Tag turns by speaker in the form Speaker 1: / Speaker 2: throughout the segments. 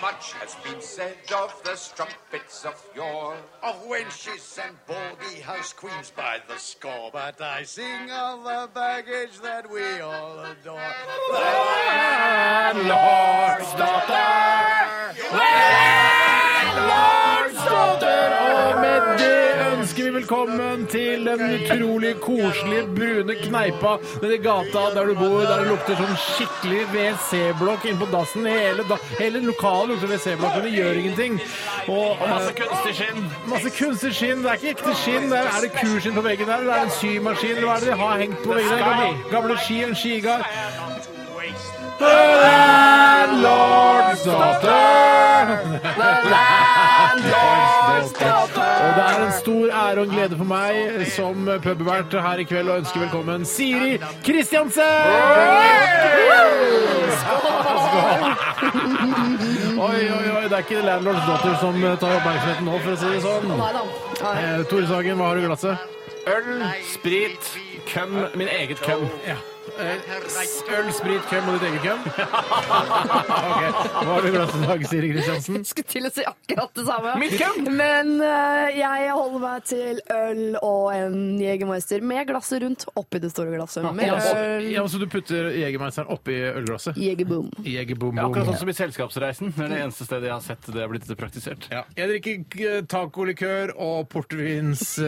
Speaker 1: Much has been said of the strumpets of yore, of wenches and baldy house queens by the score. But I sing of the baggage that we all adore. The landlord's daughter!
Speaker 2: Og med det ønsker vi velkommen til den utrolig koselige brune kneipa nede i gata der du bor, der det lukter sånn skikkelig WC-blokk inne på dassen. Hele, da hele lokalet lukter WC-blokk, men det gjør ingenting. Og, masse kunstig skinn. Masse kunstig skinn. Det er ikke ekte skinn. Det er, er det kuskinn på veggen der, eller er det en symaskin? Eller Hva er det de har hengt på veggen der? Gamle, gamle ski, en skigard. The landlord's daughter. Og det er en stor ære og en glede for meg som pubvert her i kveld å ønske velkommen Siri Kristiansen! Oi, oi, oi, det er ikke landlords daughter som tar oppmerksomheten nå, for å si det sånn. Eh, Tore Sagen, hva har du i glasset? Øl, sprit, køm. Min eget køm. Ja. Eh, Øl, sprit, køm og ditt eget køm? Ok. Hva har du i glasset i dag, Siri Kristiansen?
Speaker 3: Jeg skulle til å si akkurat det samme. Men eh, jeg holder meg til øl og en Jegermeister med glasset rundt oppi det store glasset. Med
Speaker 2: Ja, så-
Speaker 3: øl,
Speaker 2: ja, så du putter Jegermeisteren oppi ølglasset?
Speaker 3: Jegerboom.
Speaker 2: Jegerboom,
Speaker 4: Det er akkurat
Speaker 2: boom.
Speaker 4: sånn som i Selskapsreisen. Det er det eneste stedet jeg har sett det er blitt praktisert.
Speaker 2: Ja. Jeg drikker eh, tacolikør og portvins...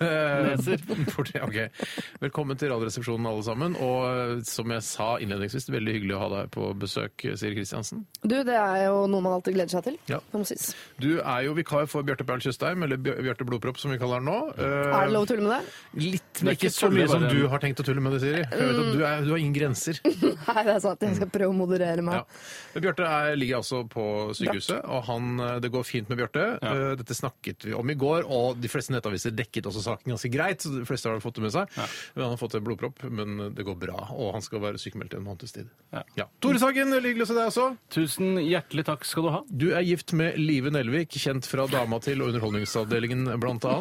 Speaker 2: Neser. Port, ja, ok. Velkommen til Radioresepsjonen, alle sammen. Og eh, som jeg sa innledningsvis, det er veldig hyggelig å ha deg på besøk, eh, Siri Kristiansen.
Speaker 3: Du, det er jo noe man alltid gleder seg til.
Speaker 2: Ja.
Speaker 3: Det må sies.
Speaker 2: Du er jo vikar for Bjarte Perl Tjøstheim, eller Bj- Bjarte Blodpropp, som vi kaller han nå. Eh,
Speaker 3: Er det lov å tulle med det?
Speaker 2: Litt,
Speaker 4: er
Speaker 2: men
Speaker 4: ikke
Speaker 2: ikke så mye
Speaker 4: tulle,
Speaker 2: som
Speaker 4: bare-
Speaker 2: du har tenkt å tulle med det, Siri. For Jeg vet at du, er, du har ingen grenser.
Speaker 3: Nei, det er sant. Jeg skal prøve å moderere
Speaker 2: Eh.
Speaker 3: meg.
Speaker 2: Ja. Men Bjarte er, ligger altså på sykehuset, og han, eh, det går fint med Bjarte. Eh, Dette snakket vi om i går, og de fleste nettaviser dekket også saken ganske greit. så de fleste har fått det med seg. Men Han har fått en blodpropp, men det går bra, og han skal være sykemeldt en måneds tid. Ja. Tore Sagen, veldig hyggelig å se deg også.
Speaker 4: Tusen hjertelig takk skal du ha.
Speaker 2: Du er gift med Live Nelvik, kjent fra Dama til og Underholdningsavdelingen bl.a.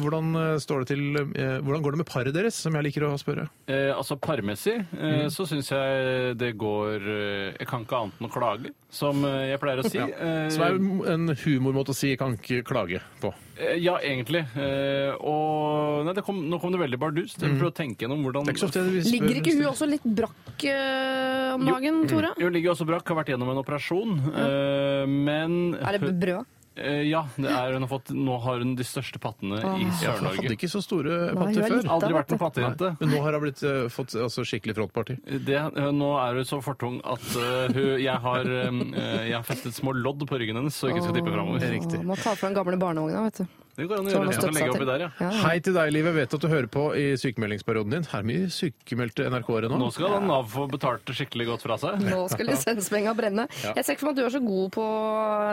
Speaker 2: Hvordan, eh, står det til, eh, hvordan går det med paret deres, som jeg liker å spørre?
Speaker 4: Eh, altså parmessig eh,
Speaker 2: Mm.
Speaker 4: så syns jeg det går eh, Jeg kan ikke annet enn å klage, som eh, jeg pleier å si.
Speaker 2: Ja.
Speaker 4: Eh,
Speaker 2: Som er jo en humormåte å si 'kan ikke klage' på.
Speaker 4: eh, ja, egentlig. Eh, og Nei, det kom, nå kom det veldig bardust. Jeg prøver å tenke gjennom hvordan
Speaker 2: Mm. Det er ikke så ofte vi spør-
Speaker 3: Ligger ikke hun også litt brakk eh, om dagen,
Speaker 2: Mm.
Speaker 3: Tore?
Speaker 4: Hun ligger jo også brakk, har vært gjennom en operasjon, eh, men
Speaker 3: Er det brød?
Speaker 4: Eh, Ja, det er, hun har fått, nå har hun de største pattene i
Speaker 2: Hun hadde
Speaker 4: Sør-Norge.
Speaker 2: ikke så store
Speaker 3: Nei,
Speaker 2: patter
Speaker 3: hun er
Speaker 2: før.
Speaker 3: liten.
Speaker 4: Aldri vært noen
Speaker 2: Nei,
Speaker 4: pattejente.
Speaker 2: Men nå har hun blitt, eh, fått altså, skikkelig frontparty.
Speaker 4: Det, eh, nå er hun så fortung at eh, hun, jeg, har, eh, jeg har festet små lodd på ryggen hennes, så hun ikke skal tippe framover.
Speaker 3: Åh, Man tar fra den gamle barnevogna, vet du.
Speaker 4: Det går an
Speaker 3: Så
Speaker 4: å gjøre.
Speaker 3: man
Speaker 4: Jeg kan
Speaker 3: støtter
Speaker 4: legge
Speaker 3: seg
Speaker 4: oppi
Speaker 3: til.
Speaker 4: der, ja.
Speaker 3: Ja, ja.
Speaker 2: Hei til deg, Liv. Jeg vet at du hører på i sykemeldingsperioden din. Her er mye sykemeldte NRK-ere nå.
Speaker 4: Nå skal da Nav få betalt det skikkelig godt fra seg.
Speaker 3: Nå skal lisenspenga brenne. Jeg ser ikke for meg at du er så god på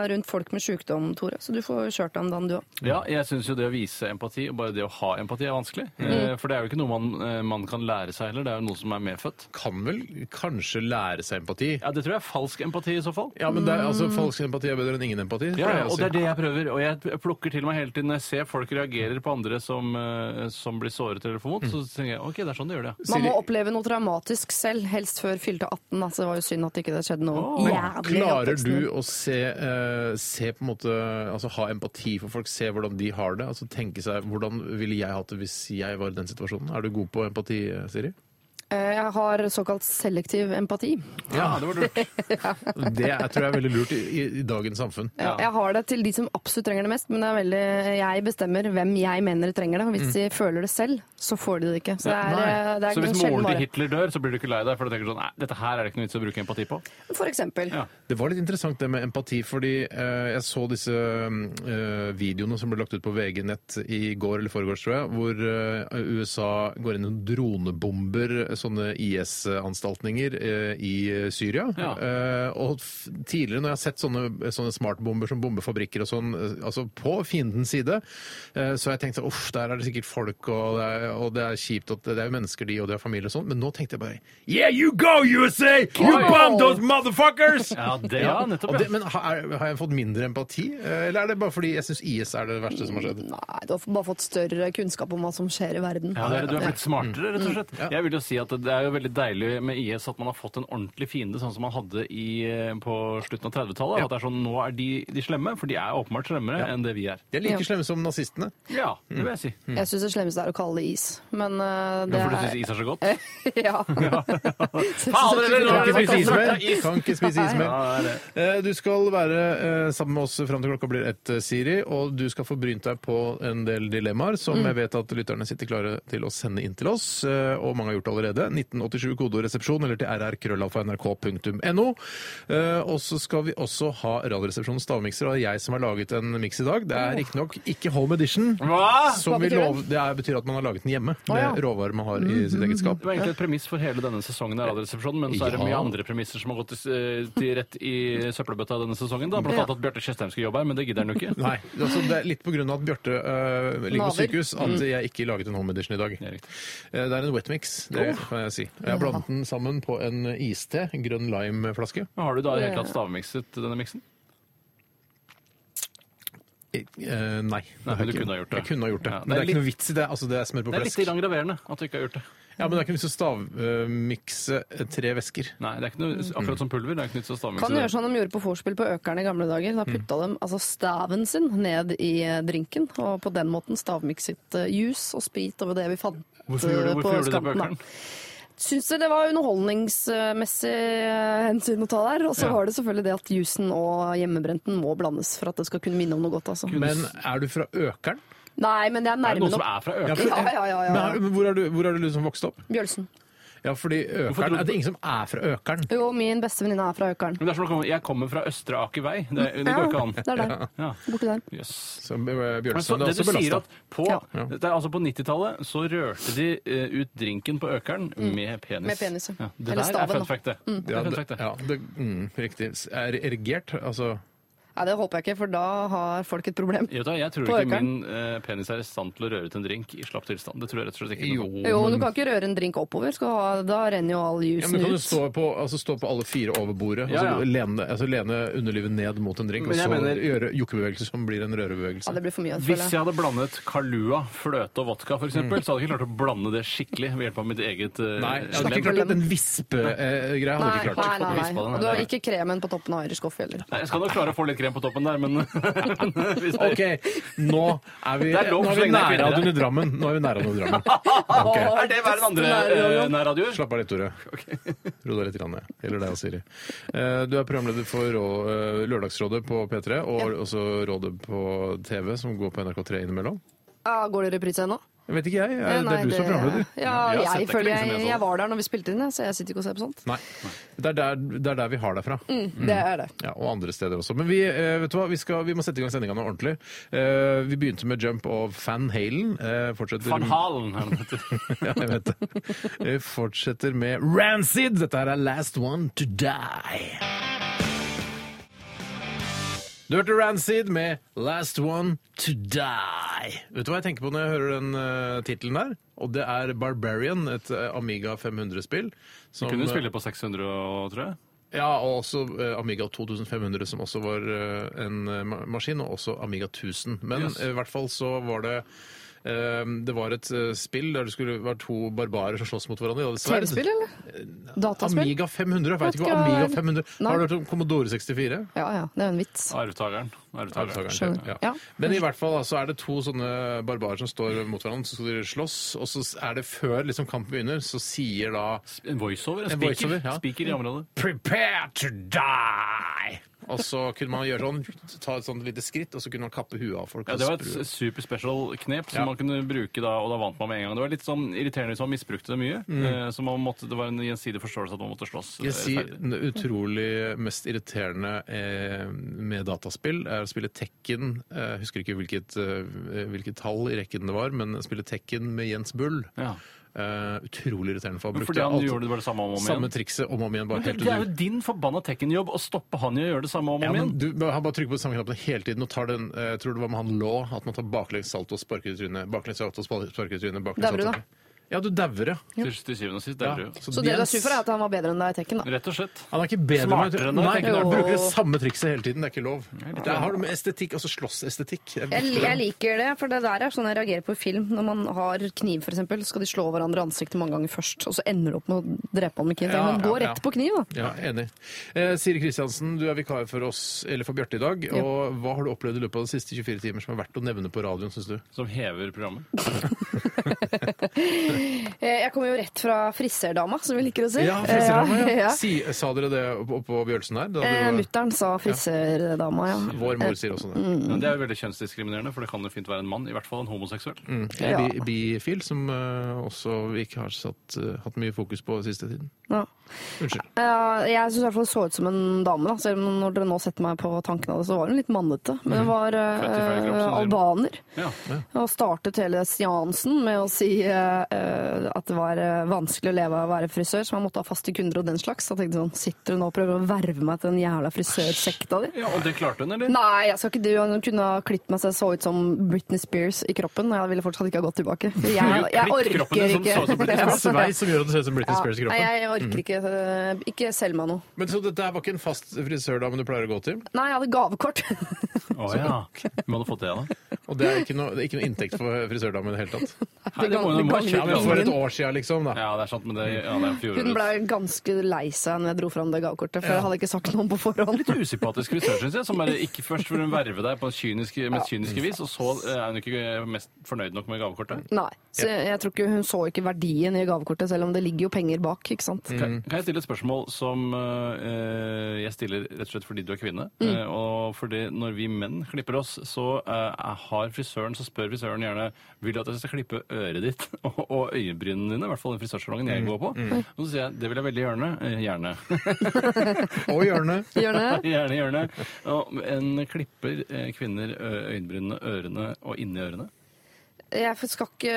Speaker 3: rundt folk med sjukdom, Tore. Så du får kjørt deg om dagen, du òg.
Speaker 4: Ja, jeg syns jo det å vise empati, og bare det å ha empati, er vanskelig.
Speaker 3: Mm.
Speaker 4: Eh, For det er jo ikke noe man, eh, man kan lære seg heller, det er jo noe som er medfødt.
Speaker 2: Kan vel kanskje lære seg empati?
Speaker 4: Ja, det tror jeg er falsk empati i så fall.
Speaker 2: Ja, men det er, altså, Falsk empati er bedre enn ingen empati.
Speaker 4: Ja,
Speaker 2: pleier
Speaker 4: ja,
Speaker 2: jeg å
Speaker 4: og
Speaker 2: si.
Speaker 4: det er det jeg prøver. Og jeg plukker til meg hele tiden når jeg ser folk reagerer på andre som, eh, som blir såret eller får vondt, så tenker jeg OK, det er sånn de gjør det, ja.
Speaker 3: Man må
Speaker 2: Siri-
Speaker 3: oppleve noe traumatisk selv, helst før fylte 18. da, så det var jo synd at ikke det skjedde noe.
Speaker 4: Åh.
Speaker 3: jævlig i
Speaker 2: Klarer
Speaker 3: oppveksten
Speaker 2: du
Speaker 3: din.
Speaker 2: å se, eh, se på en måte, altså ha empati for folk, se hvordan de har det? altså tenke seg, Hvordan ville jeg hatt det hvis jeg var i den situasjonen? Er du god på empati, eh, Siri?
Speaker 3: Eh, Jeg har såkalt selektiv empati.
Speaker 4: Ja, det var lurt.
Speaker 2: Det er, tror jeg er veldig lurt i, i, i dagens samfunn.
Speaker 3: Eh, Jeg har det til de som absolutt trenger det mest, men det er veldig, jeg bestemmer hvem jeg mener trenger det. og Hvis de føler det selv, så får de det ikke. Så det er, eh, det er
Speaker 4: Mm. Så hvis
Speaker 3: en
Speaker 4: moren
Speaker 3: sjelden
Speaker 4: til
Speaker 3: vare.
Speaker 4: Hitler dør, så blir du ikke lei deg, for du tenker sånn Nei, dette her er det ikke noe vits å bruke empati på.
Speaker 3: For eksempel.
Speaker 4: Ja.
Speaker 2: Det var litt interessant det med empati, fordi eh, jeg så disse eh, videoene som ble lagt ut på VG-nett i går eller foregårs, tror jeg, hvor eh, USA går inn i dronebomber, sånne IS-anstaltninger eh, i Syria.
Speaker 4: Ja.
Speaker 2: Eh, og f tidligere når jeg har sett sånne, sånne smartbomber som bomber fabrikker og sånn, eh, altså på fiendens side, eh, så har jeg tenkt at uff, der er det sikkert folk, og det er, og det er kjipt at det er mennesker de, og de har familie og sånn, men nå tenkte jeg bare Yeah, you go, USA! You bomb those motherfuckers!
Speaker 4: Ja, det, ja nettopp.
Speaker 2: Og det,
Speaker 4: Ja.
Speaker 2: men har, har jeg fått mindre empati, eh, eller er det bare fordi jeg syns IS er det verste som har skjedd?
Speaker 3: Nei, du har bare fått større kunnskap om hva som skjer i verden.
Speaker 4: Ja, det er, du er blitt smartere, rett og slett. Jeg vil jo si at Det er jo veldig deilig med IS at man har fått en ordentlig fiende, sånn som man hadde i, eh, på slutten av 30-tallet. At det er sånn, Nå er de, de slemme, for de er åpenbart slemmere enn det vi er.
Speaker 2: De er like
Speaker 3: Ja.
Speaker 2: slemme som nazistene.
Speaker 4: Ja, Mm. det vil jeg si.
Speaker 3: Jeg syns det slemmeste er å kalle det is, men eh, det
Speaker 4: Hvorfor du
Speaker 3: er
Speaker 4: syns is er så godt? Ja,
Speaker 3: Ja.
Speaker 4: Faen, dere, dere
Speaker 2: Kan
Speaker 4: har
Speaker 2: ikke spise is mer!
Speaker 4: Is.
Speaker 2: Kan ikke spise is
Speaker 4: det
Speaker 2: mer.
Speaker 4: er det.
Speaker 2: Eh, Du skal være eh, sammen med oss fram til klokka blir ett, eh, Siri. Og du skal få brynt deg på en del dilemmaer som
Speaker 3: Mm.
Speaker 2: jeg vet at lytterne sitter klare til å sende inn til oss. eh, Og mange har gjort det allerede. 1987 kodeord resepsjon eller til rrkrøllalfa.nrk.no. Eh, Og så skal vi også ha Radioresepsjonens stavmikser. Og det er jeg som har laget en miks i dag. Det er riktignok ikke home edition.
Speaker 4: Hva?
Speaker 2: Som
Speaker 3: Hva
Speaker 2: vi
Speaker 3: betyr det?
Speaker 2: lov, det er, betyr at man har laget den hjemme.
Speaker 3: Å, ja. Mm,
Speaker 2: Med råvarer man har i sitt eget skap.
Speaker 4: Det var egentlig et premiss for hele denne sesongen, av Radioresepsjonen, men så er det
Speaker 2: Ja.
Speaker 4: mye andre premisser som har gått til, eh, til rett i søppelbøtta denne sesongen. da, Blant
Speaker 3: Ja.
Speaker 4: annet at Bjarte Tjøstheim skal jobbe her, men det gidder han jo ikke.
Speaker 2: Nei, altså det er litt på grunn av at Bjarte øh, ligger på
Speaker 3: Naver.
Speaker 2: sykehus at
Speaker 3: Mm.
Speaker 2: jeg ikke laget en home edition i dag.
Speaker 4: Det er
Speaker 2: Eh,
Speaker 4: riktig.
Speaker 2: Det er en wet mix, det kan jeg si. Jeg har blandet den sammen på en iste, en grønn lime-flaske.
Speaker 4: Men Har du da i det hele tatt stavmikset denne miksen?
Speaker 2: Eh, eh, nei.
Speaker 4: Nei, men du
Speaker 2: Jeg
Speaker 4: kunne ha gjort det.
Speaker 2: Jeg kunne ha gjort det.
Speaker 4: Ja, det
Speaker 2: men det
Speaker 4: er
Speaker 2: er ikke noe vits i det. Altså, det er smør på
Speaker 4: Det er
Speaker 2: flesk.
Speaker 4: litt grann graverende at du ikke har gjort det.
Speaker 2: Ja, men det er ikke noe vits i å stavmikse eh, tre væsker.
Speaker 4: Nei, det er ikke noe, akkurat som pulver. Det Mm. er ikke nytt å stavmikse.
Speaker 3: Kan gjøre sånn de gjorde på vorspiel på Økeren i gamle dager. Da putta de altså staven sin ned i eh, drinken, og på den måten stavmikset eh, jus og sprit over det vi fant eh,
Speaker 4: Hvorfor gjorde du-
Speaker 3: på
Speaker 4: hvorfor gjorde du det på
Speaker 3: skanten.
Speaker 4: Økeren?
Speaker 3: da. Syns det, det var underholdningsmessig eh, hensyn å ta der. Og så
Speaker 4: Ja.
Speaker 3: var det selvfølgelig det at jusen og hjemmebrenten må blandes for at det skal kunne minne om noe godt. altså.
Speaker 2: Men er du fra Økeren?
Speaker 3: Nei, men det er
Speaker 4: Er det
Speaker 3: nærme
Speaker 4: noen som
Speaker 3: nok.
Speaker 4: er fra Økeren?
Speaker 2: for-
Speaker 3: Ja, ja, ja, ja.
Speaker 2: Men er- Men hvor er du, hvor er du liksom vokst opp?
Speaker 3: Bjølsen.
Speaker 2: Ja, fordi
Speaker 4: tror du-
Speaker 2: Økeren er det ingen som er fra Økeren.
Speaker 3: Jo, min beste venninne er fra Økeren.
Speaker 4: Men det er som å komme- jeg kommer fra Østre Aker vei. Det, det går ikke an.
Speaker 3: Det er der.
Speaker 4: Ja.
Speaker 3: Borti der.
Speaker 4: Yes.
Speaker 2: Så eh,
Speaker 4: Men så,
Speaker 2: Bjørnson er også
Speaker 4: det du sier
Speaker 2: belasta.
Speaker 4: at på,
Speaker 3: Ja.
Speaker 4: det er altså på 90-tallet så rørte de eh, ut drinken på Økeren med
Speaker 3: Mm.
Speaker 4: penis.
Speaker 3: Med penis, ja.
Speaker 4: ja. Det
Speaker 3: Eller
Speaker 4: der
Speaker 3: staven,
Speaker 4: er
Speaker 3: da. Mm.
Speaker 4: fun fact, det. Det
Speaker 2: Ja,
Speaker 4: er fun
Speaker 2: det,
Speaker 4: fact, det.
Speaker 2: ja, det, mm, riktig. Er erigert, altså
Speaker 3: Nei, det håper jeg ikke, for da har folk et problem.
Speaker 4: Vet du hva, Jeg tror
Speaker 3: På
Speaker 4: ikke
Speaker 3: Økeren?
Speaker 4: min eh, penis er i stand til å røre ut en drink i slapp tilstand. Det tror jeg rett og slett ikke. noe på.
Speaker 3: Jo, men du kan ikke røre en drink oppover. Skal ha, da renner jo all
Speaker 2: ja,
Speaker 3: jusen
Speaker 2: men kan du
Speaker 3: ut.
Speaker 2: stå på, altså, stå på alle fire over bordet,
Speaker 4: Ja,
Speaker 2: og
Speaker 4: ja.
Speaker 2: så lene, altså, lene underlivet ned mot en drink, og
Speaker 4: Men
Speaker 2: så
Speaker 4: jeg mener-
Speaker 2: gjøre jokkebevegelser som blir en
Speaker 3: Ja,
Speaker 2: rørebevegelse?
Speaker 3: det blir for mye.
Speaker 4: Hvis
Speaker 3: føler
Speaker 4: jeg hadde blandet Kalua, fløte og vodka, for
Speaker 3: Mm.
Speaker 4: eksempel, så hadde jeg ikke klart å blande det skikkelig ved hjelp av mitt eget eh,
Speaker 2: Nei, jeg hadde
Speaker 3: Snakker
Speaker 2: ikke klart
Speaker 3: mellom-
Speaker 2: den vispegreia. hadde jeg
Speaker 3: Nei,
Speaker 2: ikke
Speaker 3: nei,
Speaker 2: klart.
Speaker 3: nei,
Speaker 4: Vispa
Speaker 3: nei.
Speaker 4: den,
Speaker 3: Og du har
Speaker 4: nei.
Speaker 3: ikke kremen på toppen av Irish coffee heller.
Speaker 4: Nei, Jeg skal nok klare å få litt krem på toppen der, men hvis det-
Speaker 2: OK, nå er vi,
Speaker 4: Det er lov
Speaker 2: nå
Speaker 4: så
Speaker 2: er vi
Speaker 4: lenge det er kvinner her.
Speaker 2: nærradioen i Drammen. Nå er vi nærradioen i Drammen. Ok.
Speaker 4: Er det hver den andre eh, nærradioer?
Speaker 2: Slapp av litt, Tore. Ro deg litt grann ned. Gjelder deg og Siri. Eh, Du er programleder for Rå- eh, Lørdagsrådet på P3, og også Rådet på TV, som går på NRK3 innimellom.
Speaker 3: Ja, Ah, går det i reprise ennå?
Speaker 2: Jeg vet ikke jeg.
Speaker 3: Eh,
Speaker 2: det
Speaker 3: nei,
Speaker 2: er du som er programleder.
Speaker 3: Ja,
Speaker 4: Jeg har sett
Speaker 3: jeg
Speaker 4: det ikke
Speaker 3: føler
Speaker 4: lenge
Speaker 3: jeg,
Speaker 4: siden jeg så
Speaker 3: jeg
Speaker 4: det.
Speaker 3: var der når vi spilte inn, jeg, så jeg sitter ikke og ser på sånt.
Speaker 2: Nei. Det er der, det er der vi har deg fra.
Speaker 3: Det er det.
Speaker 2: Ja, og andre steder også. Men vi, eh, vet du hva? Vi, skal, vi må sette i gang sendinga nå ordentlig. Eh, vi begynte med Jump og Van Halen. Eh, fortsetter
Speaker 4: Van Halen. er det den heter.
Speaker 2: ja, jeg vet det. Vi fortsetter med Rancid. Dette her er Last One To Die. Du hørte Rancid med Last One To Die. Vet du hva jeg tenker på når jeg hører den uh, tittelen der? Og det er Barbarian, et eh, Amiga 500-spill. som-
Speaker 4: Kunne du spille på 600, og- tror jeg.
Speaker 2: Ja, og også eh, Amiga 2500, som også var eh, en eh, ma- maskin, og også Amiga 1000. Men
Speaker 4: Yes.
Speaker 2: eh, i hvert fall så var det eh, det var et eh, spill der det skulle være to barbarer som slåss mot hverandre. De hadde sverd.
Speaker 3: TV-spill, eller? Dataspill?
Speaker 2: Amiga 500. Jeg vet ikke hva
Speaker 3: Vet ikke
Speaker 2: Amiga
Speaker 3: hva-
Speaker 2: 500
Speaker 3: Nei.
Speaker 2: Har du hørt om Commodore 64?
Speaker 3: Ja ja, det er jo en vits.
Speaker 4: Arvtakeren. Arvtakeren.
Speaker 2: Arvtakeren,
Speaker 3: Skjønner.
Speaker 2: ja.
Speaker 3: Ja.
Speaker 2: Men i hvert fall da, så er det to sånne barbarer som står mot hverandre, så skal de slåss, og så er det før liksom, kampen begynner, så sier da
Speaker 4: En voiceover? En
Speaker 2: En
Speaker 4: speaker,
Speaker 2: voiceover, ja.
Speaker 4: speaker i området.
Speaker 2: Prepare to die! Og så kunne man gjøre sånn, ta et sånt lite skritt, og så kunne man kappe huet av folk. og
Speaker 4: Ja, det var et
Speaker 2: sprue.
Speaker 4: s- super special knep som
Speaker 2: Ja.
Speaker 4: man kunne bruke da, og da vant man med en gang. Det var litt sånn irriterende hvis man misbrukte det mye. eh, Så man måtte, det var en gjensidig forståelse at man måtte slåss.
Speaker 2: Mm.
Speaker 4: eh,
Speaker 2: Jeg sier
Speaker 4: ferdig.
Speaker 2: det utrolig mest irriterende eh, med dataspill er å spille Tekken. eh, Jeg husker ikke hvilket, eh, hvilket tall i rekken det var, men spille Tekken med Jens Bull.
Speaker 4: Ja.
Speaker 2: Eh, utrolig irriterende for han brukte
Speaker 4: Fordi han
Speaker 2: alt-
Speaker 4: gjorde det bare samme om og om igjen.
Speaker 2: Samme trikset om og om igjen. Bare
Speaker 4: Men det,
Speaker 2: helt
Speaker 4: det er jo
Speaker 2: til du-
Speaker 4: din forbanna Tekken-jobb å stoppe han i å gjøre det samme om og
Speaker 2: ja,
Speaker 4: om
Speaker 2: men
Speaker 4: igjen.
Speaker 2: du, han bare trykker på de samme knappene hele tiden og tar den eh, Jeg tror det var med han lå, at man tar baklengs salto og sparker i trynet. Baklengs salto og sparker i trynet. baklengs
Speaker 3: Dauer du
Speaker 2: salto.
Speaker 3: da?
Speaker 2: Ja, du dauer, ja.
Speaker 4: Til, til syvende og sist, det
Speaker 2: ja.
Speaker 4: er det jo.
Speaker 3: Så det du er
Speaker 2: Jens-
Speaker 3: sur for, er at han var bedre enn deg i Tekken, da.
Speaker 4: Rett og slett.
Speaker 2: Han er ikke bedre
Speaker 4: Smartere enn deg,
Speaker 2: Nei,
Speaker 4: tenker
Speaker 2: du
Speaker 3: jeg.
Speaker 2: bruker det samme trikset hele tiden. Det er ikke lov. Det har noe med estetikk, altså slåssestetikk.
Speaker 3: Jeg, jeg liker det, for det der er sånn jeg reagerer på film. Når man har kniv, f.eks., så skal de slå hverandre i ansiktet mange ganger først. Og så ender du opp med å drepe han med kniv.
Speaker 2: Ja,
Speaker 3: men
Speaker 2: ja,
Speaker 3: gå
Speaker 2: ja.
Speaker 3: rett på kniv, da.
Speaker 2: Ja, enig. Eh, Siri Kristiansen, du er vikar for oss, eller for Bjarte i dag. Og hva har du opplevd i løpet av de siste 24 timer som er verdt å nevne på radioen, syns du?
Speaker 4: Som hever programmet.
Speaker 3: Eh, Jeg kommer jo rett fra friserdama, som vi liker å si.
Speaker 2: friserramma,
Speaker 3: Eh,
Speaker 2: sånn, ja.
Speaker 3: ja.
Speaker 2: Si, sa dere det oppå oppå Bjølsen her? Det
Speaker 3: Eh, Mm.
Speaker 2: hadde jo-
Speaker 3: Mutter'n sa friserdama, ja.
Speaker 2: Vår mor sier også det.
Speaker 4: Men det er jo veldig kjønnsdiskriminerende, for det kan jo fint være en mann. I hvert fall en homoseksuell.
Speaker 2: Jeg
Speaker 3: Ja.
Speaker 2: er bi- bifil, som eh, også vi ikke har satt, eh, hatt mye fokus på siste tiden.
Speaker 3: ja.
Speaker 2: Unnskyld.
Speaker 3: Ja, jeg syns i hvert fall det så ut som en dame, da. Selv om når dere nå setter meg på tanken av det, så var hun litt mannete. Men hun var eh,
Speaker 4: Født i feil kropp, som sier.
Speaker 3: albaner.
Speaker 4: Ja.
Speaker 3: Og startet hele seansen med å si eh, eh, at det var eh, vanskelig å leve av å være frisør, så man måtte ha faste kunder og den slags. Så jeg tenkte sånn, sitter hun nå og prøver å verve meg til den jævla frisørsekta di?
Speaker 4: ja, og det klarte hun, eller?
Speaker 3: Nei, jeg skal ikke dø. Hun kunne ha klippet meg så jeg så ut som Britney Spears i kroppen. og Jeg ville fortsatt ikke ha gått tilbake. For Jeg, jeg
Speaker 4: Klipp kroppen
Speaker 3: orker
Speaker 4: din som
Speaker 3: ikke.
Speaker 4: så ut som Britney
Speaker 2: Det er en
Speaker 3: Ja.
Speaker 2: sveis som gjør at du ser ut som Britney Spears i
Speaker 3: Nei,
Speaker 2: kroppen.
Speaker 3: jeg
Speaker 4: Mhm.
Speaker 3: orker ikke. eh, Ikke selg meg noe.
Speaker 2: Men Så dette her var ikke en fast frisørdame du pleier å gå til?
Speaker 3: Nei, jeg hadde gavekort.
Speaker 4: Å ja. Vi hadde fått det, da.
Speaker 2: Og det er ikke noe, det er ikke noe inntekt for frisørdamen i det hele tatt?
Speaker 4: Nei,
Speaker 3: Det
Speaker 4: det må jo- det må jo
Speaker 3: gagner
Speaker 4: skje,
Speaker 2: Ja, men For et
Speaker 3: Ingen.
Speaker 2: år siden, liksom. da.
Speaker 4: Ja, det er sant, men det, ja, det er
Speaker 3: Hun
Speaker 4: fjorårets.
Speaker 3: ble ganske lei seg når jeg dro fram det gavekortet, for jeg hadde ikke sagt noe på forhånd.
Speaker 4: Litt usympatisk frisør, syns jeg. Som bare ikke først vil hun verve deg på kynisk, mest kyniske vis, og så eh, er hun ikke mest fornøyd nok med gavekortet.
Speaker 3: Nei, så jeg, jeg tror ikke Hun så ikke verdien i gavekortet, selv om det ligger jo penger bak. ikke sant?
Speaker 4: Kan kan jeg stille et spørsmål som eh, jeg stiller rett og slett fordi du er kvinne? eh, og fordi når vi menn klipper oss, så eh, har frisøren, så spør frisøren gjerne vil du at jeg skal klippe øret ditt og, og øyebrynene dine, i hvert fall den frisørsalongen jeg går på. Og så sier jeg det vil jeg veldig gjerne. Eh, gjerne.
Speaker 2: Og hjørnet.
Speaker 3: Hjørne?
Speaker 4: Gjerne, gjerne. Og en klipper eh, kvinner ø- øyenbrynene, ørene og inni ørene.
Speaker 3: Jeg, skal ikke,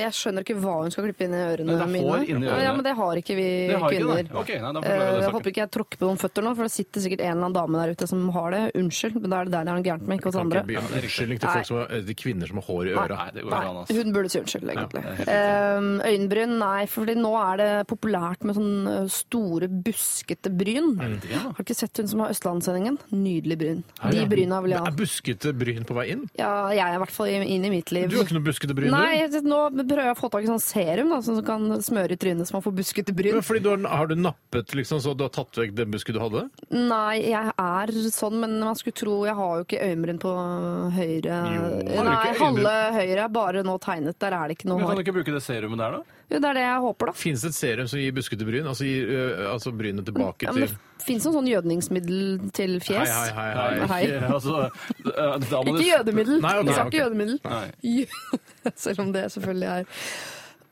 Speaker 3: jeg skjønner ikke hva hun skal klippe inn i ørene
Speaker 4: Men det er
Speaker 3: mine.
Speaker 4: hår inni ørene.
Speaker 3: Ja, men Det har ikke vi
Speaker 4: Det har ikke
Speaker 3: kvinner.
Speaker 4: det. Ok, nei, da
Speaker 3: Eh,
Speaker 4: forklarer jeg det
Speaker 3: jeg håper ikke jeg tråkker på noen føtter nå, for det sitter sikkert en eller annen dame der ute som har det. Unnskyld, men da er det der det er noe gærent med, ikke hos andre.
Speaker 2: Ikke begynn med Unnskyldning til folk som har, eh, kvinner som har hår i øra.
Speaker 4: Nei, det går ikke an,
Speaker 3: Nei,
Speaker 4: altså.
Speaker 3: hun burde si unnskyld, egentlig.
Speaker 4: Ja, det
Speaker 3: Ehm, øyenbryn, nei, for fordi nå er det populært med sånne eh, store, buskete bryn. Har du ikke sett hun som har Østlandssendingen? Nydelig bryn. De bryna vil jeg ha.
Speaker 2: Er buskete bryn på vei inn?
Speaker 3: Ja, jeg er i hvert fall inn i mitt liv.
Speaker 2: Du har ikke noe buskete bryn?
Speaker 3: Nei,
Speaker 2: du?
Speaker 3: jeg- nå prøver jeg å få tak i sånn serum da, som kan smøre i trynet så man får buskete bryn.
Speaker 2: Men fordi du har, har du nappet, liksom, så du har tatt vekk den busken du hadde?
Speaker 3: Nei, jeg er sånn, men man skulle tro jeg har jo ikke øyenbryn på høyre
Speaker 2: har du ikke
Speaker 3: Nei,
Speaker 2: øyenbryn?
Speaker 3: halve høyre er bare nå tegnet. Der er det ikke noe
Speaker 4: Men kan du
Speaker 3: hår.
Speaker 4: ikke bruke det serumet der, da?
Speaker 3: Jo, Det er det jeg håper, da.
Speaker 2: Fins det et serum som gir buskete bryn? Altså gir øh, altså brynet tilbake
Speaker 3: Ja,
Speaker 2: til
Speaker 3: men det fins noe sånn jødningsmiddel til
Speaker 2: Hei,
Speaker 3: fjes.
Speaker 2: hei, hei. hei.
Speaker 3: Hei.
Speaker 4: Ikke, altså, eh, da må
Speaker 3: Ikke
Speaker 4: du-
Speaker 3: jødemiddel.
Speaker 2: Nei, ok,
Speaker 3: Vi sa
Speaker 2: ok.
Speaker 3: ikke jødemiddel.
Speaker 4: Nei.
Speaker 3: Jø- Selv om det selvfølgelig er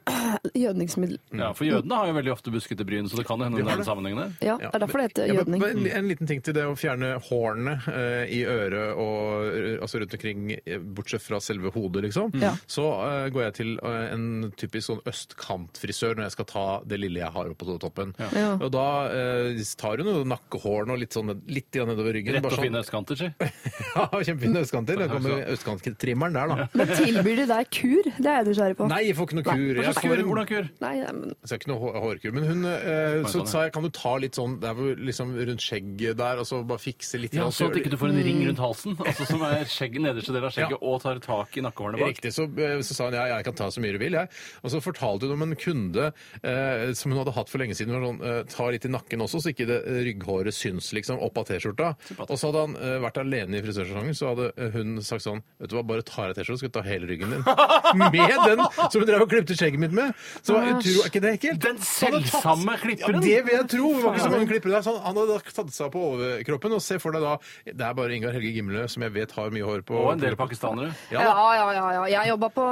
Speaker 3: jødningsmiddel.
Speaker 4: Ja, for jødene har jo veldig ofte buskete bryn, så det kan jo hende i denne sammenhengen der.
Speaker 3: Ja, det er derfor det heter
Speaker 2: Ja, men,
Speaker 3: jødning.
Speaker 2: men en liten ting til det å fjerne hårene eh, i øret og eh, altså rundt omkring, eh, bortsett fra selve hodet, liksom.
Speaker 3: Ja.
Speaker 2: Så eh, går jeg til eh, en typisk sånn østkantfrisør når jeg skal ta det lille jeg har oppå toppen.
Speaker 3: Ja.
Speaker 2: Og da eh, tar hun jo nakkehårene og litt, sånn, litt grann nedover ryggen.
Speaker 4: Rett
Speaker 2: bare
Speaker 4: og
Speaker 2: sånn-
Speaker 4: fine østkanter, si.
Speaker 2: Ja, kjempefine østkanter. Da kommer østkanttrimmeren der, da.
Speaker 3: Men tilbyr de deg kur? Det er jeg nysgjerrig på.
Speaker 2: Nei, jeg får ikke noe kur. Jeg
Speaker 3: sånn
Speaker 4: Hvordan
Speaker 2: får
Speaker 4: kur?
Speaker 2: en
Speaker 4: Hvordan kur?
Speaker 3: Nei, nei, men
Speaker 2: så jeg har ikke noe hår- hårkur, men hun eh,
Speaker 4: sånn,
Speaker 2: så sa jeg, kan du ta litt sånn det er vel liksom rundt skjegget der, og så bare fikse litt
Speaker 4: Ja,
Speaker 2: grann,
Speaker 4: sånn at
Speaker 2: gjør
Speaker 4: ikke du får en ring rundt
Speaker 3: Mm.
Speaker 4: halsen, altså som er skjegg, nederste del av skjegget, og tar tak i nakkehårene bak.
Speaker 2: Riktig, så, eh, så sa hun ja, jeg kan ta så mye du vil, jeg. Og så fortalte hun om en kunde eh, som hun hadde hatt for lenge siden. Hvor sånn, eh, ta litt i nakken også, så ikke det eh, rygghåret syns liksom opp av T-skjorta. Og så hadde han eh, vært alene i frisørsalongen, så hadde eh, hun sagt sånn Vet du hva, bare ta av deg T-skjorta, skal jeg ta hele ryggen din. med den som hun drev og klipte skjegget mitt med! Så var utro, er ikke det ekkelt?
Speaker 4: Den
Speaker 2: Så hadde tatt-
Speaker 4: selvsamme klipperen.
Speaker 2: Ja, det vil jeg tro! Det var ikke så mange klippere der. Så han- han hadde da tatt seg på overkroppen, og se for deg da Det er bare Ingar Helge Gimle som jeg vet har mye hår på
Speaker 4: Og en del pakistanere.
Speaker 3: ja, ja, ja. ja. Jeg jobba på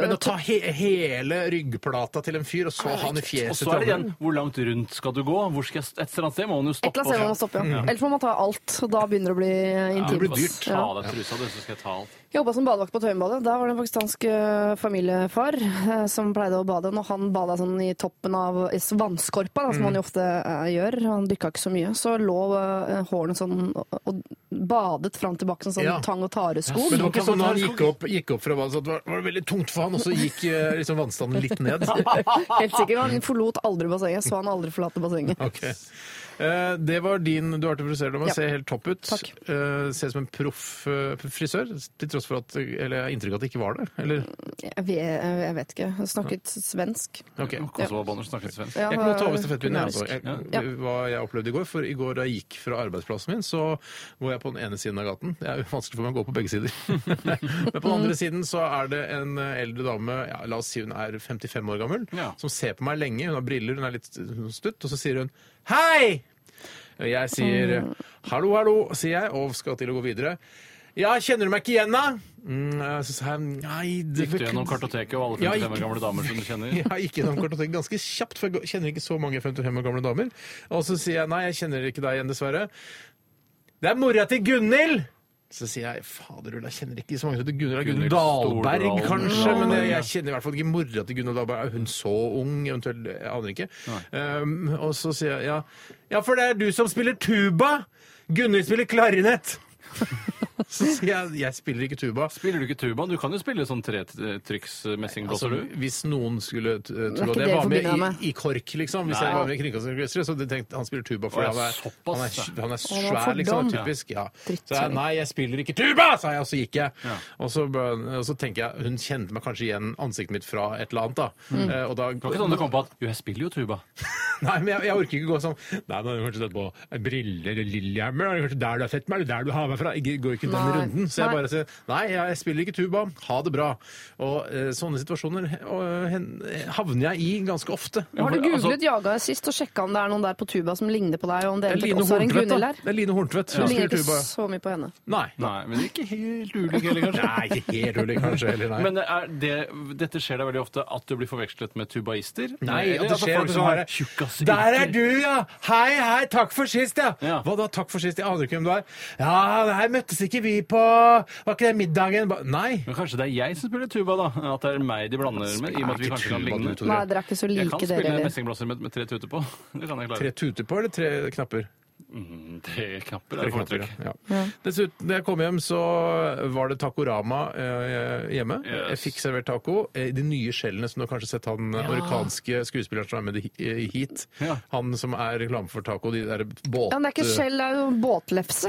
Speaker 2: men å ta he hele ryggplata til en fyr, og så han i
Speaker 4: Og
Speaker 2: fjeset
Speaker 4: så er det igjen, hvor langt rundt skal du gå? Hvor skal jeg, et eller annet sted må man jo
Speaker 3: Et
Speaker 4: stoppe.
Speaker 3: eller annet sted må man stoppe, ja. Ellers må man ta alt. og Da begynner det å bli intimt.
Speaker 2: blir dyrt.
Speaker 4: Ta
Speaker 3: Ja.
Speaker 4: av deg trusa, du, så skal jeg ta alt.
Speaker 3: Jeg Jobba som badevakt på Tøyenbadet. Der var det en pakistansk eh, familiefar eh, som pleide å å bade. Når han bada sånn i toppen av vannskorpa,
Speaker 2: Mm.
Speaker 3: da, som han jo ofte eh, gjør, han dykka ikke så mye, så lå eh, hårene sånn og, og badet fram og tilbake som sånn
Speaker 2: Ja.
Speaker 3: tang- og taresko.
Speaker 2: Men det var ikke sånn når han gikk opp, gikk opp fra vannet, så det var, var det veldig tungt for han, og så gikk eh, liksom vannstanden litt ned.
Speaker 3: Helt sikkert. Han forlot aldri bassenget. Så han aldri forlate bassenget.
Speaker 2: Ok. Eh, Det var din Du har vært og frisør, Lomme.
Speaker 3: Ja.
Speaker 2: Ser helt topp ut.
Speaker 3: Takk.
Speaker 2: Eh, Ser ut som en proff eh, frisør, til tross for at Eller jeg har inntrykk av at det ikke var det. Eller?
Speaker 3: Jeg vet, jeg vet ikke. Hun snakket svensk.
Speaker 2: Ok.
Speaker 4: Kosovo-bånder snakket svensk.
Speaker 3: Ja,
Speaker 2: Jeg kan godt ta over stafettpinnen. jeg, Altså. Jeg,
Speaker 3: Ja.
Speaker 2: Hva jeg opplevde i går. For i går da jeg gikk fra arbeidsplassen min, så går jeg på den ene siden av gaten. Det er jo vanskelig for meg å gå på begge sider. Men på den andre siden så er det en eh, eldre dame, ja, la oss si hun er 55 år gammel,
Speaker 4: Ja.
Speaker 2: som ser på meg lenge. Hun har briller, hun er litt stutt, og så sier hun hei! Og jeg sier hallo, hallo, sier jeg, og skal til å gå videre. Ja, kjenner du meg ikke igjen, da? Mm, så sa jeg nei det-
Speaker 4: Gikk du gjennom kartoteket og alle
Speaker 2: Ja,
Speaker 4: 55 år
Speaker 2: gikk-
Speaker 4: gamle damer som du kjenner?
Speaker 2: Jeg gikk gjennom kartoteket ganske kjapt, for jeg kjenner ikke så mange 55 år gamle damer. Og så sier jeg nei, jeg kjenner ikke deg igjen, dessverre. Det er mora til Gunhild! Så sier jeg faderullan, jeg kjenner ikke så mange som heter Gunhild. Gunhild
Speaker 4: Gunhild
Speaker 2: Dahlberg,
Speaker 4: Stordalen.
Speaker 2: kanskje, men jeg, jeg
Speaker 4: Ja.
Speaker 2: kjenner i hvert fall ikke mora til Gunhild Dahlberg. Er hun så ung, eventuelt? Jeg aner ikke. Um, og så sier jeg ja. ja, for det er du som spiller tuba! Gunhild spiller klarinett! Så sier jeg jeg spiller ikke tuba.
Speaker 4: Spiller du ikke tuba? Du kan jo spille sånn
Speaker 2: Altså,
Speaker 4: tretrykks-messingblåser, du.
Speaker 2: hvis noen skulle t- tro
Speaker 3: ikke
Speaker 2: at
Speaker 3: det
Speaker 2: jeg var med
Speaker 3: forbinder jeg med.
Speaker 2: i, i KORK, liksom Hvis
Speaker 4: Nei.
Speaker 2: jeg var med i Kringkastingsorkesteret, så hadde jeg tenkt han spiller tuba fordi
Speaker 4: Å, ja,
Speaker 2: han er,
Speaker 4: såpass,
Speaker 2: han er,
Speaker 4: ja.
Speaker 2: han er
Speaker 3: Å, det var
Speaker 2: svær, liksom.
Speaker 3: fordom.
Speaker 2: Typisk. Ja.
Speaker 3: Dritt,
Speaker 2: Så jeg,
Speaker 3: sorry.
Speaker 2: nei, jeg spiller ikke tuba, sa jeg, og så gikk jeg. Og, så, ble- og så tenker jeg Hun kjente meg kanskje igjen ansiktet mitt fra et eller annet, da. Eh, Og da
Speaker 4: Det var ikke sånn du kom på at Jo, jeg spiller jo tuba.
Speaker 2: Nei, men jeg, jeg orker ikke gå sånn Nei, men har du kanskje sett på briller eller Lillehammer? da? Er det Kanskje der du har sett meg, eller der du har meg fra? Jeg går ikke den
Speaker 3: Nei.
Speaker 2: runden. Så jeg
Speaker 3: Nei.
Speaker 2: bare sier nei, jeg spiller ikke tuba. Ha det bra. Og eh, sånne situasjoner eh, og, hen- havner jeg i ganske ofte.
Speaker 3: Har du
Speaker 4: for- altså-
Speaker 3: googlet Jaga sist og sjekka om det er noen der på tuba som ligner på deg? og om det
Speaker 2: Det er Line
Speaker 3: eventuelt også er en
Speaker 2: Horntvedt,
Speaker 3: Gunhild
Speaker 2: da.
Speaker 3: her?
Speaker 2: Det er Line Horntvedt.
Speaker 3: Du
Speaker 2: Hun
Speaker 3: ligner
Speaker 2: spiller
Speaker 3: ikke
Speaker 2: tuba.
Speaker 3: så mye på henne.
Speaker 2: Nei.
Speaker 4: Nei, men ikke helt ulik heller, kanskje.
Speaker 2: Nei, ikke helt rolig, kanskje. Heller, nei.
Speaker 4: Men er det, dette skjer da veldig ofte at du blir forvekslet med tubaister?
Speaker 2: Nei,
Speaker 4: Eller
Speaker 2: og det
Speaker 4: altså
Speaker 2: skjer
Speaker 4: folk
Speaker 2: at
Speaker 4: som har
Speaker 2: sånn
Speaker 4: tjukkaser.
Speaker 2: Der er du, ja! Hei, hei, takk for sist, ja!
Speaker 4: Ja.
Speaker 2: Hva da, takk for sist? Jeg aner ikke hvem du er. Ja, her møttes ikke vi på Var ikke det middagen? Ba- Nei.
Speaker 4: Men kanskje det er jeg som spiller tuba, da? At det er meg de blander med? I og med at vi
Speaker 2: Ikke
Speaker 4: kanskje kan
Speaker 2: tuba, du,
Speaker 4: ligne.
Speaker 2: Tore.
Speaker 3: Nei, dere er ikke så
Speaker 4: Jeg kan
Speaker 3: like, dere
Speaker 4: spille
Speaker 3: heller.
Speaker 4: messingblåser med, med tre tuter på. Det kan jeg
Speaker 2: Tre
Speaker 4: klare.
Speaker 2: tuter på, eller tre knapper?
Speaker 4: Tre knapper er
Speaker 2: knapper,
Speaker 4: foretrekk.
Speaker 2: ja. Ja. Dessuten, da jeg kom hjem, så var det Tacorama eh, hjemme. Jeg
Speaker 4: Yes.
Speaker 2: fikk servert taco. Eh, De nye skjellene som du har kanskje sett han eh, amerikanske skuespilleren som er med i- i Heat.
Speaker 4: Ja.
Speaker 2: Han som er reklame for taco. De der båt...
Speaker 3: Ja, men det er ikke skjell, altså. det er jo båtlefse.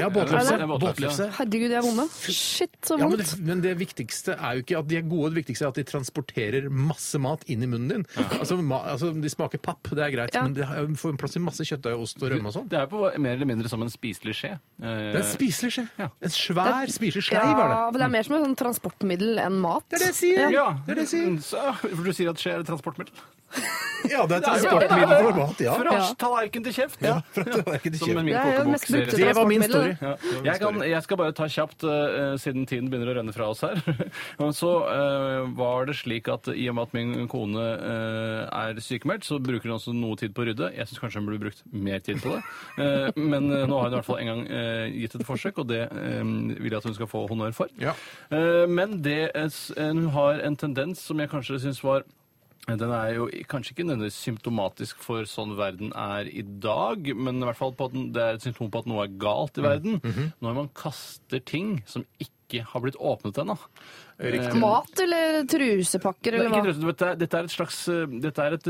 Speaker 2: Ja,
Speaker 4: Ja,
Speaker 2: båtlefse.
Speaker 4: det er båtlefse.
Speaker 2: båtlefse.
Speaker 3: Herregud, jeg er vonde. Shit, så
Speaker 2: Ja, men, det,
Speaker 3: vondt.
Speaker 2: men det viktigste er jo ikke at de er gode, det viktigste er at de transporterer masse mat inn i munnen din. Altså, ma, altså, De smaker papp, det er greit,
Speaker 3: Ja.
Speaker 2: men de har- får plass til masse kjøttdeig, ost og rømme og sånn.
Speaker 4: Det er på mer eller mindre som en spiselig skje. Eh,
Speaker 2: Det er en spiselig skje.
Speaker 4: Ja.
Speaker 2: En svær spiselig skje,
Speaker 3: Ja,
Speaker 2: var det.
Speaker 3: men det er mer som et sånn transportmiddel enn mat.
Speaker 2: Det er det jeg sier!
Speaker 4: Ja,
Speaker 2: det er det jeg sier.
Speaker 4: Så, for du sier at skje er et transportmiddel?
Speaker 2: Ja, det er
Speaker 4: transportmiddel
Speaker 2: for mat, ja.
Speaker 4: Fra tallerken til kjeft! Ja. Som med min
Speaker 3: Det er jo det mest
Speaker 4: kokebok
Speaker 3: brukte
Speaker 4: sier.
Speaker 2: Det var min story.
Speaker 3: transportmiddelet.
Speaker 4: Ja, jeg, kan, jeg skal bare ta kjapt, eh, siden tiden begynner å renne fra oss her. Og så eh, var det slik at i og med at min kone eh, er sykemeldt, så bruker hun også noe tid på å rydde. Jeg syns kanskje hun burde brukt mer tid på det. Eh, men eh, nå har hun i hvert fall en gang eh, gitt et forsøk, og det eh, vil jeg at hun skal få honnør for.
Speaker 2: Ja.
Speaker 4: Eh, men det, er s- eh, hun har en tendens som jeg kanskje syns var den er jo kanskje ikke nødvendigvis symptomatisk for sånn verden er i dag, men i hvert fall på at den, det er et symptom på at noe er galt
Speaker 2: Mm.
Speaker 4: i verden.
Speaker 2: Mhm.
Speaker 4: Når man kaster ting som ikke har blitt åpnet ennå. Eh,
Speaker 3: Mat eller trusepakker
Speaker 4: Nei,
Speaker 3: eller
Speaker 4: ikke
Speaker 3: hva?
Speaker 4: trøst, du vet, det er- dette er et slags eh, Dette er et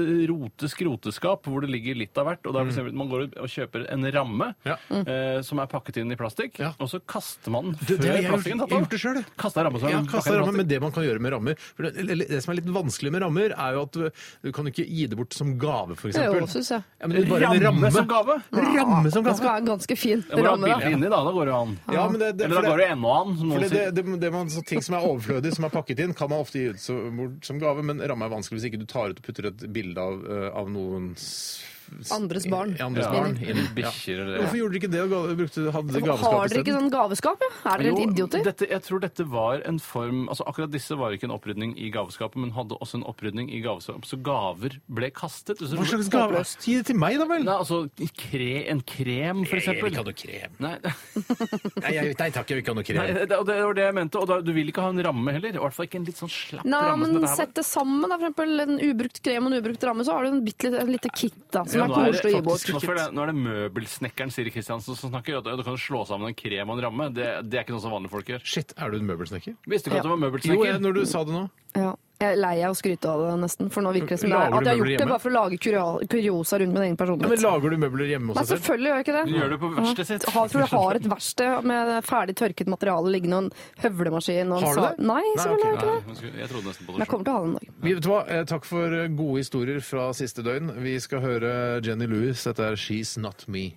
Speaker 4: rote-skroteskap hvor det ligger litt av hvert. Og det er for eksempel, Man går ut og kjøper en ramme
Speaker 2: Mm. Ja.
Speaker 3: Mm.
Speaker 4: eh, som er pakket inn i plastikk,
Speaker 2: Ja.
Speaker 4: og så kaster man den
Speaker 2: Det- det har jeg
Speaker 4: før plastikken
Speaker 2: gjort-
Speaker 4: tatt av.
Speaker 2: gjort det selv.
Speaker 4: Kasta ramme som
Speaker 2: Ja,
Speaker 4: en pakket
Speaker 2: kasta
Speaker 4: inn i
Speaker 2: rammer,
Speaker 4: plastikk.
Speaker 2: men det man kan gjøre med rammer for det, eller, Det som er litt vanskelig med rammer, er jo at du, du kan jo ikke gi det bort som gave, f.eks.
Speaker 3: Det er jo, synes jeg.
Speaker 2: Ja, men det er bare en ramme
Speaker 4: som gave?
Speaker 2: Ramme som
Speaker 3: Man skal
Speaker 2: gave.
Speaker 3: ha en ganske fin
Speaker 4: Ja, hvor er
Speaker 3: ramme, da.
Speaker 4: bildet inni, da? Da går det jo an.
Speaker 2: Ja, men det- det-
Speaker 4: Eller
Speaker 2: for
Speaker 4: da
Speaker 2: det-
Speaker 4: går det jo ennå an. som noen
Speaker 2: Fordi det,
Speaker 4: sier.
Speaker 2: det, det man, så ting som er overflødig, som er pakket inn, kan man ofte gi ut som, bort som gave, men ramme er vanskelig hvis ikke du tar ut og putter et bilde av, eh, av noens
Speaker 3: Andres barn.
Speaker 2: Ja, andres
Speaker 4: Ja.
Speaker 2: barn.
Speaker 4: Eller bikkjer eller-
Speaker 2: Hvorfor gjorde dere ikke det og ga- brukte, hadde dere
Speaker 3: Har
Speaker 2: gaveskap
Speaker 3: dere ikke
Speaker 2: isteden?
Speaker 3: sånn gaveskap? Ja? Er dere
Speaker 4: Jo,
Speaker 3: helt idioter?
Speaker 4: Dette, jeg tror dette var en form altså Akkurat disse var ikke en opprydning i gaveskapet, men hadde også en opprydning i gaveskapet. Så gaver ble kastet.
Speaker 3: sånn
Speaker 4: Så-
Speaker 2: Hva slags gave? Gi det til meg, da vel!
Speaker 4: Nei, altså kre, en krem, for
Speaker 2: Jeg vil
Speaker 4: eksempel.
Speaker 2: ikke ha noe krem.
Speaker 4: Nei,
Speaker 2: Nei, jeg, nei takk, jeg vil ikke ha noe
Speaker 4: nei, det, og det var det jeg mente. Og da, du vil ikke ha en ramme heller? I hvert fall ikke en litt sånn slapp
Speaker 3: Nei,
Speaker 4: ramme. som
Speaker 3: men
Speaker 4: dette her var.
Speaker 3: sett det sammen, da. For eksempel en ubrukt krem og en ubrukt ramme, så har du en bitte lite, et lite kit da, som er
Speaker 4: Ja, nå er det
Speaker 3: koselig å gi bort.
Speaker 4: faktisk- nå er det- Nå er det møbelsnekkeren Siri Kristiansen som snakker. At du kan slå sammen en krem og en ramme. Det, det er ikke noe som vanlige folk gjør.
Speaker 2: Shit, er du en møbelsnekker?
Speaker 4: Visste du ikke at du var
Speaker 2: Jo,
Speaker 4: møbelsnekker?
Speaker 2: jeg, når du sa det nå.
Speaker 3: Ja. Jeg er lei av å skryte av det, nesten. For nå virker det som det
Speaker 2: Lager
Speaker 3: er, at
Speaker 2: du møbler
Speaker 3: jeg har gjort det
Speaker 2: hjemme?
Speaker 3: bare for å lage kuria- kuriosa rundt min egen
Speaker 2: Ja, men
Speaker 3: personlighet.
Speaker 2: Lager du møbler hjemme
Speaker 3: Nei,
Speaker 2: hos deg selv?
Speaker 3: selvfølgelig gjør jeg ikke det.
Speaker 4: Du gjør det på verkstedet sitt.
Speaker 3: Jeg har- tror jeg har et verksted med ferdig tørket materiale liggende og en høvlemaskin. Og en
Speaker 2: Har du
Speaker 3: sa-
Speaker 2: det?
Speaker 3: Nei,
Speaker 2: Nei,
Speaker 3: selvfølgelig har jeg ikke
Speaker 4: Nei,
Speaker 3: det.
Speaker 4: men skulle- jeg trodde nesten på
Speaker 3: Men
Speaker 4: det
Speaker 3: jeg
Speaker 4: selv.
Speaker 3: kommer til å ha det en dag.
Speaker 2: Vi- Vet du hva? Eh, Takk for eh, gode historier fra siste døgn. Vi skal høre Jenny Lewis. Dette er She's Not Me.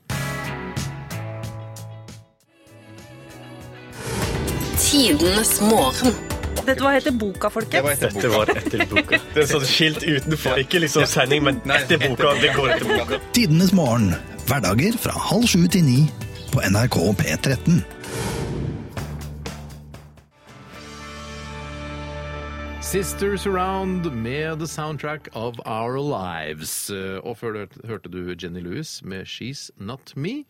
Speaker 5: Tidenes morgen.
Speaker 6: Vet du hva heter boka, folkens?
Speaker 7: Dette var etter boka. Det er sånn skilt utenfor. Ikke liksom sending, men etter boka. Det går etter boka.
Speaker 8: Tidenes morgen. Hverdager fra halv sju til ni på NRK P13.
Speaker 2: Sisters Around med the soundtrack of our lives. Eh, Og før det hørte du Jenny Lewis med She's Not Me.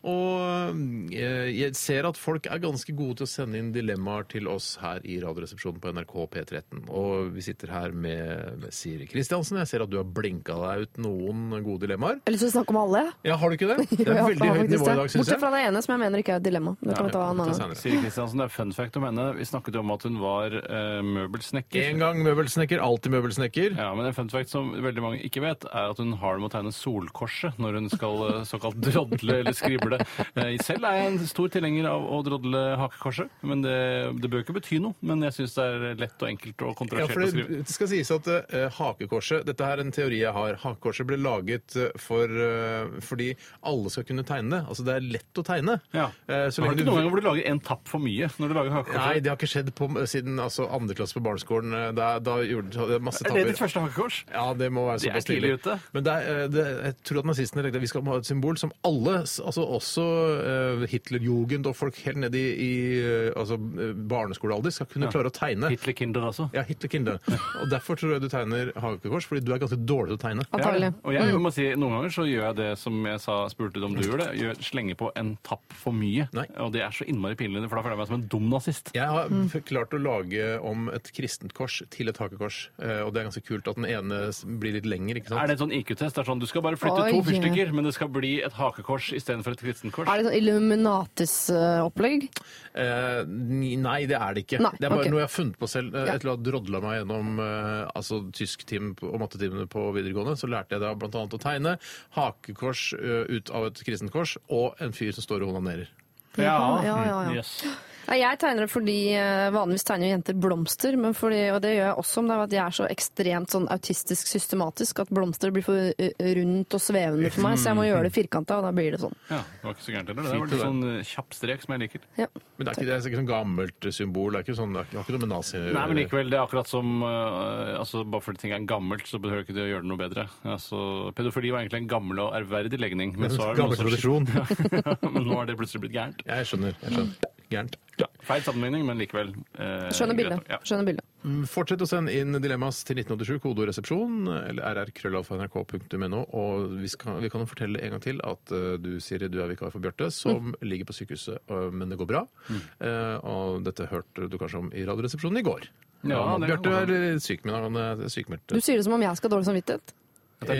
Speaker 2: Og eh, jeg ser at folk er ganske gode til å sende inn dilemmaer til oss her i Radioresepsjonen på NRK P13. Og vi sitter her med, med Siri Kristiansen. Jeg ser at du har blinka deg ut noen gode dilemmaer.
Speaker 3: Jeg har lyst til å snakke om alle. jeg.
Speaker 2: Ja, har du ikke det? Det
Speaker 3: Jeg
Speaker 2: er
Speaker 3: har
Speaker 2: veldig høyt
Speaker 3: faktisk
Speaker 2: nivå i
Speaker 3: det.
Speaker 2: dag, syns
Speaker 3: Bortsett fra
Speaker 2: jeg.
Speaker 3: det ene som jeg mener ikke er et dilemma. Det kan vi
Speaker 2: Ja, vi får ta
Speaker 3: ta en annen gang.
Speaker 2: senere.
Speaker 4: Siri Kristiansen, det er fun fact om henne. Vi snakket jo om at hun var eh, møbelsnekker.
Speaker 2: En gang møbelsnekker, alltid møbelsnekker.
Speaker 4: Ja, men en fun fact som veldig mange ikke vet, er at hun har det med å tegne solkorset når hun skal eh, såkalt drodle eller skrible. Eh, Selv er jeg en stor tilhenger av å drodle hakekorset, men det, det bør ikke bety noe. Men jeg syns det er lett og enkelt og
Speaker 2: Ja, for
Speaker 4: kontroversielt å
Speaker 2: det,
Speaker 4: skrive.
Speaker 2: det skal sies at eh, hakekorset Dette her er en teori jeg har. Hakekorset ble laget eh, for, eh, fordi alle skal kunne tegne det. Altså, det er lett å tegne.
Speaker 4: Ja.
Speaker 2: Eh, så
Speaker 4: har
Speaker 2: lenge
Speaker 4: du
Speaker 2: du...
Speaker 4: ikke noen gang hvor du lager en tapp for mye når du lager
Speaker 2: Nei,
Speaker 4: hakekorset?
Speaker 2: det har ikke skjedd på, siden altså, andre klasse på barneskolen. eh, Da, da gjorde de- det masse
Speaker 4: er det
Speaker 2: tabber.
Speaker 4: ditt første hakekors?
Speaker 2: Ja, det må være
Speaker 4: Det er
Speaker 2: såpass
Speaker 4: tidlig ute.
Speaker 2: Men det er, eh, det, jeg tror at nazistene tenkte at vi skal ha et symbol som alle, s- altså også eh, Hitlerjugend og folk helt ned i, i eh, altså, eh, barneskolealder, skal kunne klare å tegne.
Speaker 4: Hitler Kinder, altså.
Speaker 2: Ja, Hitlerkinder. Og derfor tror jeg du tegner hagekors, fordi du er ganske dårlig til å tegne.
Speaker 3: Antagelig.
Speaker 4: Og jeg må si, Noen ganger så gjør jeg det som jeg sa, spurte om du gjør det, gjør, slenger på en tapp for mye.
Speaker 2: Nei.
Speaker 4: Og det er så innmari pinlig, for da føler jeg meg som en dum nazist.
Speaker 2: Jeg har f- klart å lage om et kristent kors til et hakekors, eh, og det er ganske kult at den ene s- blir litt lenger, ikke sant?
Speaker 4: Er det en sånn IQ-test? Det er sånn, Du skal bare flytte
Speaker 3: Oi.
Speaker 4: to fyrstikker, men det skal bli et hakekors istedenfor et kristenkors.
Speaker 3: Er det sånn Illuminatis-opplegg?
Speaker 2: Eh, ni- nei, det er det ikke.
Speaker 3: Nei,
Speaker 2: det er bare
Speaker 3: ok.
Speaker 2: noe jeg har funnet på selv. Eh,
Speaker 3: Ja.
Speaker 2: Etter å ha drodla meg gjennom eh, altså, tysktimen på- og mattetimene på videregående, så lærte jeg da blant annet å tegne hakekors eh, ut av et kristent kors, og en fyr som står og onanerer.
Speaker 3: Ja, ja, ja, ja.
Speaker 4: Yes.
Speaker 3: Nei, jeg tegner det fordi eh, vanligvis tegner jo jenter blomster, men fordi, og det gjør jeg også om det er at jeg er så ekstremt sånn autistisk systematisk at blomster blir for eh, rundt og svevende for meg, så jeg må gjøre det firkanta, og da blir det sånn.
Speaker 4: Ja, det var ikke så gærent heller. Det var litt sånn eh, kjapp strek som jeg liker.
Speaker 3: Ja.
Speaker 2: Men det er ikke, det er ikke sånn gammelt symbol, det er ikke, sånn, det har ikke noe med nazi å
Speaker 4: Nei,
Speaker 2: gjøre.
Speaker 4: men likevel, det er akkurat som eh, altså, Bare fordi ting er gammelt, så behøver ikke det å gjøre det noe bedre. Altså, pedofili var egentlig en gammel og ærverdig legning. Men så er det noen
Speaker 2: Gammel
Speaker 4: som-
Speaker 2: tradisjon.
Speaker 4: Ja, men nå er det plutselig blitt gærent.
Speaker 2: Jeg skjønner. jeg skjønner. Gærent.
Speaker 4: Feil sammenligning, men likevel. eh,
Speaker 3: Skjønner
Speaker 4: greit.
Speaker 3: bildet.
Speaker 4: Ja.
Speaker 3: Skjønner bildet.
Speaker 2: Fortsett å sende inn dilemmas til 1987, kodoresepsjon, eller rrkrøllalfa.nrk.no. Og vi, skal, vi kan jo fortelle en gang til at eh, du, Siri, du er vikar for Bjarte,
Speaker 4: Mm.
Speaker 2: som ligger på sykehuset, eh, men det går bra. Eh, og dette hørte du kanskje om i Radioresepsjonen i går.
Speaker 4: Ja, det kan
Speaker 2: Bjarte
Speaker 4: godt
Speaker 2: er syk, men han er eh, sykmeldt.
Speaker 3: Du sier det som om jeg skal ha dårlig samvittighet.
Speaker 2: Eh,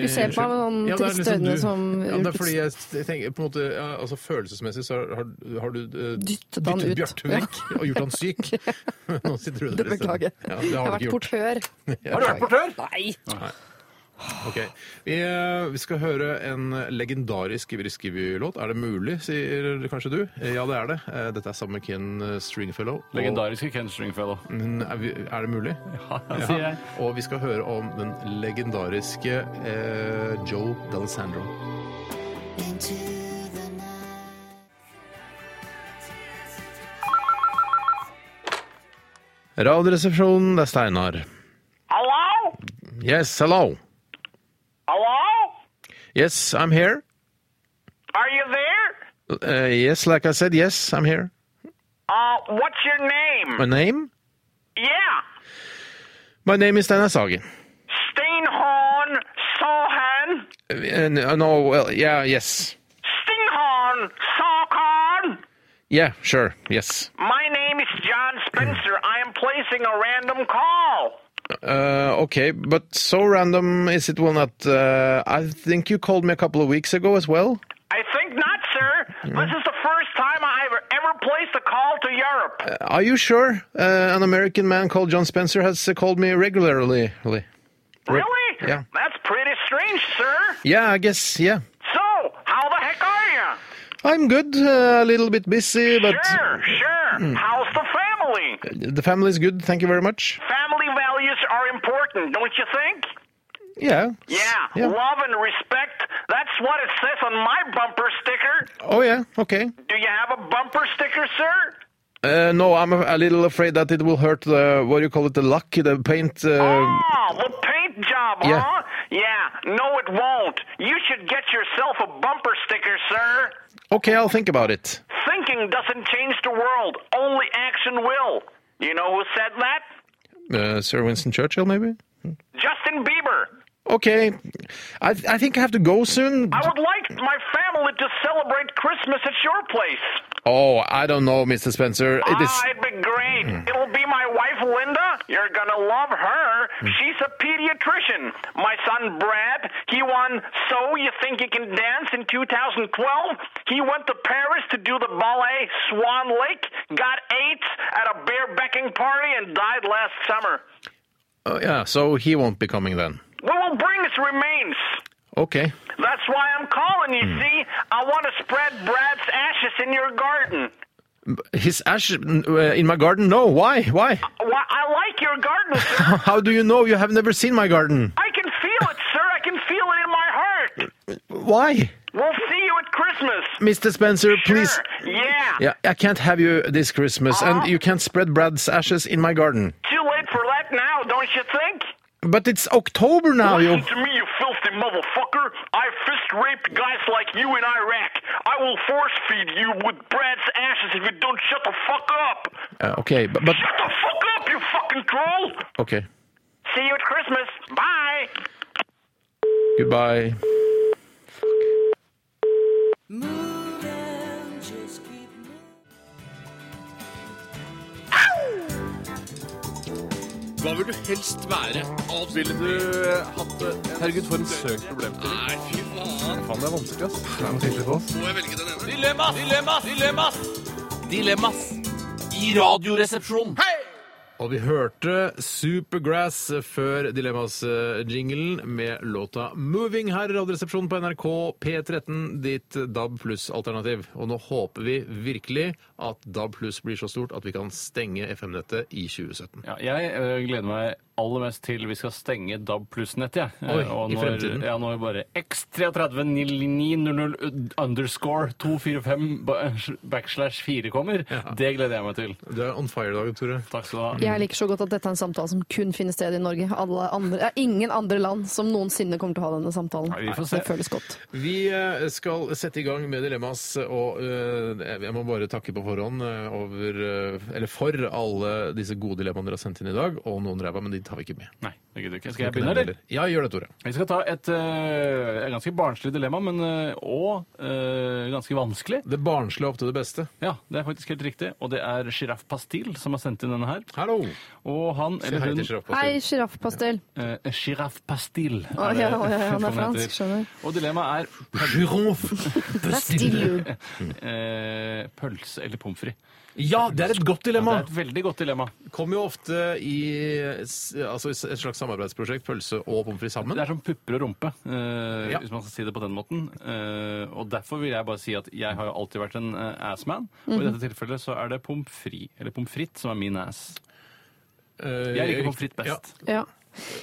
Speaker 3: Du ser på meg med sånn
Speaker 2: ja, det er
Speaker 3: triste
Speaker 2: liksom
Speaker 3: øyne
Speaker 2: du-
Speaker 3: som
Speaker 2: ja, det er fordi jeg tenker på en måte, ja, altså Følelsesmessig så har, har du eh,
Speaker 3: Dyttet han ut.
Speaker 2: Bjarte vekk og gjort han syk. Nå sitter du der
Speaker 3: Det
Speaker 2: i stedet.
Speaker 3: beklager.
Speaker 2: Ja,
Speaker 3: jeg
Speaker 2: det
Speaker 3: har
Speaker 2: har du ikke
Speaker 3: vært
Speaker 2: gjort.
Speaker 3: portør.
Speaker 2: Har du vært
Speaker 3: portør? Nei.
Speaker 2: Ok. Vi, eh, vi skal høre en legendarisk Briskeby-låt. Er det mulig, sier kanskje du? Eh, Ja, det er det. Eh, Dette er sammen med Ken Stringfellow. og-
Speaker 4: Legendariske Ken Stringfellow.
Speaker 2: Mm, Er vi- er det mulig?
Speaker 4: Ja, sier jeg.
Speaker 2: Og vi skal høre om den legendariske eh, Joe D'Alessandro. Radioresepsjonen, det er Steinar.
Speaker 6: Hallo?
Speaker 2: Yes, hello.
Speaker 6: Hallo?
Speaker 2: Yes, I'm here.
Speaker 9: Are you there?
Speaker 2: Uh, yes, like I said, yes, I'm here.
Speaker 9: Uh, what's your name?
Speaker 2: My name?
Speaker 9: Yeah,
Speaker 2: My name is Steinar Sagen.
Speaker 9: Steinhorn Sohan.
Speaker 2: Uh, and, uh, no, well, yeah, yes.
Speaker 9: Stinghorn Sohan.
Speaker 2: Yeah, sure, yes.
Speaker 9: My name is John Spencer. I am placing a random call.
Speaker 2: Uh, okay, but so random is it will not. Uh, I think you called me a couple of weeks ago as well.
Speaker 9: I think not, sir. This is the first time I've ever placed a call to Europe.
Speaker 2: Uh, Are you sure? Uh, an American man called John Spencer has uh, called me regularly. Really?
Speaker 9: Really?
Speaker 2: Yeah.
Speaker 9: That's pretty strange, sir.
Speaker 2: Yeah, I guess, yeah.
Speaker 9: So, how the heck are you?
Speaker 2: I'm good, uh, a little bit busy, but mm.
Speaker 9: Sure, sure. How's the family?
Speaker 2: the family's good, thank you very much.
Speaker 9: Family values are important, don't you think?
Speaker 2: Yeah.
Speaker 9: Yeah.
Speaker 2: Yeah.
Speaker 9: Love and respect. That's what it says on my bumper sticker.
Speaker 2: Oh, yeah, okay.
Speaker 9: Do you have a bumper sticker, sir?
Speaker 2: Uh, no, I'm a, a little afraid that it will hurt the, what do you call it, the luck, the paint. Uh,
Speaker 9: Oh, the paint job,
Speaker 2: Yeah.
Speaker 9: huh? Yeah. No, it won't. You should get yourself a bumper sticker, sir.
Speaker 2: okay, I'll think about it.
Speaker 9: Thinking doesn't change the world. Only action will. You know who said that?
Speaker 2: Uh, Sir Winston Churchill, maybe?
Speaker 9: Justin Bieber.
Speaker 2: Okay, I, I think I have to go soon.
Speaker 9: I would like my family to celebrate Christmas at your place.
Speaker 2: Oh, I don't know, Mr. Spencer. It is. Hmm.
Speaker 9: Ah, it'd be great. It'll be my wife, Linda. You're gonna love her.
Speaker 2: Hmm.
Speaker 9: She's a pediatrician. My son, Brad, he won So You Think You Can Dance in 2012. He went to Paris to do the ballet Swan Lake, got AIDS at a bear-becking party, and died last summer.
Speaker 2: Uh, yeah, so he won't be coming then.
Speaker 9: We will bring his remains.
Speaker 2: Okay.
Speaker 9: That's why I'm calling, you
Speaker 2: Hmm.
Speaker 9: see. I want to spread Brad's ashes in your garden.
Speaker 2: His ash uh, in my garden? No. Why? Why?
Speaker 9: Why, I like your garden, sir.
Speaker 2: How do you know? You have never seen my garden.
Speaker 9: I can feel it, sir. I can feel it in my heart.
Speaker 2: Why?
Speaker 9: We'll see you at Christmas.
Speaker 2: Mr. Spencer, please.
Speaker 9: Sure. Yeah.
Speaker 2: Yeah, I can't have you this Christmas, and you can't spread Brad's ashes in my garden.
Speaker 9: Too late for that now, don't you think?
Speaker 2: But it's October now, you.
Speaker 9: Listen to me, you filthy motherfucker. I fist raped guys like you in Iraq. I will force feed you with Brad's ashes if you don't shut the fuck up.
Speaker 2: Uh, okay, but, but
Speaker 9: Shut the fuck up, you fucking troll.
Speaker 2: okay.
Speaker 9: See you at Christmas. Bye.
Speaker 2: Goodbye.
Speaker 10: Hva vil du helst være? Ville du hatt det? Herregud, for en søk problem. Nei, fy faen.
Speaker 11: Faen, det er vanskelig, ass.
Speaker 10: Må jeg velge den ene? Dilemmas! Dilemmas! Dilemmas! Dilemmas i Radioresepsjonen.
Speaker 2: Og vi hørte Supergrass før Dilemmas-jinglen med låta 'Moving' her i Radioresepsjonen på NRK P13, ditt DAB pluss-alternativ. Og nå håper vi virkelig at DAB pluss blir så stort at vi kan stenge FM-nettet i 2017.
Speaker 4: Ja, jeg ø, gleder meg aller mest til vi skal stenge DAB pluss-nettet. jeg.
Speaker 2: Oi,
Speaker 4: Eh, og
Speaker 2: i
Speaker 4: når,
Speaker 2: fremtiden.
Speaker 4: Ja, når bare X33900 eh, underscore 245 ba- backslash 4 kommer, det gleder jeg meg til.
Speaker 2: Du er on fire i dag, Tore.
Speaker 4: Takk skal du ha.
Speaker 3: Jeg liker så godt at dette er en samtale som kun finner sted i Norge. Alle andre, ja, ingen andre land som noensinne kommer til å ha denne samtalen.
Speaker 2: vi får se.
Speaker 3: Det føles godt.
Speaker 2: Vi eh, skal sette i gang med Dilemmas, og eh, jeg må bare takke på forhånd eh, over, eh, eller for alle disse gode dilemmaene dere har sendt inn i dag, og noen ræva, men de tar vi ikke med.
Speaker 4: Nei, det gidder jeg ikke. Skal jeg begynne, eller?
Speaker 2: Ja, gjør det, Tore.
Speaker 4: Vi skal ta et ø, et ganske barnslig dilemma, men ø, og ø, ganske vanskelig.
Speaker 2: Det barnslige er opp til det beste.
Speaker 4: Ja, det er faktisk helt riktig. Og det er Sjiraff Pastil som har sendt inn denne her.
Speaker 2: Hallo!
Speaker 4: Og han, eller
Speaker 2: hei til
Speaker 4: hun
Speaker 2: Giraffe Pastil.
Speaker 3: Hei, sjiraffpastell.
Speaker 4: Eh, Giraffe Pastil.
Speaker 3: Å,
Speaker 4: er det-
Speaker 3: ja, ja, ja, han
Speaker 4: hva
Speaker 3: er fransk,
Speaker 4: heter.
Speaker 3: skjønner.
Speaker 4: Og dilemmaet er
Speaker 3: Pastille.
Speaker 4: eh, pølse eller pommes frites.
Speaker 2: Ja, det er et godt
Speaker 4: Det
Speaker 2: dilemma!
Speaker 4: er et veldig godt dilemma.
Speaker 2: Kommer jo ofte i eh, s- altså i et slags samarbeidsprosjekt, pølse og pommes frites sammen.
Speaker 4: Det er som pupper og rumpe, eh,
Speaker 2: Ja.
Speaker 4: hvis man skal si det på den måten. Eh, og derfor vil jeg bare si at jeg har jo alltid vært en eh, assman, og i
Speaker 2: Mhm.
Speaker 4: dette tilfellet så er det pommes frites, eller pommes frites, som er min ass.
Speaker 2: Eh,
Speaker 4: Jeg liker pommes frites best.
Speaker 2: Ja.
Speaker 3: Ja.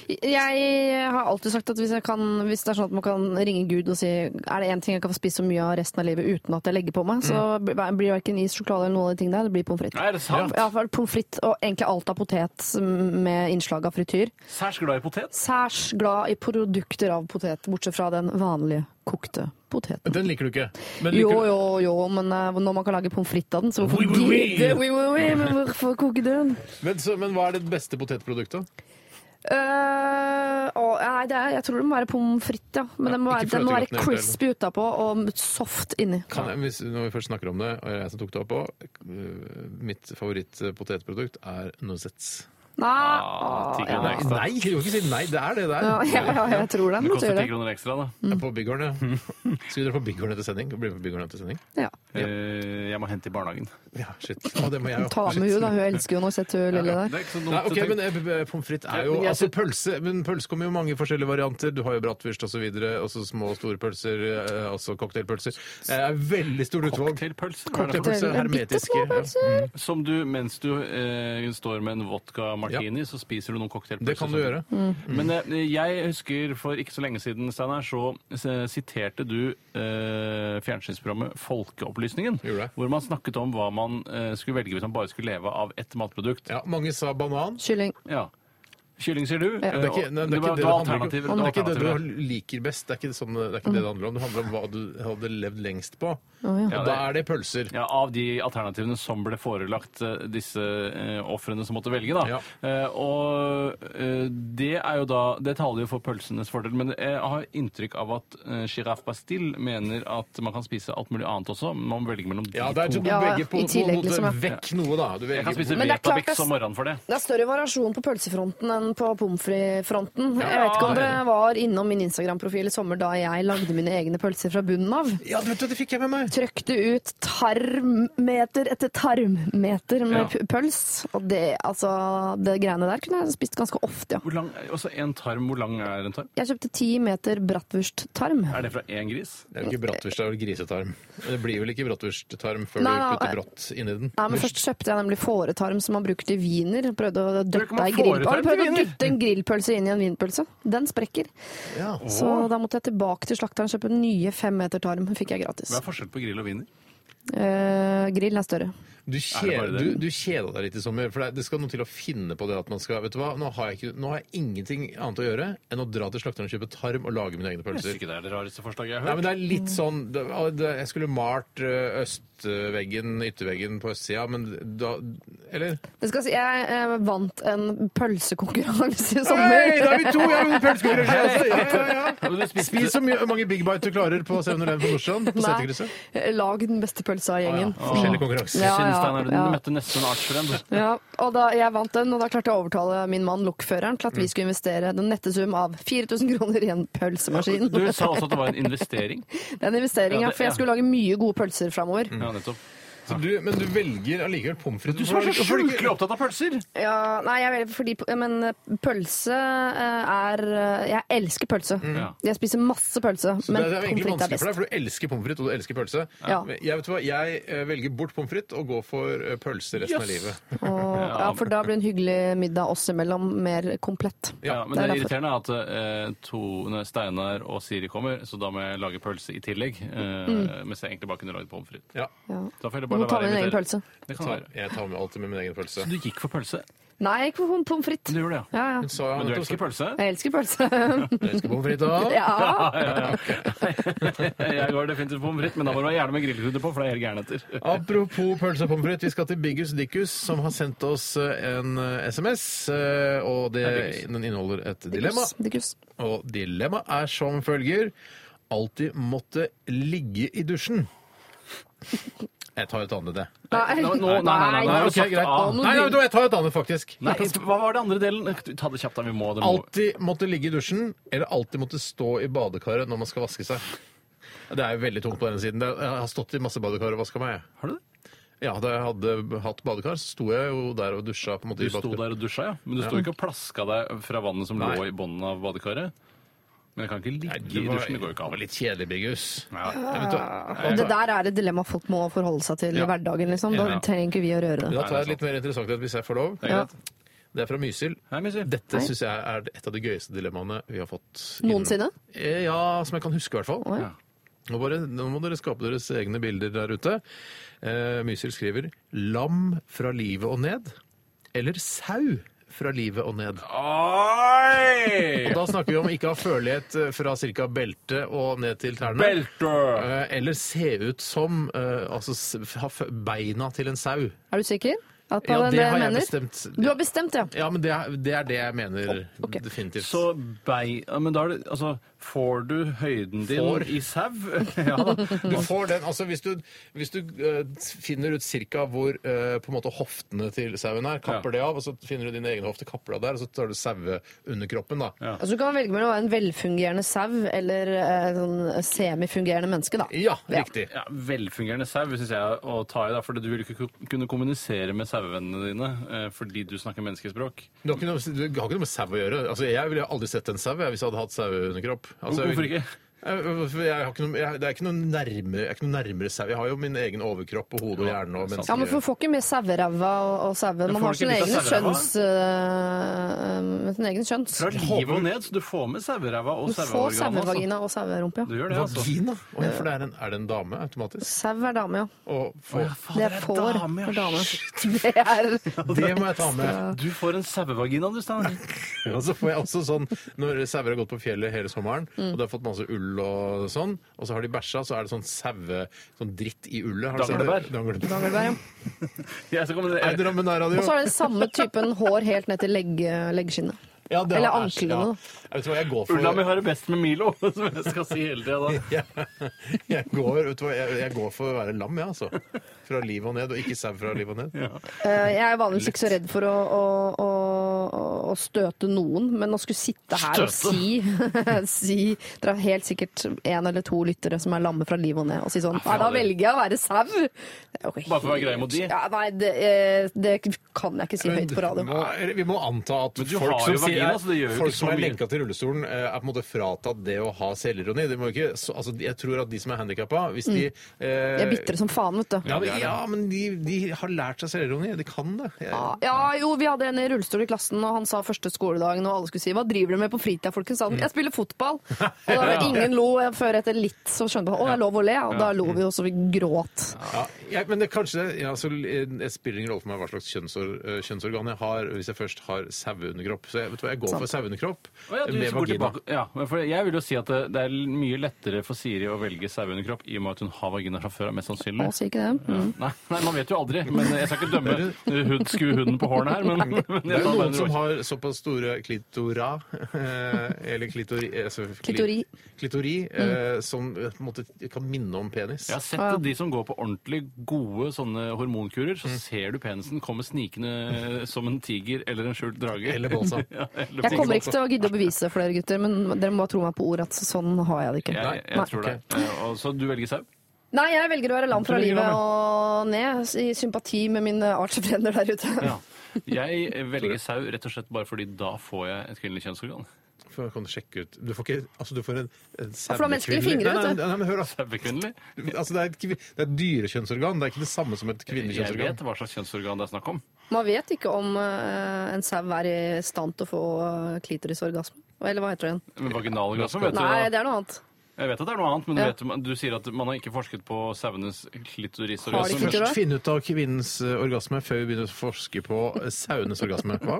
Speaker 3: Jeg har alltid sagt at hvis, jeg kan, hvis det er sånn at man kan ringe Gud og si er det én ting jeg kan få spise så mye av resten av livet uten at jeg legger på meg, så
Speaker 2: Mm.
Speaker 3: b- blir det verken is, sjokolade eller noen av de tingene der. Det blir pommes frites.
Speaker 4: Nei, er det sant?
Speaker 3: Ja, for pommes frites og egentlig alt av potet med innslag av frityr.
Speaker 4: Særs glad i potet.
Speaker 3: Særs glad i produkter av potet, bortsett fra den vanlige kokte poteten.
Speaker 2: Den liker du ikke. Men
Speaker 3: Jo,
Speaker 2: liker du-
Speaker 3: jo, jo, men eh, når man kan lage pommes frites av den, så hvorfor
Speaker 2: Oui, oui, oui.
Speaker 3: gidde? Oui, oui, oui, men hvorfor koke den?
Speaker 2: Men, så, men hva er det beste potetproduktet?
Speaker 3: Eh, å, nei, det er, jeg tror det må være pommes frites, ja. Men det må
Speaker 2: ikke
Speaker 3: være, den må
Speaker 2: fløtegrøten
Speaker 3: være
Speaker 2: eventuelt.
Speaker 3: crispy utapå og soft inni.
Speaker 2: Kan jeg, hvis, når vi først snakker om det, og jeg som tok det opp også, øh, mitt favorittpotetprodukt er Nozets.
Speaker 3: Nei, å,
Speaker 4: ti
Speaker 3: ja.
Speaker 4: kroner ekstra.
Speaker 2: Nei, jeg kan ikke si nei. Det er det det er.
Speaker 3: Ja, ja, ja, jeg tror det.
Speaker 4: Det
Speaker 3: Nå
Speaker 4: koster
Speaker 3: tror
Speaker 4: ti
Speaker 3: jeg det.
Speaker 4: kroner ekstra, da.
Speaker 2: Jeg er På Bygården, ja. Skal vi dra på Bygården etter sending? Bli med på Bygården etter sending?
Speaker 3: Ja.
Speaker 4: Eh, Jeg må hente i barnehagen.
Speaker 2: Ja, shit. Å, det må jeg jo.
Speaker 3: Ta med henne, da. Hun elsker jo nå, sett hun lille der.
Speaker 2: Nei, ok, men eh, Pommes frites er jo
Speaker 4: Men jeg
Speaker 2: altså
Speaker 4: synes-
Speaker 2: pølse, men pølse kommer jo i mange forskjellige varianter. Du har jo bratwurst osv., altså små og store pølser, eh, altså cocktailpølser. Det er veldig stort utvalg.
Speaker 4: Cocktailpølse? hva er det for-
Speaker 2: Cocktailpølse,
Speaker 3: Cocktail-
Speaker 2: hermetiske.
Speaker 3: bittesmå pølser.
Speaker 2: Ja. Mm.
Speaker 4: Som du, mens du eh, står med en vodka martini, så spiser du noen cocktailpølser.
Speaker 2: Det kan du gjøre.
Speaker 4: Men eh, jeg husker for ikke så lenge siden, Steinar, så eh, siterte du eh, fjernsynsprogrammet Folkeopplysningen.
Speaker 2: Gjorde jeg.
Speaker 4: Hvor man snakket om hva man eh, skulle velge hvis man bare skulle leve av ett matprodukt.
Speaker 2: Ja, mange sa banan.
Speaker 3: Kylling.
Speaker 4: Ja. Kylling, sier du?
Speaker 2: Det er ikke nei, det, er
Speaker 4: det
Speaker 2: ikke
Speaker 4: var,
Speaker 2: det,
Speaker 4: det
Speaker 2: det,
Speaker 4: var
Speaker 2: handler ikke-
Speaker 4: alternativer.
Speaker 2: det er
Speaker 4: det
Speaker 2: ikke
Speaker 4: var
Speaker 2: det
Speaker 4: alternativer.
Speaker 2: du liker best. Det er ikke, sånn, det, er ikke det det handler om. Det handler om hva du hadde levd lengst på.
Speaker 3: ja.
Speaker 2: Og da er det pølser.
Speaker 4: Ja, Av de alternativene som ble forelagt eh, disse eh, ofrene som måtte velge, da.
Speaker 2: Ja.
Speaker 4: Eh, og eh, det er jo da Det taler jo for pølsenes fordel, men jeg har inntrykk av at eh, Giraffe Bastille mener at man kan spise alt mulig annet også, men man velger mellom de
Speaker 2: Ja, det er
Speaker 4: to.
Speaker 2: sånn du
Speaker 3: Ja,
Speaker 2: velger på,
Speaker 3: i
Speaker 2: på en
Speaker 3: tillegg,
Speaker 2: måte
Speaker 3: liksom, ja.
Speaker 2: vekk noe, da. Du
Speaker 4: Jeg
Speaker 2: velger
Speaker 4: kan spise
Speaker 3: Men det er klart
Speaker 4: Vetabix
Speaker 3: det-
Speaker 4: om morgenen for det.
Speaker 3: Det er større variasjon på pølsefronten enn på pommes frites-fronten. Jeg vet ikke om dere var innom min Instagram-profil i sommer da jeg lagde mine egne pølser fra bunnen av.
Speaker 2: Ja, du vet du, det fikk jeg med meg!
Speaker 3: Trøkte ut tarmmeter etter tarmmeter med
Speaker 4: Ja.
Speaker 3: p- pøls. Og det, altså, det greiene der kunne jeg spist ganske ofte, ja.
Speaker 4: Hvor lang, også en tarm, hvor lang er en tarm?
Speaker 3: Jeg kjøpte ti meter bratwurst-tarm.
Speaker 4: Er det fra én gris?
Speaker 2: Det er jo ikke bratwurst, det er vel grisetarm. Men Det blir vel ikke bratwursttarm før
Speaker 3: Nei,
Speaker 2: du
Speaker 3: nei,
Speaker 2: putter
Speaker 3: nei.
Speaker 2: bratt inni den.
Speaker 3: Nei, men Først kjøpte jeg nemlig fåretarm som man brukte i wiener. Prøvde å
Speaker 4: Bruker
Speaker 3: dytte
Speaker 4: man
Speaker 3: ei grill...
Speaker 4: fåretarm
Speaker 3: Har du prøvd
Speaker 4: til
Speaker 3: å
Speaker 4: wiener?
Speaker 3: dytte en grillpølse inn i en wienerpølse? Den sprekker.
Speaker 2: Ja.
Speaker 3: Så da måtte jeg tilbake til slakteren og kjøpe nye fem meter tarm. Fikk jeg gratis.
Speaker 4: Hva er forskjellen på grill og wiener?
Speaker 3: Eh, grillen er større.
Speaker 2: Du,
Speaker 4: bare
Speaker 2: kjeder,
Speaker 4: det?
Speaker 2: du, du kjeda deg litt i sommer. For det, det skal noe til å finne på det at man skal Vet du hva, nå har jeg, ikke, nå har jeg ingenting annet å gjøre enn å dra til slakteren og kjøpe tarm og lage mine egne
Speaker 4: Jeg synes
Speaker 2: pølser.
Speaker 4: ikke det er det rareste forslaget jeg
Speaker 2: Nei,
Speaker 4: har hørt.
Speaker 2: men det er litt sånn det, det, Jeg skulle malt eh, østveggen, ytterveggen på østsida, men da Eller?
Speaker 3: Det skal si, jeg eh, vant en pølsekonkurranse i sommer.
Speaker 2: Hei, da er vi to! Jeg har pølsekonkurranse! altså. Ja, ja, ja.
Speaker 4: Ja, men du spiste-
Speaker 2: Spis så mye, mange Big Bite du klarer på 7-Eleven på Nordstrand. På
Speaker 3: Nei, Eh,
Speaker 2: Seterkrysset.
Speaker 3: lag den beste pølsa i
Speaker 2: Ah, ja.
Speaker 3: gjengen.
Speaker 2: Forskjellige konkurranser.
Speaker 3: Ja,
Speaker 4: Syns
Speaker 3: ja,
Speaker 4: Steinar, du
Speaker 3: ja.
Speaker 4: møtte nesten en artsfremd.
Speaker 3: Ja, og da jeg vant den, og da klarte jeg å overtale min mann, lokføreren, til at vi
Speaker 4: Mm.
Speaker 3: skulle investere den nette sum av 4000 kroner i en pølsemaskin.
Speaker 4: Du sa også at det var en investering.
Speaker 3: Det er en investering,
Speaker 4: Ja, Mm.
Speaker 3: ja,
Speaker 4: det-
Speaker 3: for jeg skulle lage mye gode pølser framover.
Speaker 4: Ja, nettopp.
Speaker 2: Så du, men du velger allikevel pommes frites.
Speaker 4: Du som er så
Speaker 2: Hvorfor- hvorfor ikke-
Speaker 4: sjukelig opptatt av pølser!
Speaker 3: Ja, nei, jeg, vet- fordi, men pølse eh, er Jeg elsker pølse.
Speaker 4: Mm. Ja.
Speaker 3: Jeg spiser masse pølse,
Speaker 2: Så
Speaker 3: men
Speaker 2: det er
Speaker 3: pommes
Speaker 2: egentlig
Speaker 3: frites er
Speaker 2: vanskelig for deg,
Speaker 3: best.
Speaker 2: for du elsker pommes frites og du elsker pølse.
Speaker 3: Ja.
Speaker 2: Men Jeg, vet hva, jeg eh, velger bort pommes frites og går for eh, pølse resten av
Speaker 4: Yes.
Speaker 2: livet.
Speaker 3: Og, ja, for da blir en hyggelig middag oss imellom mer komplett.
Speaker 4: Ja, men
Speaker 3: Det
Speaker 4: det,
Speaker 3: er derfor.
Speaker 4: irriterende er at eh, to, når Steinar og Siri kommer, så da må jeg lage pølse i tillegg. Eh, Mens jeg egentlig bare kunne lagd pommes frites.
Speaker 2: Ja.
Speaker 3: Ja.
Speaker 4: Da får jeg heller
Speaker 3: Du må
Speaker 4: bare la
Speaker 3: ta med
Speaker 4: være å
Speaker 3: din egen
Speaker 4: invitere.
Speaker 3: pølse.
Speaker 4: Det kan
Speaker 2: Ta,
Speaker 4: være.
Speaker 2: jeg tar med alltid med min egen pølse.
Speaker 4: Du gikk for pølse?
Speaker 3: Nei, ikke pom- pommes frites.
Speaker 4: Du gjorde det, ja.
Speaker 3: Ja, ja.
Speaker 2: Hun sa jo
Speaker 4: Men du
Speaker 2: nettopp-
Speaker 4: elsker pølse?
Speaker 3: Jeg elsker pølse.
Speaker 2: Jeg elsker pommes frites også.
Speaker 3: ja.
Speaker 4: Ja, ja, ja. Jeg går definitivt pommes frites, men da må du ha gjerne med grillkrydder på, for det er jeg helt gæren etter.
Speaker 2: Apropos pølse og pommes frites, vi skal til Biggus Dickus, som har sendt oss eh, en eh, SMS. eh, Og det, den inneholder et dilemma.
Speaker 3: Dikkus.
Speaker 2: Og dilemmaet er som følger Altid måtte ligge i dusjen. Jeg tar et annet, jeg.
Speaker 3: Nei,
Speaker 4: Nå- nå- nei, nei, nei, nei,
Speaker 2: Nei,
Speaker 4: nå-
Speaker 2: ok, greit.
Speaker 4: Ah,
Speaker 2: Nei, vet du hva, jeg tar et annet, faktisk.
Speaker 4: Nei, hva var det andre delen? Ta det kjapt, da. Vi må det. Må.
Speaker 2: Alltid måtte ligge i dusjen, eller alltid måtte stå i badekaret når man skal vaske seg. Det er jo veldig tungt på denne siden. Det er- Jeg har stått i masse badekar og vaska meg.
Speaker 4: Har du det?
Speaker 2: Ja, Da jeg hadde hatt badekar, så sto jeg jo der og dusja. på en måte
Speaker 4: Du
Speaker 2: i
Speaker 4: sto
Speaker 2: badekar.
Speaker 4: der og dusja, ja. Men du sto ikke og plaska deg fra vannet som lå i bunnen av badekaret? Men jeg kan ikke ligge
Speaker 2: Nei,
Speaker 4: i
Speaker 2: det var,
Speaker 4: dusjen. Det går jo ikke
Speaker 2: det var
Speaker 4: an.
Speaker 2: litt kjedelig, Biggus.
Speaker 4: Ja.
Speaker 2: Jeg vet hva,
Speaker 3: Og det der er et dilemma folk må forholde seg til i hverdagen, liksom. Da
Speaker 4: Ja.
Speaker 3: trenger ikke vi å røre
Speaker 2: men
Speaker 3: det.
Speaker 2: da tar jeg et litt mer interessant et, hvis jeg får lov.
Speaker 4: Det er greit.
Speaker 2: Det er fra Mysil. Dette syns jeg er et av de gøyeste dilemmaene vi har fått. innom-
Speaker 3: Noensinne?
Speaker 2: Eh, Ja, som jeg kan huske, i hvert fall. Nå, bare, nå må dere skape deres egne bilder der ute. Eh, Mysil skriver 'lam fra livet og ned' eller 'sau fra livet og ned'. Og da snakker vi om ikke ha førlighet eh, fra ca. belte og ned til tærne.
Speaker 4: Belte!
Speaker 2: Eh, Eller se ut som eh, Altså s- ha f- beina til en sau.
Speaker 3: Er du sikker? At
Speaker 2: Ja,
Speaker 3: han
Speaker 2: det har jeg
Speaker 3: mener?
Speaker 2: bestemt.
Speaker 3: Du har bestemt, ja.
Speaker 2: Ja, men det er det, er det jeg mener definitivt.
Speaker 4: Så bei... Ja, men da er det Altså, får du høyden din
Speaker 2: Får?
Speaker 4: i sau? ja.
Speaker 2: Du får den, altså Hvis du, hvis du eh, finner ut cirka hvor eh, på en måte hoftene til sauen er, kapper det av, og så finner du dine egne hofter, kapper det av der, og så tar du saueunderkroppen, da. Ja.
Speaker 3: Altså, du kan velge mellom å være en velfungerende sau eller eh, sånn semifungerende menneske, da.
Speaker 2: riktig.
Speaker 4: Ja, velfungerende sau syns jeg er å ta i, da, for du vil ikke ku- kunne kommunisere med sauevennene dine eh, fordi du snakker menneskespråk.
Speaker 2: Du har ikke noe, du har ikke noe med sau å gjøre. Altså, Jeg ville aldri sett en sau jeg, hvis jeg hadde hatt saueunderkropp. Altså, jeg
Speaker 4: Hvorfor
Speaker 2: vil-
Speaker 4: ikke?
Speaker 2: Jeg, for jeg, har ikke noe, jeg, det er ikke noe nærmere, jeg er ikke noe nærmere sau. Jeg har jo min egen overkropp og hode og hjerne. Og
Speaker 3: Ja, men for får ikke med saueræva og, og sauen.
Speaker 2: får
Speaker 3: Man har
Speaker 2: du ikke
Speaker 3: sine
Speaker 2: litt
Speaker 3: egne
Speaker 2: av saueræva?
Speaker 3: skjønns... Uh, sin egen skjønns.
Speaker 4: Fra livet og ned, så du får med saueræva
Speaker 3: Du
Speaker 4: og
Speaker 3: får
Speaker 4: saueorganet.
Speaker 3: sauevagina og sauerumpe,
Speaker 4: altså. Du
Speaker 3: ja.
Speaker 4: gjør det, altså.
Speaker 2: Vagina? Å, ja, for det er, en, er det en dame automatisk?
Speaker 3: Sau er dame, ja.
Speaker 2: Og
Speaker 4: Å,
Speaker 2: for,
Speaker 4: ja, faen,
Speaker 3: Det er får for dame. Det er
Speaker 2: Det må jeg ta med.
Speaker 4: Du får en sauevagina, du, Steinar.
Speaker 2: Og så får jeg også sånn, Når sauer har gått på fjellet hele sommeren,
Speaker 3: Mm.
Speaker 2: og de har fått masse ull og sånn, og så har de bæsja, så er det sånn saue... Sånn dritt i ullet. Har du sett det?
Speaker 4: Danglebær.
Speaker 2: Danglebær.
Speaker 3: ja.
Speaker 4: Jeg skal komme
Speaker 2: Nei, Drammen
Speaker 3: Og
Speaker 2: nærradio.
Speaker 3: så er det samme typen hår helt ned til legg, leggskinnet.
Speaker 2: Ja, det
Speaker 3: Eller
Speaker 2: er-
Speaker 3: anklene.
Speaker 2: ja.
Speaker 3: da.
Speaker 2: Jeg vet hva jeg går for.
Speaker 4: Ulla mi har det best med Milo, som jeg skal si hele tida.
Speaker 2: Jeg, jeg, går, vet du hva, jeg, jeg går for å være lam, jeg, altså. Fra liv og ned, og ikke sau fra liv og ned.
Speaker 3: Eh, Jeg er vanligvis ikke så redd for å, å, å, å- å støte noen, men å skulle sitte her og
Speaker 2: Støte?
Speaker 3: si, si Dere har helt sikkert en eller to lyttere som er lamme fra livet og ned, og si sånn Nei, da velger jeg å være sau! Det er jo ikke
Speaker 4: Bare for å være
Speaker 3: helt-
Speaker 4: grei mot de.
Speaker 3: Ja, nei, det, eh, det kan jeg ikke si høyt på
Speaker 2: Vi
Speaker 3: radio.
Speaker 2: må, vi må anta at
Speaker 4: du
Speaker 2: folk
Speaker 4: har
Speaker 2: som,
Speaker 4: jo
Speaker 2: sier-
Speaker 4: vagina, så det gjør jo
Speaker 2: folk
Speaker 4: ikke så
Speaker 2: som er
Speaker 4: mye.
Speaker 2: lenka til rullestolen, eh, er på en måte fratatt det å ha selvironi. Det må jo ikke, så, altså, jeg tror at de som er handikappa, hvis de
Speaker 3: Mm. Jeg er
Speaker 2: eh,
Speaker 3: bitre som faen, vet du.
Speaker 2: ja, men, ja, men de, de har lært seg selvironi. De kan det. Jeg,
Speaker 3: Ja, jo, vi hadde en i rullestol i klassen, og han sa første skoledagen, og alle skulle si 'hva driver du med på fritida', folkens? sa han. 'Jeg spiller fotball'. Og da, ingen lo jeg- før etter litt, så skjønte han 'å, det er lov å le', og da lo vi, og så vi gråt.
Speaker 2: Ja, jeg, men det kanskje ja, så, eh, det spiller ingen rolle for meg hva slags kjønnsorg, eh, kjønnsorgan jeg har hvis jeg først har saueunderkropp. Så jeg, vet du hva, jeg går
Speaker 4: Sant.
Speaker 2: for saueunderkropp
Speaker 4: Å ja, du
Speaker 2: med
Speaker 4: går
Speaker 2: vagina.
Speaker 4: tilbake- Ja, men for jeg vil jo si at det, det er mye lettere for Siri å velge saueunderkropp i og med at hun har vagina fra før, mest sannsynlig.
Speaker 3: Å, sier ikke det. Mm.
Speaker 4: Nei, nei, man vet jo aldri. Men jeg skal ikke dømme hud, skue huden på hårene her. Men, men
Speaker 2: Det
Speaker 4: jeg
Speaker 2: er jo
Speaker 4: tar
Speaker 2: noen
Speaker 4: bare
Speaker 2: som
Speaker 4: en råd.
Speaker 2: har såpass store klitora eh, Eller klitori, eh, altså, kli-
Speaker 3: Klitori. Mm.
Speaker 2: klitori eh, som eh, på en måte kan minne om penis.
Speaker 4: Jeg har sett at de som går på ordentlig gode sånne hormonkurer, så
Speaker 2: Mm.
Speaker 4: ser du penisen komme snikende som en tiger eller en skjult drage.
Speaker 2: Eller bolsa.
Speaker 4: Ja, eller
Speaker 3: Jeg
Speaker 4: bolsa.
Speaker 3: kommer ikke til å gidde å bevise det for dere gutter, men dere må bare tro meg på ord at sånn har jeg det ikke.
Speaker 4: Jeg, jeg tror det. Eh, og Så du velger sau?
Speaker 3: Nei, jeg velger å være lam fra
Speaker 4: Du velger
Speaker 3: livet
Speaker 4: lam,
Speaker 3: og ned, i sympati med mine artsfrender der ute.
Speaker 4: Ja. Jeg velger sau rett og slett bare fordi da får jeg et kvinnelig kjønnsorgan.
Speaker 2: For, kan du, sjekke ut. du får ikke Altså, du får en, en
Speaker 3: for da menneskelige
Speaker 2: sauekvinnelig-
Speaker 3: fingre,
Speaker 2: Nei, nei,
Speaker 3: vet du.
Speaker 2: nei, men hør, da.
Speaker 4: Sauekvinnelig.
Speaker 2: Altså, det er et, kvi- det er et dyrekjønnsorgan. Det er ikke det samme som et
Speaker 4: Jeg
Speaker 2: kvinnekjønnsorgan.
Speaker 4: vet hva slags kjønnsorgan det er snakk om.
Speaker 3: Man vet ikke om eh, en sau er i stand til å få eh, klitorisorgasme. Eller hva heter det igjen?
Speaker 4: Men vaginal orgasme, vet du.
Speaker 3: Nei,
Speaker 4: hva-
Speaker 3: det er noe annet.
Speaker 4: Jeg vet at det er noe annet, men
Speaker 3: Ja.
Speaker 4: du, vet, du sier at man har ikke forsket på sauenes
Speaker 3: Har de
Speaker 2: Så
Speaker 3: ikke
Speaker 4: klitorisorgasme.
Speaker 3: gjort
Speaker 2: først
Speaker 3: det?
Speaker 2: finne ut av kvinnens eh, orgasme før vi begynner å forske på eh, sauenes orgasme. Hva?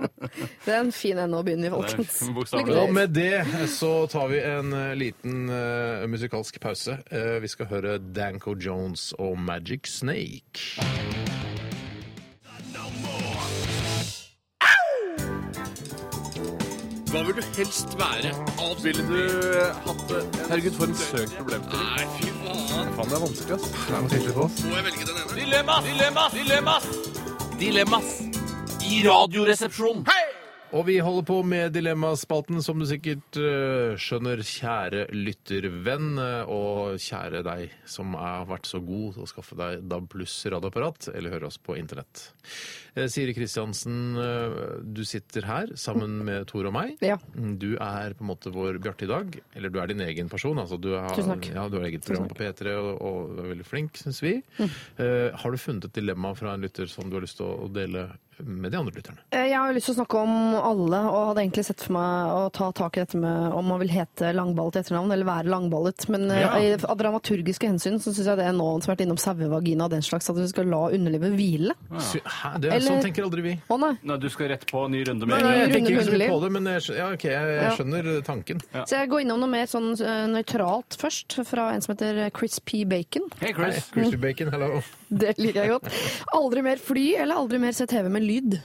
Speaker 3: Det er en fin ende å begynne i, folkens.
Speaker 4: Det er
Speaker 3: Lykke
Speaker 4: bokstavelig.
Speaker 3: til.
Speaker 2: Og med det eh, så tar vi en eh, liten eh, musikalsk pause. Eh, vi skal høre Danko Jones og Magic Snake.
Speaker 10: Hva vil du helst være? Ville du hatt det? Herregud, for en søk problemstilling. Nei, fy faen.
Speaker 7: Faen, det er vanskelig, ass.
Speaker 10: Må jeg velge den ene? Dilemmas! Dilemmas! Dilemmas! Dilemmas i radioresepsjonen.
Speaker 2: Og vi holder på med Dilemmaspalten, som du sikkert eh, skjønner, kjære lyttervenn, eh, og kjære deg som har vært så god til å skaffe deg DAB pluss radioapparat, eller høre oss på internett. Eh, Siri Kristiansen, eh, du sitter her sammen med Tor og meg.
Speaker 3: Ja.
Speaker 2: Du er på en måte vår Bjarte i dag, eller du er din egen person. Altså, du har,
Speaker 3: Tusen takk. Mm.
Speaker 2: Ja, du har eget program på P3, og, og du er veldig flink, syns vi. Eh, har du funnet et dilemma fra en lytter som du har lyst til å dele med de andre lytterne?
Speaker 3: Eh, Jeg har jo lyst til å snakke om alle, og hadde egentlig sett for meg å ta tak i dette med om man vil hete Langball til etternavn, eller være langballet. Men eh,
Speaker 2: Ja.
Speaker 3: i- av dramaturgiske hensyn så syns jeg det er noen som har vært innom sauevagina og den slags, at vi skal la underlivet hvile.
Speaker 2: Sy- Hæ, det er,
Speaker 3: Eller-
Speaker 2: Sånn tenker aldri vi.
Speaker 3: Å nei.
Speaker 4: Nei, du skal rett på ny runde med
Speaker 2: Nei, nei, jeg
Speaker 3: Runde
Speaker 2: tenker ikke så mye
Speaker 3: munnliv.
Speaker 2: på det, men jeg, skj- ja, ok, jeg,
Speaker 3: Ja.
Speaker 2: jeg skjønner tanken.
Speaker 3: Så jeg går innom noe mer sånn eh, nøytralt først, fra en som heter eh, Chris P. Bacon.
Speaker 4: Hei,
Speaker 2: Chris. Crispy bacon, hello.
Speaker 3: Det liker jeg godt. Aldri mer fly, eller aldri mer se TV med lyd.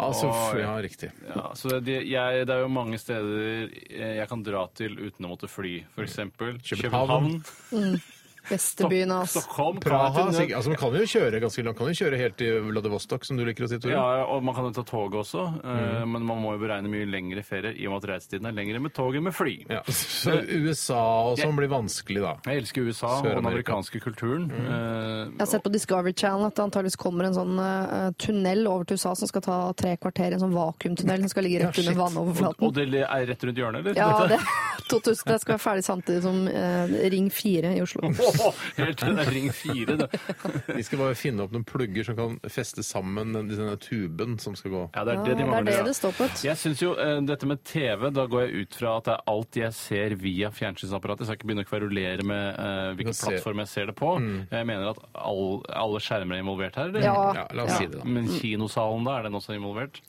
Speaker 2: Altså, f-
Speaker 4: Oi.
Speaker 2: ja, riktig.
Speaker 4: Ja, så det, jeg, det er jo mange steder eh, jeg kan dra til uten å måtte fly. F.eks. København.
Speaker 2: København.
Speaker 3: Mm. Bestebyen, altså.
Speaker 4: Stockholm. kan jeg
Speaker 2: Praha,
Speaker 4: til nød-
Speaker 2: sikkert. Altså, man kan jo kjøre ganske langt. Man kan jo kjøre helt til Vladivostok, som du Mm. liker å si, Tore.
Speaker 4: Ja, og man kan jo ta toget også, eh, men man må jo beregne mye lengre ferie i og med at reisetiden er lengre med tog enn med fly.
Speaker 2: Ja, Så USA og sånn blir vanskelig, da.
Speaker 4: Jeg elsker USA og den
Speaker 2: Sør-Amerika.
Speaker 4: amerikanske kulturen.
Speaker 2: Mm.
Speaker 4: eh,
Speaker 3: Jeg har sett på Discovery Channel at det antageligvis kommer en sånn eh, tunnel over til USA som skal ta tre kvarter, en sånn vakuumtunnel som skal ligge rett under
Speaker 4: og, og
Speaker 3: vannoverflaten.
Speaker 4: det er rett rundt hjørnet, eller?
Speaker 3: Ja, det,
Speaker 4: Dette-
Speaker 3: 2000, det skal være ferdig samtidig som eh, Ring 4 i Oslo.
Speaker 4: Åh, Helt til det er ring fire, det.
Speaker 2: Vi skal bare finne opp noen plugger som kan feste sammen den- denne tuben som skal gå.
Speaker 4: Ja, det er det de
Speaker 3: Ja, det er
Speaker 4: mangler.
Speaker 3: det
Speaker 4: ja.
Speaker 3: det står på.
Speaker 4: Jeg synes jo eh, dette med TV, da går jeg ut fra at det er alt jeg ser via fjernsynsapparatet. Så jeg skal ikke begynne å kverulere med eh, hvilken
Speaker 2: ser- Mm.
Speaker 4: plattform jeg ser det på. Jeg mener at all, alle skjermer er involvert her. eller?
Speaker 3: Ja. Ja, la oss
Speaker 2: si det, da.
Speaker 4: Men kinosalen, da? Er den også involvert?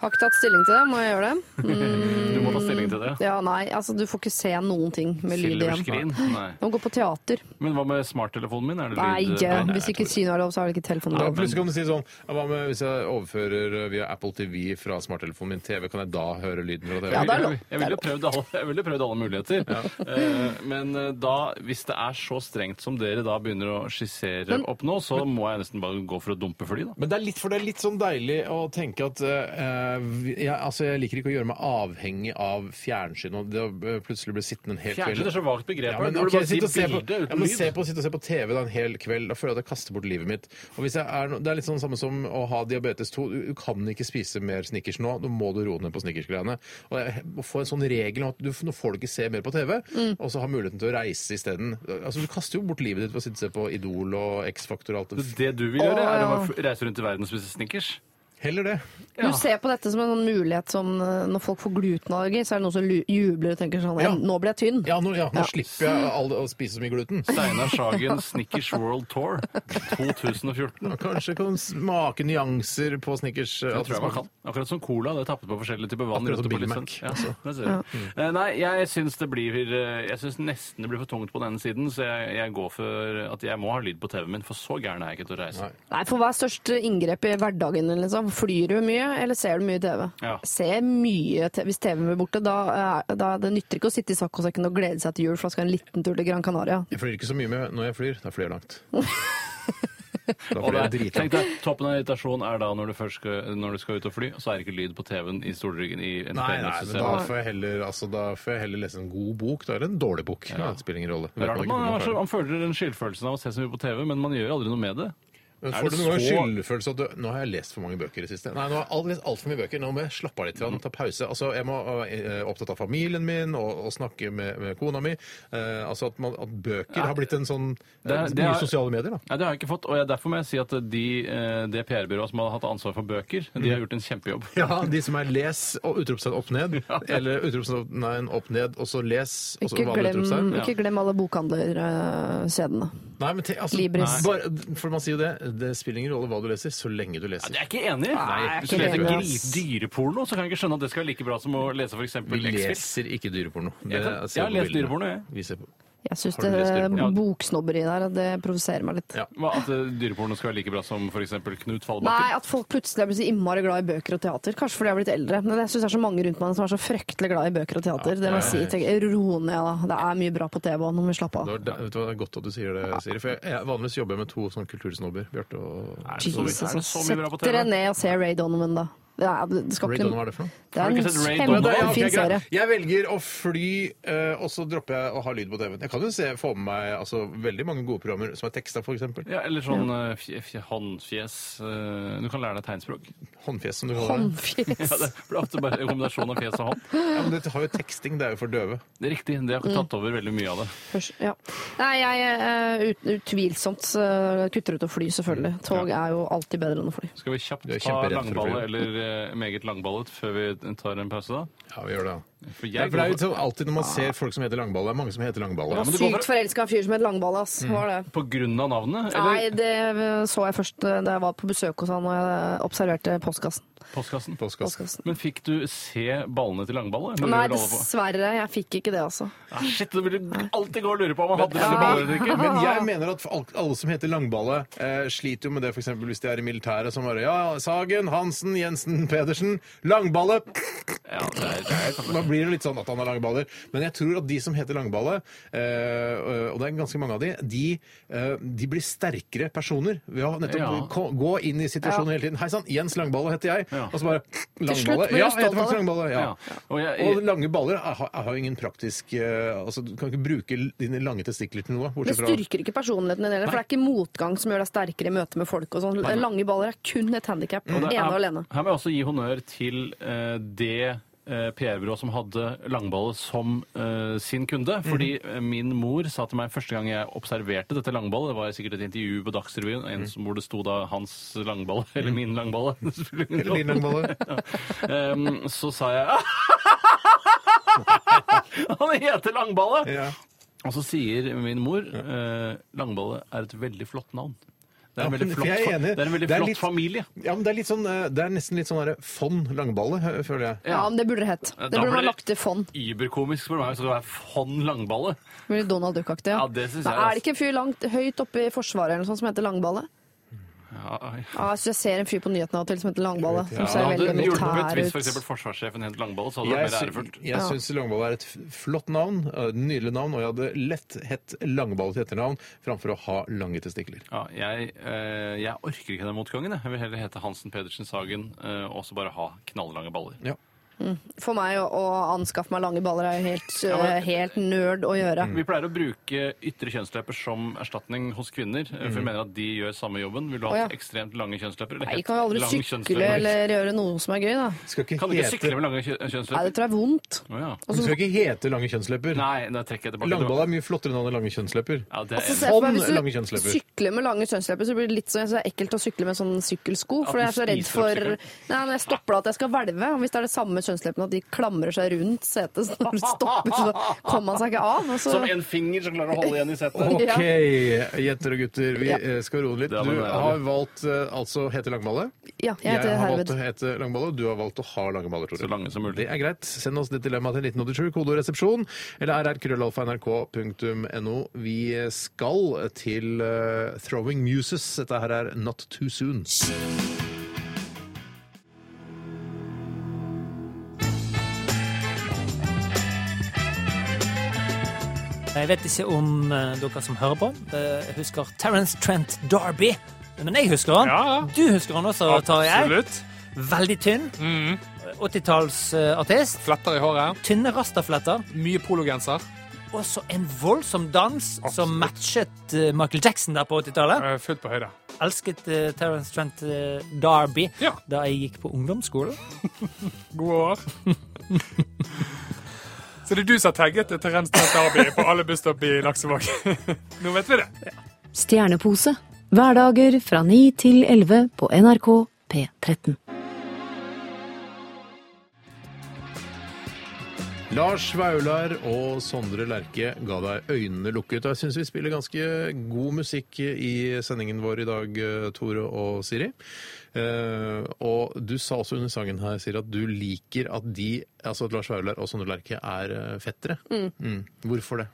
Speaker 3: Har ikke tatt stilling til det, må jeg gjøre det?
Speaker 4: Du må ta stilling til det.
Speaker 3: Ja, nei, altså du får ikke se noen ting med lyd igjen.
Speaker 4: Silverskrin? Nei.
Speaker 3: Du må gå på teater.
Speaker 4: Men hva med smarttelefonen min? Er det
Speaker 3: Nei,
Speaker 4: lyd?
Speaker 3: eh, hvis ikke kino er lov, så er det ikke telefonen
Speaker 2: Ja,
Speaker 3: lov.
Speaker 2: plutselig kan du si sånn ja, Hva med hvis jeg overfører via Apple TV fra smarttelefonen min TV, kan jeg da høre lyden fra TV?
Speaker 3: Ja, det er lov.
Speaker 4: Jeg ville prøvd alle, jeg ville prøvd alle muligheter. Eh, Men eh, da, hvis det er så strengt som dere da begynner å skissere opp nå, så må jeg nesten bare gå for å dumpe fly, da.
Speaker 2: Men det er litt, for det er litt sånn deilig å tenke at eh, vi- jeg, altså jeg liker ikke å gjøre meg avhengig av fjernsyn. og det å eh, plutselig bli sittende en hel kveld.
Speaker 4: Fjernsyn er så vagt begrep.
Speaker 2: Ja,
Speaker 4: her.
Speaker 2: men,
Speaker 4: Du burde
Speaker 2: ok,
Speaker 4: bare si
Speaker 2: sitte og se på,
Speaker 4: bilde
Speaker 2: ja,
Speaker 4: uten
Speaker 2: men
Speaker 4: lyd.
Speaker 2: se på, sitte og se på TV da en hel kveld. Da føler jeg at jeg kaster bort livet mitt. Og hvis jeg er, no- det er litt sånn samme som å ha diabetes 2. Du, du kan ikke spise mer Snickers nå. Da må du roe ned på Snickers-greiene. Og jeg, å få en sånn regel om at du, nå får du ikke se mer på TV, og så ha muligheten til å reise isteden. Altså, du kaster jo bort livet ditt ved å sitte og se på Idol og X-Faktor og alt det f-
Speaker 4: Det du vil gjøre, er å
Speaker 3: Å,
Speaker 4: bare reise rundt i verden og spise snickers.
Speaker 2: Heller det.
Speaker 3: Du ser på dette som en sånn mulighet som eh, når folk får glutenallergi, så er det noen som lu- jubler og tenker sånn
Speaker 2: Ja.
Speaker 3: Nå ble jeg tynn.
Speaker 2: Ja, nå, ja, nå
Speaker 3: Ja.
Speaker 2: slipper jeg all, å spise så mye gluten.
Speaker 4: Steinar Sagen Snickers World Tour 2014.
Speaker 2: Ja, Kanskje kan smake nyanser på Snickers.
Speaker 4: Det tror jeg man kan. Akkurat som cola. Det er tappet på forskjellige typer vann.
Speaker 2: Akkurat som
Speaker 4: rett
Speaker 2: Big
Speaker 4: og slett.
Speaker 2: Mac,
Speaker 4: Ja,
Speaker 2: altså.
Speaker 4: det ser du. Eh, Nei, jeg syns det blir eh, Jeg syns nesten det blir for tungt på den siden, så jeg, jeg går for at jeg må ha lyd på TV-en min, for så gæren er jeg ikke til å reise.
Speaker 2: Nei.
Speaker 3: Nei, for hva er størst inngrep i hverdagen din, liksom? Flyr du mye, eller ser du mye TV?
Speaker 4: Ja.
Speaker 3: Ser mye te Hvis TV-en blir borte, da, er- da det nytter ikke å sitte i saccosekken og glede seg til jul, for da skal en liten tur til Gran Canaria.
Speaker 2: Jeg flyr ikke så mye med når jeg flyr. Da flyr jeg langt. Da
Speaker 4: Og
Speaker 2: flyr jeg
Speaker 4: det, er- tenk
Speaker 2: dritlangt.
Speaker 4: deg, toppen av irritasjon er da når du først skal, når du skal ut og fly, så er det ikke lyd på TV-en i stolryggen i
Speaker 2: Nei, nei, men da
Speaker 4: entertainmentsystemet.
Speaker 2: får, jeg heller, altså, da får jeg heller lese en god bok da, eller en dårlig bok. Ja. det spiller ingen rolle.
Speaker 4: Det er rart at man,
Speaker 2: man
Speaker 4: har så-
Speaker 2: ikke
Speaker 4: man føler den skyldfølelsen av å se så mye på TV, men man gjør aldri noe med det.
Speaker 2: Men
Speaker 4: Er
Speaker 2: Får du
Speaker 4: det
Speaker 2: noen gang
Speaker 4: så-
Speaker 2: skyldfølelse at du, nå har jeg lest for mange bøker i det siste? Nei, nå har jeg alt- lest altfor mye bøker. Nå må jeg slappe av litt, grann, ta pause. Altså, jeg må være opptatt av familien min og, og snakke med, med kona mi. Eh, altså at, man, at bøker har blitt en sånn
Speaker 4: Det er-
Speaker 2: eh,
Speaker 4: det
Speaker 2: Mye
Speaker 4: er-
Speaker 2: sosiale medier, da.
Speaker 4: Nei, det har jeg ikke fått, og jeg, derfor må jeg si at de, eh, det PR-byrået som har hatt ansvar for bøker, de
Speaker 2: Mm.
Speaker 4: har gjort en kjempejobb.
Speaker 2: Ja, de som er les og utropstegn opp ned. Eller utropstegn opp ned, og så les, og så
Speaker 3: Ikke
Speaker 2: Altså vanlig
Speaker 3: glem,
Speaker 2: utropstegn.
Speaker 3: ikke glem alle bokhandlerkjedene.
Speaker 2: Nei, men te, altså,
Speaker 3: Libris.
Speaker 2: Bare, for man sier jo det, det spiller ingen rolle hva du leser, så lenge du leser.
Speaker 4: Jeg er ikke enig.
Speaker 2: Nei,
Speaker 4: Hvis du
Speaker 3: jeg er
Speaker 4: leser
Speaker 3: ikke enig,
Speaker 4: gris-
Speaker 3: ass.
Speaker 4: dyreporno, så kan jeg ikke skjønne at det skal være like bra som å lese f.eks.
Speaker 2: Vi
Speaker 4: X-Fill.
Speaker 2: leser altså ikke dyreporno.
Speaker 4: Jeg kan- jeg har lest dyreporno, jeg.
Speaker 2: jeg.
Speaker 3: Jeg syns
Speaker 2: Har du lest
Speaker 3: det
Speaker 2: dyreporno?
Speaker 3: boksnobberi der, det provoserer meg litt.
Speaker 2: Ja.
Speaker 4: Hva, At eh, dyreporno skal være like bra som f.eks. Knut
Speaker 3: Nei,
Speaker 4: Fallbakken?
Speaker 3: at folk plutselig er blitt så innmari glad i bøker og teater. Kanskje fordi jeg er blitt eldre. Men jeg syns det er så mange rundt meg som er så fryktelig glad i bøker og teater. det må jeg si. Tenk, ro ned, da. Det er mye bra på TV, og nå må vi slappe
Speaker 2: Det,
Speaker 3: av.
Speaker 2: var, det, vet du hva, det er godt at du sier det, Siri. For jeg, jeg, vanligvis jobber jeg med to sånne kultursnobber. Bjarte og
Speaker 4: Er det så mye- er det så mye bra på
Speaker 3: Sett dere
Speaker 4: TV?
Speaker 3: ned og se Ray Donovan, da. Ja, det skal
Speaker 2: Ray
Speaker 3: ikke
Speaker 2: Donovan, hva er det for noe?
Speaker 3: Det er
Speaker 2: Har du
Speaker 3: en
Speaker 2: ikke sett Ray Donovan? Ja, ok,
Speaker 3: kjempefin
Speaker 2: greit.
Speaker 3: serie.
Speaker 2: Jeg velger å fly, eh, og så dropper jeg å ha lyd på TV-en. Jeg kan jo se, få med meg altså, veldig mange gode programmer som er teksta, f.eks.
Speaker 4: Ja, eller sånn eh, fje- fje- håndfjes. eh, Du kan lære deg tegnspråk.
Speaker 2: Håndfjes, som du kaller det.
Speaker 4: Ja, det blir ofte bare en kombinasjon av fjes og hånd.
Speaker 2: Ja, men det har jo teksting, det er jo for døve.
Speaker 4: Det er riktig, det har
Speaker 3: Mm.
Speaker 4: tatt over veldig mye av det.
Speaker 3: Hørs- Ja. Nei, jeg eh, ut, utvilsomt eh, kutter ut å fly,
Speaker 4: Mm,
Speaker 3: selvfølgelig. Tog er jo alltid bedre enn å fly.
Speaker 4: Skal vi kjapt
Speaker 2: Du er
Speaker 4: ta
Speaker 2: kjemperedd for å
Speaker 4: langballe
Speaker 2: fly.
Speaker 4: eller eh, meget langballet før vi tar en pause, da?
Speaker 2: Ja, vi gjør det. da.
Speaker 4: For
Speaker 2: Det er,
Speaker 4: jeg
Speaker 2: for det er jo
Speaker 4: går for,
Speaker 2: sånn alltid når man ser folk som heter Langballe, det er mange som heter Langballe.
Speaker 4: Ja, men du går Mm.
Speaker 3: Sykt forelska i en fyr som het Langballe, ass. Var det.
Speaker 4: på grunn av navnet? Eller
Speaker 3: Nei, det eh, så jeg først eh, da jeg var på besøk hos han og jeg observerte postkassen.
Speaker 4: postkassen?
Speaker 3: Postkassen.
Speaker 4: Men fikk du se ballene til langballe? Lurer
Speaker 3: Nei,
Speaker 4: alle på.
Speaker 3: dessverre. Jeg fikk ikke det, altså.
Speaker 4: Ah, shit, det vil du alltid gå og lure på om han hadde
Speaker 3: Ja.
Speaker 4: disse baller eller ikke.
Speaker 2: Men jeg mener at al- alle som heter Langballe, eh, sliter jo med det f.eks. hvis de er i militæret. Som bare Ja, Sagen, Hansen, Jensen, Pedersen. Langballe!
Speaker 4: Ja, det er, det er,
Speaker 2: Da blir det litt sånn at han har langballer. Men jeg tror at de som heter Langballe, eh, og det er ganske mange av de, de, eh, de blir sterkere personer ved å nettopp
Speaker 4: Ja.
Speaker 2: ko- gå inn i situasjonen hele tiden. Hei sann, Jens Langballe heter jeg.
Speaker 4: Ja.
Speaker 2: Og så bare
Speaker 3: slutt
Speaker 2: Langballe.
Speaker 3: blir du
Speaker 2: Ja, jeg
Speaker 3: stolt
Speaker 2: heter
Speaker 3: av
Speaker 2: faktisk
Speaker 3: det.
Speaker 2: Langballe. Ja.
Speaker 4: Ja. Og jeg-
Speaker 2: Og lange baller er- har har jo ingen praktisk eh, Altså, du kan ikke bruke dine lange testikler til noe.
Speaker 3: Det
Speaker 2: Bortsett fra
Speaker 3: styrker ikke personligheten din heller, for det er ikke motgang som gjør deg sterkere i møte med folk og sånn. Lange baller er kun et handikap,
Speaker 4: Og det-
Speaker 3: ene og alene.
Speaker 4: Her må jeg også gi honnør til eh, det eh, PR-byrået som hadde Langballe som eh, sin kunde. Fordi eh, min mor sa til meg første gang jeg observerte dette Langballe, det var sikkert et intervju på Dagsrevyen en som hvor det sto da 'Hans Langballe' eller 'Min Langballe'. Det spiller ingen
Speaker 2: Eller din
Speaker 4: rolle.
Speaker 2: Langballe.
Speaker 4: Em, så sa jeg Han heter Langballe!
Speaker 2: Ja.
Speaker 4: Og så sier min mor eh, Langballe er et veldig flott navn. Det er en
Speaker 2: Ja,
Speaker 4: veldig
Speaker 2: for
Speaker 4: flott,
Speaker 2: jeg er
Speaker 4: fa-
Speaker 2: enig.
Speaker 4: det er en veldig
Speaker 2: Det er
Speaker 4: flott
Speaker 2: litt-
Speaker 4: familie.
Speaker 2: Ja, men det er, litt sånn, eh, det er nesten litt sånn derre fond Langballe, hø- føler jeg.
Speaker 3: Ja, men det burde det hett.
Speaker 4: Da
Speaker 3: Det burde
Speaker 4: blir
Speaker 3: man
Speaker 4: det-
Speaker 3: lagt til fond.
Speaker 4: Überkomisk for meg, så det er Fond Langballe.
Speaker 3: Veldig Donald Duck-aktig.
Speaker 4: Ja, det synes jeg,
Speaker 3: Men Er
Speaker 4: altså.
Speaker 3: det ikke en fyr langt, høyt oppe i Forsvaret eller noe sånt som heter Langballe?
Speaker 4: Ja, ja.
Speaker 3: Ja, altså, jeg synes jeg ser en fyr på nyhetene av og til som heter Langballe. Som ser
Speaker 4: hadde
Speaker 3: veldig
Speaker 4: det hjulpet
Speaker 3: militær
Speaker 4: hvis
Speaker 3: ut.
Speaker 4: f.eks. forsvarssjefen het Langballe, så hadde det
Speaker 2: Jeg,
Speaker 4: vært mer
Speaker 2: sy
Speaker 4: ærefullt.
Speaker 2: jeg syns Langballe er et f- flott navn, eh, nydelig navn, og jeg hadde lett hett Langballe til etternavn framfor å ha lange testikler.
Speaker 4: Ja, jeg, eh, jeg orker ikke den motgangen. Jeg. jeg vil heller hete Hansen Pedersen Sagen eh, og så bare ha knalllange baller.
Speaker 2: Ja.
Speaker 3: For meg å, å anskaffe meg lange baller er jo helt,
Speaker 4: Ja, men-
Speaker 3: eh,
Speaker 4: Mm.
Speaker 3: helt nerd å gjøre.
Speaker 4: Vi pleier å bruke ytre kjønnslepper som erstatning hos kvinner, eh,
Speaker 2: Mm.
Speaker 4: for vi mener at de gjør samme jobben. Vil du ha
Speaker 3: Å, ja.
Speaker 4: ekstremt lange kjønnslepper? eller
Speaker 3: Nei,
Speaker 4: helt
Speaker 3: kan jo aldri
Speaker 4: lang
Speaker 3: sykle
Speaker 4: kjønnsleppe?
Speaker 3: eller gjøre noe som er gøy, da.
Speaker 2: Skal ikke
Speaker 4: Kan du ikke
Speaker 2: hete,
Speaker 4: sykle med lange kjø-
Speaker 3: Nei, det
Speaker 4: kjønnslepper?
Speaker 3: tror jeg er vondt.
Speaker 4: Å, ja.
Speaker 2: du skal ikke hete lange kjønnslepper.
Speaker 4: Nei, da trekker jeg tilbake.
Speaker 2: Langballe er mye flottere navn enn lange kjønnslepper.
Speaker 4: Ja, det er
Speaker 3: Altså,
Speaker 4: enig.
Speaker 3: se for
Speaker 2: Sånn
Speaker 3: meg,
Speaker 2: lange
Speaker 3: hvis du
Speaker 2: kjønnslepper.
Speaker 3: sykler med lange kjønnslepper, så blir det litt sånn, så ekkelt å sykle med sånn sykkelsko.
Speaker 4: At
Speaker 3: For
Speaker 4: du
Speaker 3: jeg er så redd
Speaker 4: spiser opp
Speaker 3: for Nei,
Speaker 4: sykkelen.
Speaker 3: når jeg stopper da at jeg skal hvelve. Og hvis det er det samme kjønnsleppene, at de klamrer seg rundt setet så når du stopper, så kommer man seg ikke av. Og så...
Speaker 4: Som en finger som klarer å holde igjen i setet.
Speaker 2: OK, jenter og gutter, vi
Speaker 3: Ja.
Speaker 2: eh, skal roe litt.
Speaker 4: Det er
Speaker 2: Du
Speaker 4: vel det,
Speaker 2: har valgt eh, altså å hete Langballe.
Speaker 3: Ja, jeg heter
Speaker 2: har
Speaker 3: Herved.
Speaker 2: valgt å hete Langballe, og du har valgt å ha lange baller, Tore.
Speaker 4: Så lange som mulig.
Speaker 2: Det er greit. Send oss ditt dilemma til 1987, kode og resepsjon, eller rrkrøllalfa.nrk.no. Vi skal til eh, Throwing Muses. Dette her er Not Too Soon.
Speaker 12: Jeg vet ikke om eh, dere som hører på, eh, husker Terence Trent Darby. Men jeg husker han. Du husker han også, Tarjei.
Speaker 13: Absolutt. Mm.
Speaker 12: Veldig tynn. 80-tallsartist.
Speaker 13: Fletter i håret.
Speaker 12: Tynne rastafletter.
Speaker 13: Mye pologenser.
Speaker 12: Og så en voldsom dans som matchet eh, Michael Jackson der på 80-tallet.
Speaker 13: Eh, Fullt på høyde.
Speaker 12: Elsket eh, Terence Trent eh, Darby
Speaker 13: Ja.
Speaker 12: da jeg gikk på ungdomsskolen.
Speaker 13: Gode år. Så det er du som har tagget Terence Trent Darby på alle busstopp i Laksevåg. Nå vet vi det.
Speaker 14: Stjernepose. Hverdager fra 9 til 11 på NRK P13.
Speaker 2: Lars Vaular og Sondre Lerche ga deg øynene lukket. Og jeg syns vi spiller ganske god musikk i sendingen vår i dag, eh, Tore og Siri. Eh, og du sa også under sangen her, Siri, at du liker at de, altså at Lars Vaular og Sondre Lerche er eh, fettere.
Speaker 3: Mm.
Speaker 2: Mm. Hvorfor det?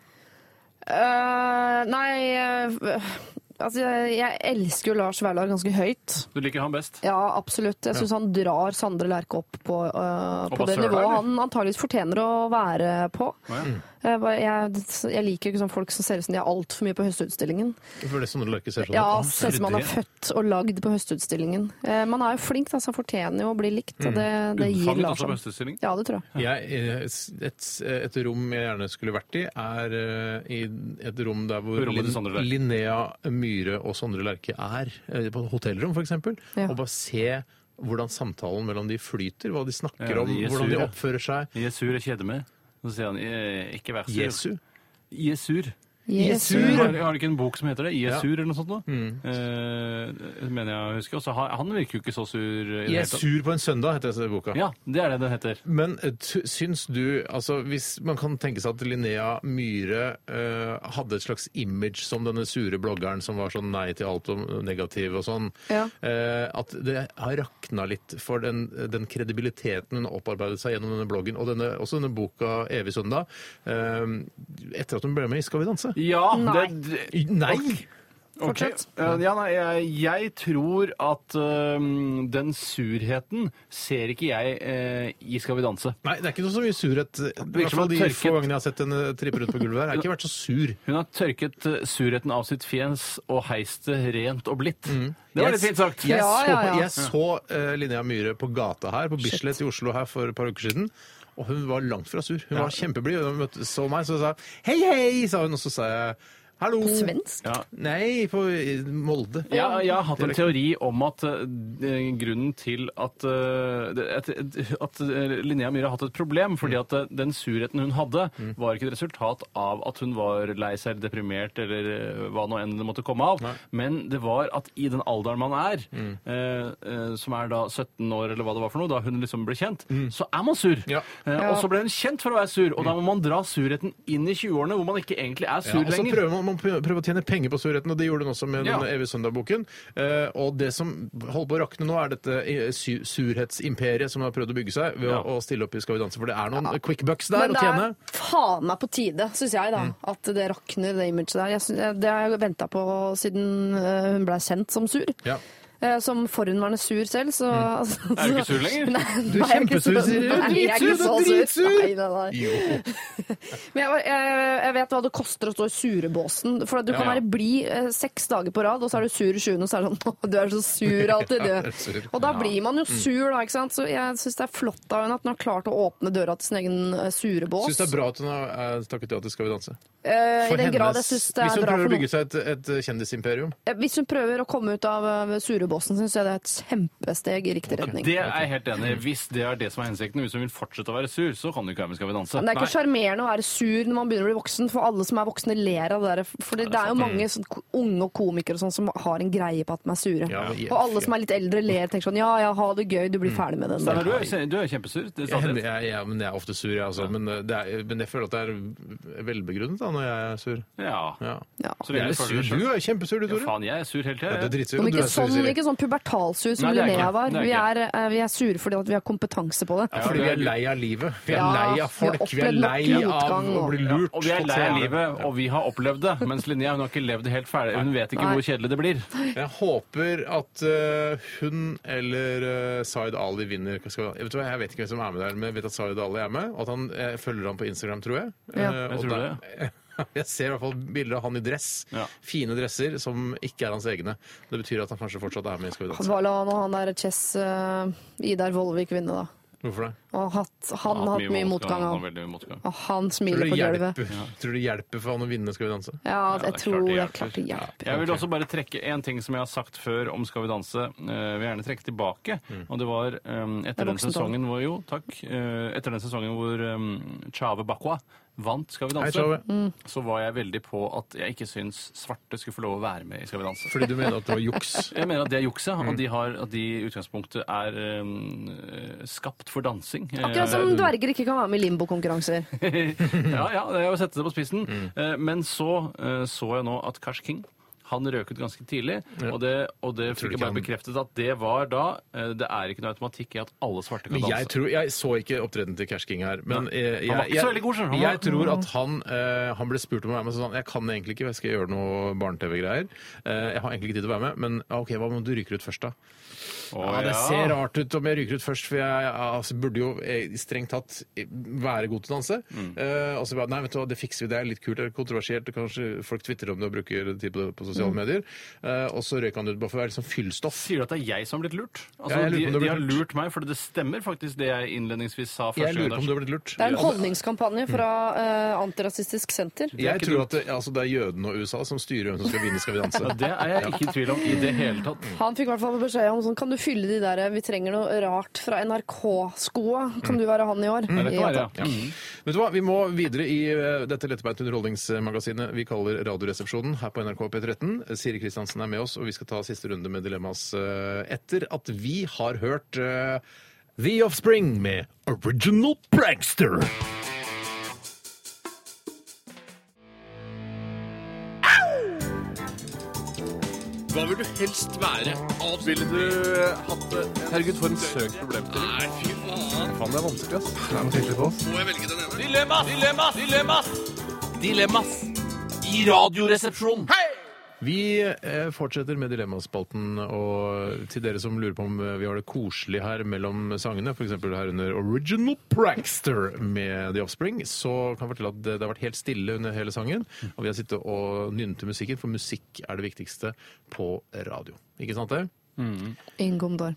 Speaker 3: Eh, nei eh, Altså, jeg, jeg elsker jo Lars Vaular ganske høyt.
Speaker 4: Du liker han best.
Speaker 3: Ja, absolutt. Jeg syns han drar Sondre Lerche opp på, eh,
Speaker 4: Og
Speaker 3: på
Speaker 4: hva
Speaker 3: det
Speaker 4: søren er
Speaker 3: nivået
Speaker 4: det?
Speaker 3: han antageligvis fortjener å være på.
Speaker 4: Å, ja.
Speaker 3: Eh, Jeg, bare, jeg, jeg liker ikke sånn folk som ser ut som de er altfor mye på Høstutstillingen.
Speaker 2: For det er sånn løker ser sånn
Speaker 3: Ja,
Speaker 2: ut.
Speaker 3: ser ut som man er født og lagd på Høstutstillingen. Eh, Man er jo flink, da, så han fortjener jo å bli likt. Og det, det gir Lars
Speaker 4: Unnfanget Mm. også på
Speaker 3: ham.
Speaker 4: Høstutstillingen?
Speaker 3: Ja, det tror jeg.
Speaker 2: Jeg, eh, et, et rom jeg gjerne skulle vært i, er eh, i et rom der hvor
Speaker 4: Rommet til
Speaker 2: Lin-
Speaker 4: Sondre Lerche.
Speaker 2: Linnea Myhre og Sondre Lerche er. eh, På et hotellrom, f.eks. eksempel
Speaker 3: Ja.
Speaker 2: Og bare se hvordan samtalen mellom de flyter, hva de snakker
Speaker 4: Ja,
Speaker 2: om,
Speaker 4: de er
Speaker 2: hvordan de
Speaker 4: sure.
Speaker 2: oppfører seg.
Speaker 4: Jeg er sur, jeg kjeder meg. Så sier han eh, ikke vær sur.
Speaker 2: Jesu.
Speaker 4: Jesur.
Speaker 3: Jesur.
Speaker 4: Har, har du ikke en bok som heter det? Jesur
Speaker 2: Ja.
Speaker 4: eller noe sånt noe? Eh, mener jeg å huske. Også, han han virker jo ikke så sur. i det hele
Speaker 2: Jeg er
Speaker 4: tatt.
Speaker 2: sur på en søndag, heter denne boka.
Speaker 4: Ja, det er det den heter.
Speaker 2: Men eh, t- syns du altså Hvis man kan tenke seg at Linnea Myhre eh, hadde et slags image som denne sure bloggeren som var sånn nei til alt og negativ og sånn,
Speaker 3: Ja.
Speaker 2: eh, at det har rakna litt for den, den kredibiliteten hun har opparbeidet seg gjennom denne bloggen, og denne, også denne boka 'Evig søndag', eh, etter at hun ble med i 'Skal vi danse'?
Speaker 4: Ja,
Speaker 2: Nei.
Speaker 4: det-
Speaker 2: Nei!
Speaker 4: Ok. Eh, Ja, nei, jeg, jeg tror at øhm, den surheten ser ikke jeg eh, i Skal vi danse.
Speaker 2: Nei, det er ikke så mye surhet. I hvert fall de få gangene jeg har sett henne trippe rundt på gulvet her, har jeg ikke vært så sur.
Speaker 4: Hun har tørket eh, surheten av sitt fjes og heist det rent og blidt. Det var
Speaker 2: Jeg-
Speaker 4: litt fint sagt.
Speaker 2: Jeg så, Jeg så eh, Linnea Myhre på gata her, på Bislett i Oslo her for et par uker siden. Og hun var langt fra sur. Hun var kjempeblid. Hun møtte, så meg, så sa hun 'hei, hei', sa hun, og så sa jeg 'hallo'.
Speaker 3: På svensk?
Speaker 4: Ja.
Speaker 2: Nei, på i Molde.
Speaker 4: Ja, jeg har hatt en
Speaker 2: Dialekt.
Speaker 4: teori om at eh, grunnen til at, eh, det- at, at eh, Linnea Myhre har hatt et problem,
Speaker 2: Mm.
Speaker 4: fordi at eh, den surheten hun hadde, var ikke et resultat av at hun var lei seg eller deprimert eller eh, hva nå enn det måtte komme av, men det var at i den alderen man er,
Speaker 2: Mm.
Speaker 4: eh, eh, som er da 17 år eller hva det var for noe, da hun liksom ble kjent, så er man sur. Eh,
Speaker 2: Mm. Ja. Mm.
Speaker 4: Og så ble hun kjent for å være sur, og da må man dra surheten inn i 20-årene, hvor man ikke egentlig er sur
Speaker 2: Ja, og så
Speaker 4: lenger.
Speaker 2: prøver man, man prøver å tjene penger på surheten, og det gjorde hun også med
Speaker 4: Ja.
Speaker 2: denne Evig søndag-boken. Eh, og det som holder på å rakne nå, er dette eh, su surhetsimperiet som har prøvd å bygge seg ved å, å stille opp i Skal vi danse, for det er noen quick bucks der
Speaker 3: Men
Speaker 2: å
Speaker 3: det
Speaker 2: tjene.
Speaker 3: er faen meg på tide, syns jeg,
Speaker 4: Mm.
Speaker 3: da. At det rakner, det imaget der. Jeg synes, det har jeg venta på siden eh, hun blei kjent som sur.
Speaker 2: Ja.
Speaker 3: Eh, Som forhenværende sur selv, så altså,
Speaker 2: Mm. Er du ikke sur lenger?
Speaker 3: Nei,
Speaker 2: Du er
Speaker 3: nei, jeg ikke
Speaker 2: kjempesur,
Speaker 3: så-
Speaker 2: sier du.
Speaker 3: Nei, jeg er
Speaker 2: Dritsur,
Speaker 3: ikke så
Speaker 2: du er
Speaker 3: sur.
Speaker 2: dritsur.
Speaker 3: Nei, nei, nei.
Speaker 2: Jo.
Speaker 3: Men jeg, var- jeg, jeg vet hva det koster å stå i surebåsen. For at du
Speaker 2: Ja,
Speaker 3: kan
Speaker 2: ja.
Speaker 3: være blid eh, seks dager på rad, og så er du sur i sjuende, og så er det sånn «Å, Du er så sur alltid,
Speaker 2: Ja,
Speaker 3: du.
Speaker 2: jeg er sur.
Speaker 3: Og da
Speaker 2: Ja.
Speaker 3: blir man jo
Speaker 2: Mm.
Speaker 3: sur, da. ikke sant? Så jeg syns det er flott av henne at hun har klart å åpne døra til sin egen eh, surebås.
Speaker 2: Syns det er bra at hun har eh, takket ja til Skal vi danse.
Speaker 3: Eh, I
Speaker 2: For
Speaker 3: den grad jeg
Speaker 2: hennes-
Speaker 3: syns det
Speaker 2: hvis
Speaker 3: er
Speaker 2: hun
Speaker 3: bra
Speaker 2: prøver
Speaker 3: for
Speaker 2: å bygge
Speaker 3: noen.
Speaker 2: seg et, et kjendisimperium.
Speaker 3: Eh, Hvis hun prøver å komme ut av eh, surebåsen sin, så er det et kjempesteg i riktig retning.
Speaker 4: Det er jeg helt enig i. Hvis det er det som er hensikten, hvis hun vil fortsette å være sur, så kan du ikke være med Skal vi danse.
Speaker 3: Men det er ikke
Speaker 4: Nei.
Speaker 3: sjarmerende å være sur når man begynner å bli voksen, for alle som er voksne ler av det der. For det, det er jo mange sånn, ko- unge og komikere og sånn som har en greie på at de er sure.
Speaker 4: Ja, men-
Speaker 3: og alle som er litt eldre ler og tenker sånn ja ja, ha det gøy, du blir ferdig med den.
Speaker 4: Steinar, du,
Speaker 3: der.
Speaker 4: er- du er kjempesur. Det
Speaker 2: Jeg,
Speaker 4: sa
Speaker 2: jeg,
Speaker 4: dere.
Speaker 2: jeg, men jeg er ofte sur, jeg, altså. Men, eh, det er, men jeg føler at det er velbegrunnet da, når jeg er sur.
Speaker 4: Ja. Så
Speaker 2: Jeg er
Speaker 4: lenge du føler det
Speaker 2: sur.
Speaker 4: selv.
Speaker 2: Du er kjempesur, du,
Speaker 4: Ja,
Speaker 2: Tore.
Speaker 4: faen, jeg er sur hele tida.
Speaker 2: Ja, du er dritsur,
Speaker 3: Men
Speaker 2: og du
Speaker 3: ikke
Speaker 2: er sur,
Speaker 3: sånn,
Speaker 2: Siri.
Speaker 3: ikke sånn pubertalsur som
Speaker 2: Nei, det er
Speaker 3: Linnea
Speaker 2: ikke.
Speaker 3: var.
Speaker 2: Det er
Speaker 3: Vi
Speaker 2: ikke.
Speaker 3: er, eh, vi er sure fordi at vi har kompetanse på det.
Speaker 2: Ja, fordi vi er lei av livet. Vi er
Speaker 3: Ja,
Speaker 2: lei av
Speaker 3: vi har
Speaker 2: folk. Vi er
Speaker 3: opplevd nok
Speaker 2: lei av
Speaker 3: motgang
Speaker 2: å
Speaker 3: og-
Speaker 2: bli lurt.
Speaker 4: Og vi er
Speaker 2: på
Speaker 4: lei av
Speaker 2: TV.
Speaker 4: livet, og vi har opplevd det. Mens Linnea hun har ikke levd helt ferdig. Hun vet ikke
Speaker 2: Nei.
Speaker 4: hvor kjedelig det blir.
Speaker 2: Jeg håper at eh, hun eller eh, Zaid Ali vinner. Hva Skal vi, vet du hva, jeg vet ikke hvem som er med der, men jeg vet at Zaid Ali er med. Og at han, jeg følger han på Instagram, tror jeg.
Speaker 4: Ja.
Speaker 2: Eh,
Speaker 4: Jeg
Speaker 2: og
Speaker 4: tror
Speaker 2: da- Jeg ser i hvert fall bilder av han i dress. Fine dresser som ikke er hans egne. Det betyr at han kanskje fortsatt er med i Skal vi danse.
Speaker 3: Hva la han og han der Chess eh, Idar Vollvik vinne, da?
Speaker 2: Hvorfor det?
Speaker 3: Og hatt, han har hatt mye motgang, han. Og han
Speaker 2: Tror
Speaker 3: smiler
Speaker 2: du
Speaker 3: på
Speaker 2: det
Speaker 3: gulvet.
Speaker 2: hjelper, tror du det hjelper for han å vinne Skal vi danse?
Speaker 3: Ja, jeg tror det er klart det hjelper.
Speaker 4: Jeg vil også bare trekke en ting som jeg har sagt før om Skal vi danse. Eh, vil gjerne trekke tilbake. Og det var eh,
Speaker 2: Mm. Det er
Speaker 4: etter den
Speaker 2: voksent,
Speaker 4: sesongen hvor Jo, takk. Eh, etter den sesongen hvor eh, Chave Bakwa vant Skal vi
Speaker 2: Hei,
Speaker 4: danse,
Speaker 2: Tjave. Mm.
Speaker 4: så var jeg veldig på at jeg ikke syns svarte skulle få lov å være med i Skal vi danse.
Speaker 2: Fordi Mm. du mener at det var juks?
Speaker 4: Jeg mener at det er juks, ja. Og de har, at de i utgangspunktet er eh, skapt for dansing.
Speaker 3: Akkurat som
Speaker 4: Eh,
Speaker 3: dverger ikke kan være med i limbokonkurranser.
Speaker 4: ja, ja, det er å sette det på spissen.
Speaker 2: Mm.
Speaker 4: Eh, Men så eh, så jeg nå at Cash King han røket ganske tidlig, og det, og det
Speaker 2: tror
Speaker 4: fikk jeg
Speaker 2: ikke
Speaker 4: bare
Speaker 2: han-
Speaker 4: bekreftet at det var da eh, Det er ikke noe automatikk i at alle svarte kan
Speaker 2: Men jeg,
Speaker 4: danse.
Speaker 2: tror, jeg så ikke opptredenen til Cash King her. Men
Speaker 4: Nei.
Speaker 2: eh, jeg,
Speaker 4: Han var ikke
Speaker 2: jeg,
Speaker 4: så veldig god, skjønner du. Han var-
Speaker 2: jeg tror at han, eh, han ble spurt om å være med, og så sa han jeg kan egentlig ikke, jeg skal gjøre noe barne-TV-greier. Eh, jeg har egentlig ikke tid til å være med, men ah, OK, hva om du ryker ut først, da? ja, det
Speaker 4: ja.
Speaker 2: ser rart ut om jeg ryker ut først, for jeg altså, burde jo eh, strengt tatt være god til å danse.
Speaker 4: Mm.
Speaker 2: Eh, og så bare, nei, vet du hva, det fikser vi, det er litt kult, det er kontroversielt, og kanskje folk twitterer om det og bruker tid på det på sosiale
Speaker 4: Mm.
Speaker 2: medier. Eh, og så røyk han ut bare for å være liksom fyllstoff.
Speaker 4: Sier du at det er jeg som har blitt lurt? Altså,
Speaker 2: Ja, jeg lurer
Speaker 4: de,
Speaker 2: på om du har
Speaker 4: de har
Speaker 2: blitt
Speaker 4: lurt meg, for det stemmer faktisk det jeg innledningsvis sa første
Speaker 2: Jeg lurer på om du har blitt lurt.
Speaker 3: Det er en holdningskampanje fra eh, Antirasistisk Senter.
Speaker 2: Jeg tror at det, altså, det er jødene og USA som styrer hvem som skal vinne Skal vi danse.
Speaker 4: Ja, det er jeg ikke i tvil om i det hele tatt.
Speaker 3: Han fikk i hvert fall beskjed om sånn Kan du fylle de der Vi trenger noe rart fra NRK-skoa. Kan du være han i
Speaker 4: Mm.
Speaker 3: år? Ja, takk.
Speaker 2: Ja. Vet du hva, Vi må videre i eh, dette lettbeinte underholdningsmagasinet vi kaller Radioresepsjonen her på NRK P13. Siri Kristiansen er med oss, og vi skal ta siste runde med Dilemmas eh, etter at vi har hørt eh, The Offspring med Original Prankster.
Speaker 10: Hva vil du helst være? Ville du eh, hatt det? Herregud, for en søk problemstilling. Nei, fy faen.
Speaker 2: Faen, det er vanskelig, ass. Det er noe tenkelig på.
Speaker 10: Må jeg velge den ene? Dilemmas! Dilemmas! Dilemmas! Dilemmas i Radioresepsjonen. Hei!
Speaker 2: Vi eh, fortsetter med Dilemmaspalten. Og til dere som lurer på om eh, vi har det koselig her mellom sangene, f.eks. her under Original Prankster med The Offspring, så kan jeg fortelle at det, det har vært helt stille under hele sangen. Og vi har sittet og nynnet til musikken, for musikk er det viktigste på radio. Ikke sant, det?
Speaker 3: Ingom Dahl.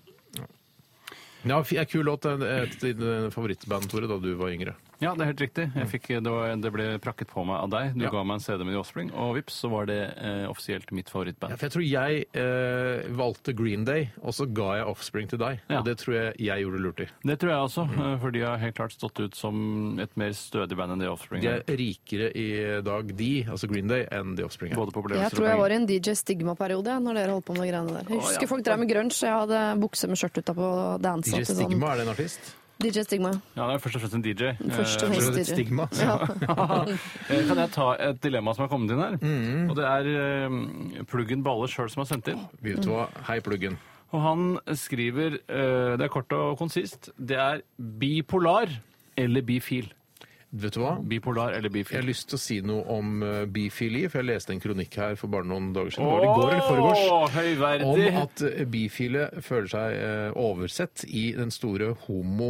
Speaker 2: Ja, f- ja, kul låt. Det er Et ditt eh, favorittband, Tore, da du var yngre.
Speaker 4: Ja, det er helt riktig.
Speaker 2: Mm.
Speaker 4: Jeg fikk, det, var, det ble prakket på meg av deg. Du ga meg en CD med The Offspring, og vips, så var det eh, offisielt mitt favorittband.
Speaker 2: Ja, for jeg tror jeg eh, valgte Green Day, og så ga jeg Offspring til deg. Og det tror jeg jeg gjorde lurt i.
Speaker 4: Det tror jeg også, eh, for de har helt klart stått ut som et mer stødig band enn The Offspring.
Speaker 2: De er rikere i dag, de, altså Green Day, enn The Offspring.
Speaker 4: Både på
Speaker 3: Jeg tror jeg var i en DJ Stigma-periode jeg, når dere holdt på med de greiene der. Jeg
Speaker 2: Å,
Speaker 3: husker
Speaker 2: ja.
Speaker 3: folk drev med grunge. Jeg hadde bukse med skjørt utapå og dansa.
Speaker 4: DJ
Speaker 3: til sånn-
Speaker 4: Stigma, er det en artist?
Speaker 3: DJ sånn- Stigma.
Speaker 4: Ja, det er først og fremst en DJ.
Speaker 3: Først og
Speaker 4: Eh,
Speaker 3: fremst DJ. Ja.
Speaker 4: Eh, Kan jeg ta et dilemma som har kommet inn her?
Speaker 2: Mm.
Speaker 4: Og det er eh, Pluggen Balle sjøl som har sendt inn.
Speaker 2: Vet du hva? Hei, Pluggen.
Speaker 4: Og han skriver eh, Det er kort og konsist. Det er bipolar eller bifil.
Speaker 2: Vet du hva?
Speaker 4: Bipolar eller bifil.
Speaker 2: Jeg har lyst til å si noe om eh, bifili, for jeg leste en kronikk her for bare noen dager siden.
Speaker 4: Åh,
Speaker 2: Var det i går eller foregårs?
Speaker 4: høyverdig.
Speaker 2: Om at eh, bifile føler seg eh, oversett i den store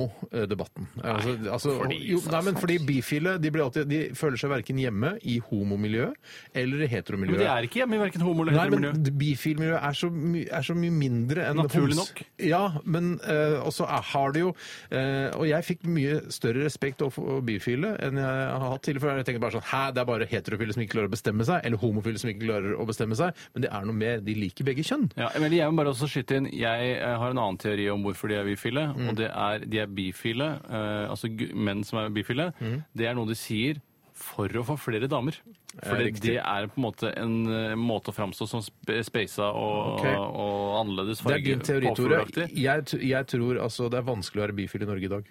Speaker 2: homodebatten. Eh, Altså, altså,
Speaker 4: fordi-
Speaker 2: jo, nei, men fordi bifile de, blir alltid, de føler seg verken hjemme i homomiljøet eller i heteromiljøet.
Speaker 4: Men de er ikke hjemme i verken homo- eller
Speaker 2: Nei, men
Speaker 4: heteromiljø.
Speaker 2: d- Bifilmiljøet er, så my- er så mye mindre enn
Speaker 4: Naturlig
Speaker 2: homs-
Speaker 4: nok.
Speaker 2: Ja, men eh, også er, har det jo eh, Og jeg fikk mye større respekt overfor bifile enn jeg har hatt tidligere. For jeg tenkte bare sånn Hæ, det er bare heterofile som ikke klarer å bestemme seg, eller homofile som ikke klarer å bestemme seg. Men det er noe mer. De liker begge kjønn.
Speaker 4: Ja, men jeg må bare også skyte inn Jeg eh, har en annen teori om hvorfor de er bifile.
Speaker 2: Mm.
Speaker 4: Og det er de er bifile, eh, altså gu- menn som er bifile.
Speaker 2: Mm.
Speaker 4: Det er noe de sier for å få flere damer. For
Speaker 2: Ja,
Speaker 4: det,
Speaker 2: riktig.
Speaker 4: det er på en måte en eh, måte å framstå som sp- speisa og,
Speaker 2: Ok.
Speaker 4: og, annerledes
Speaker 2: Det er din teori, Tore.
Speaker 4: påfugleaktig.
Speaker 2: Jeg, t- jeg tror altså det er vanskelig å være bifil i Norge i dag.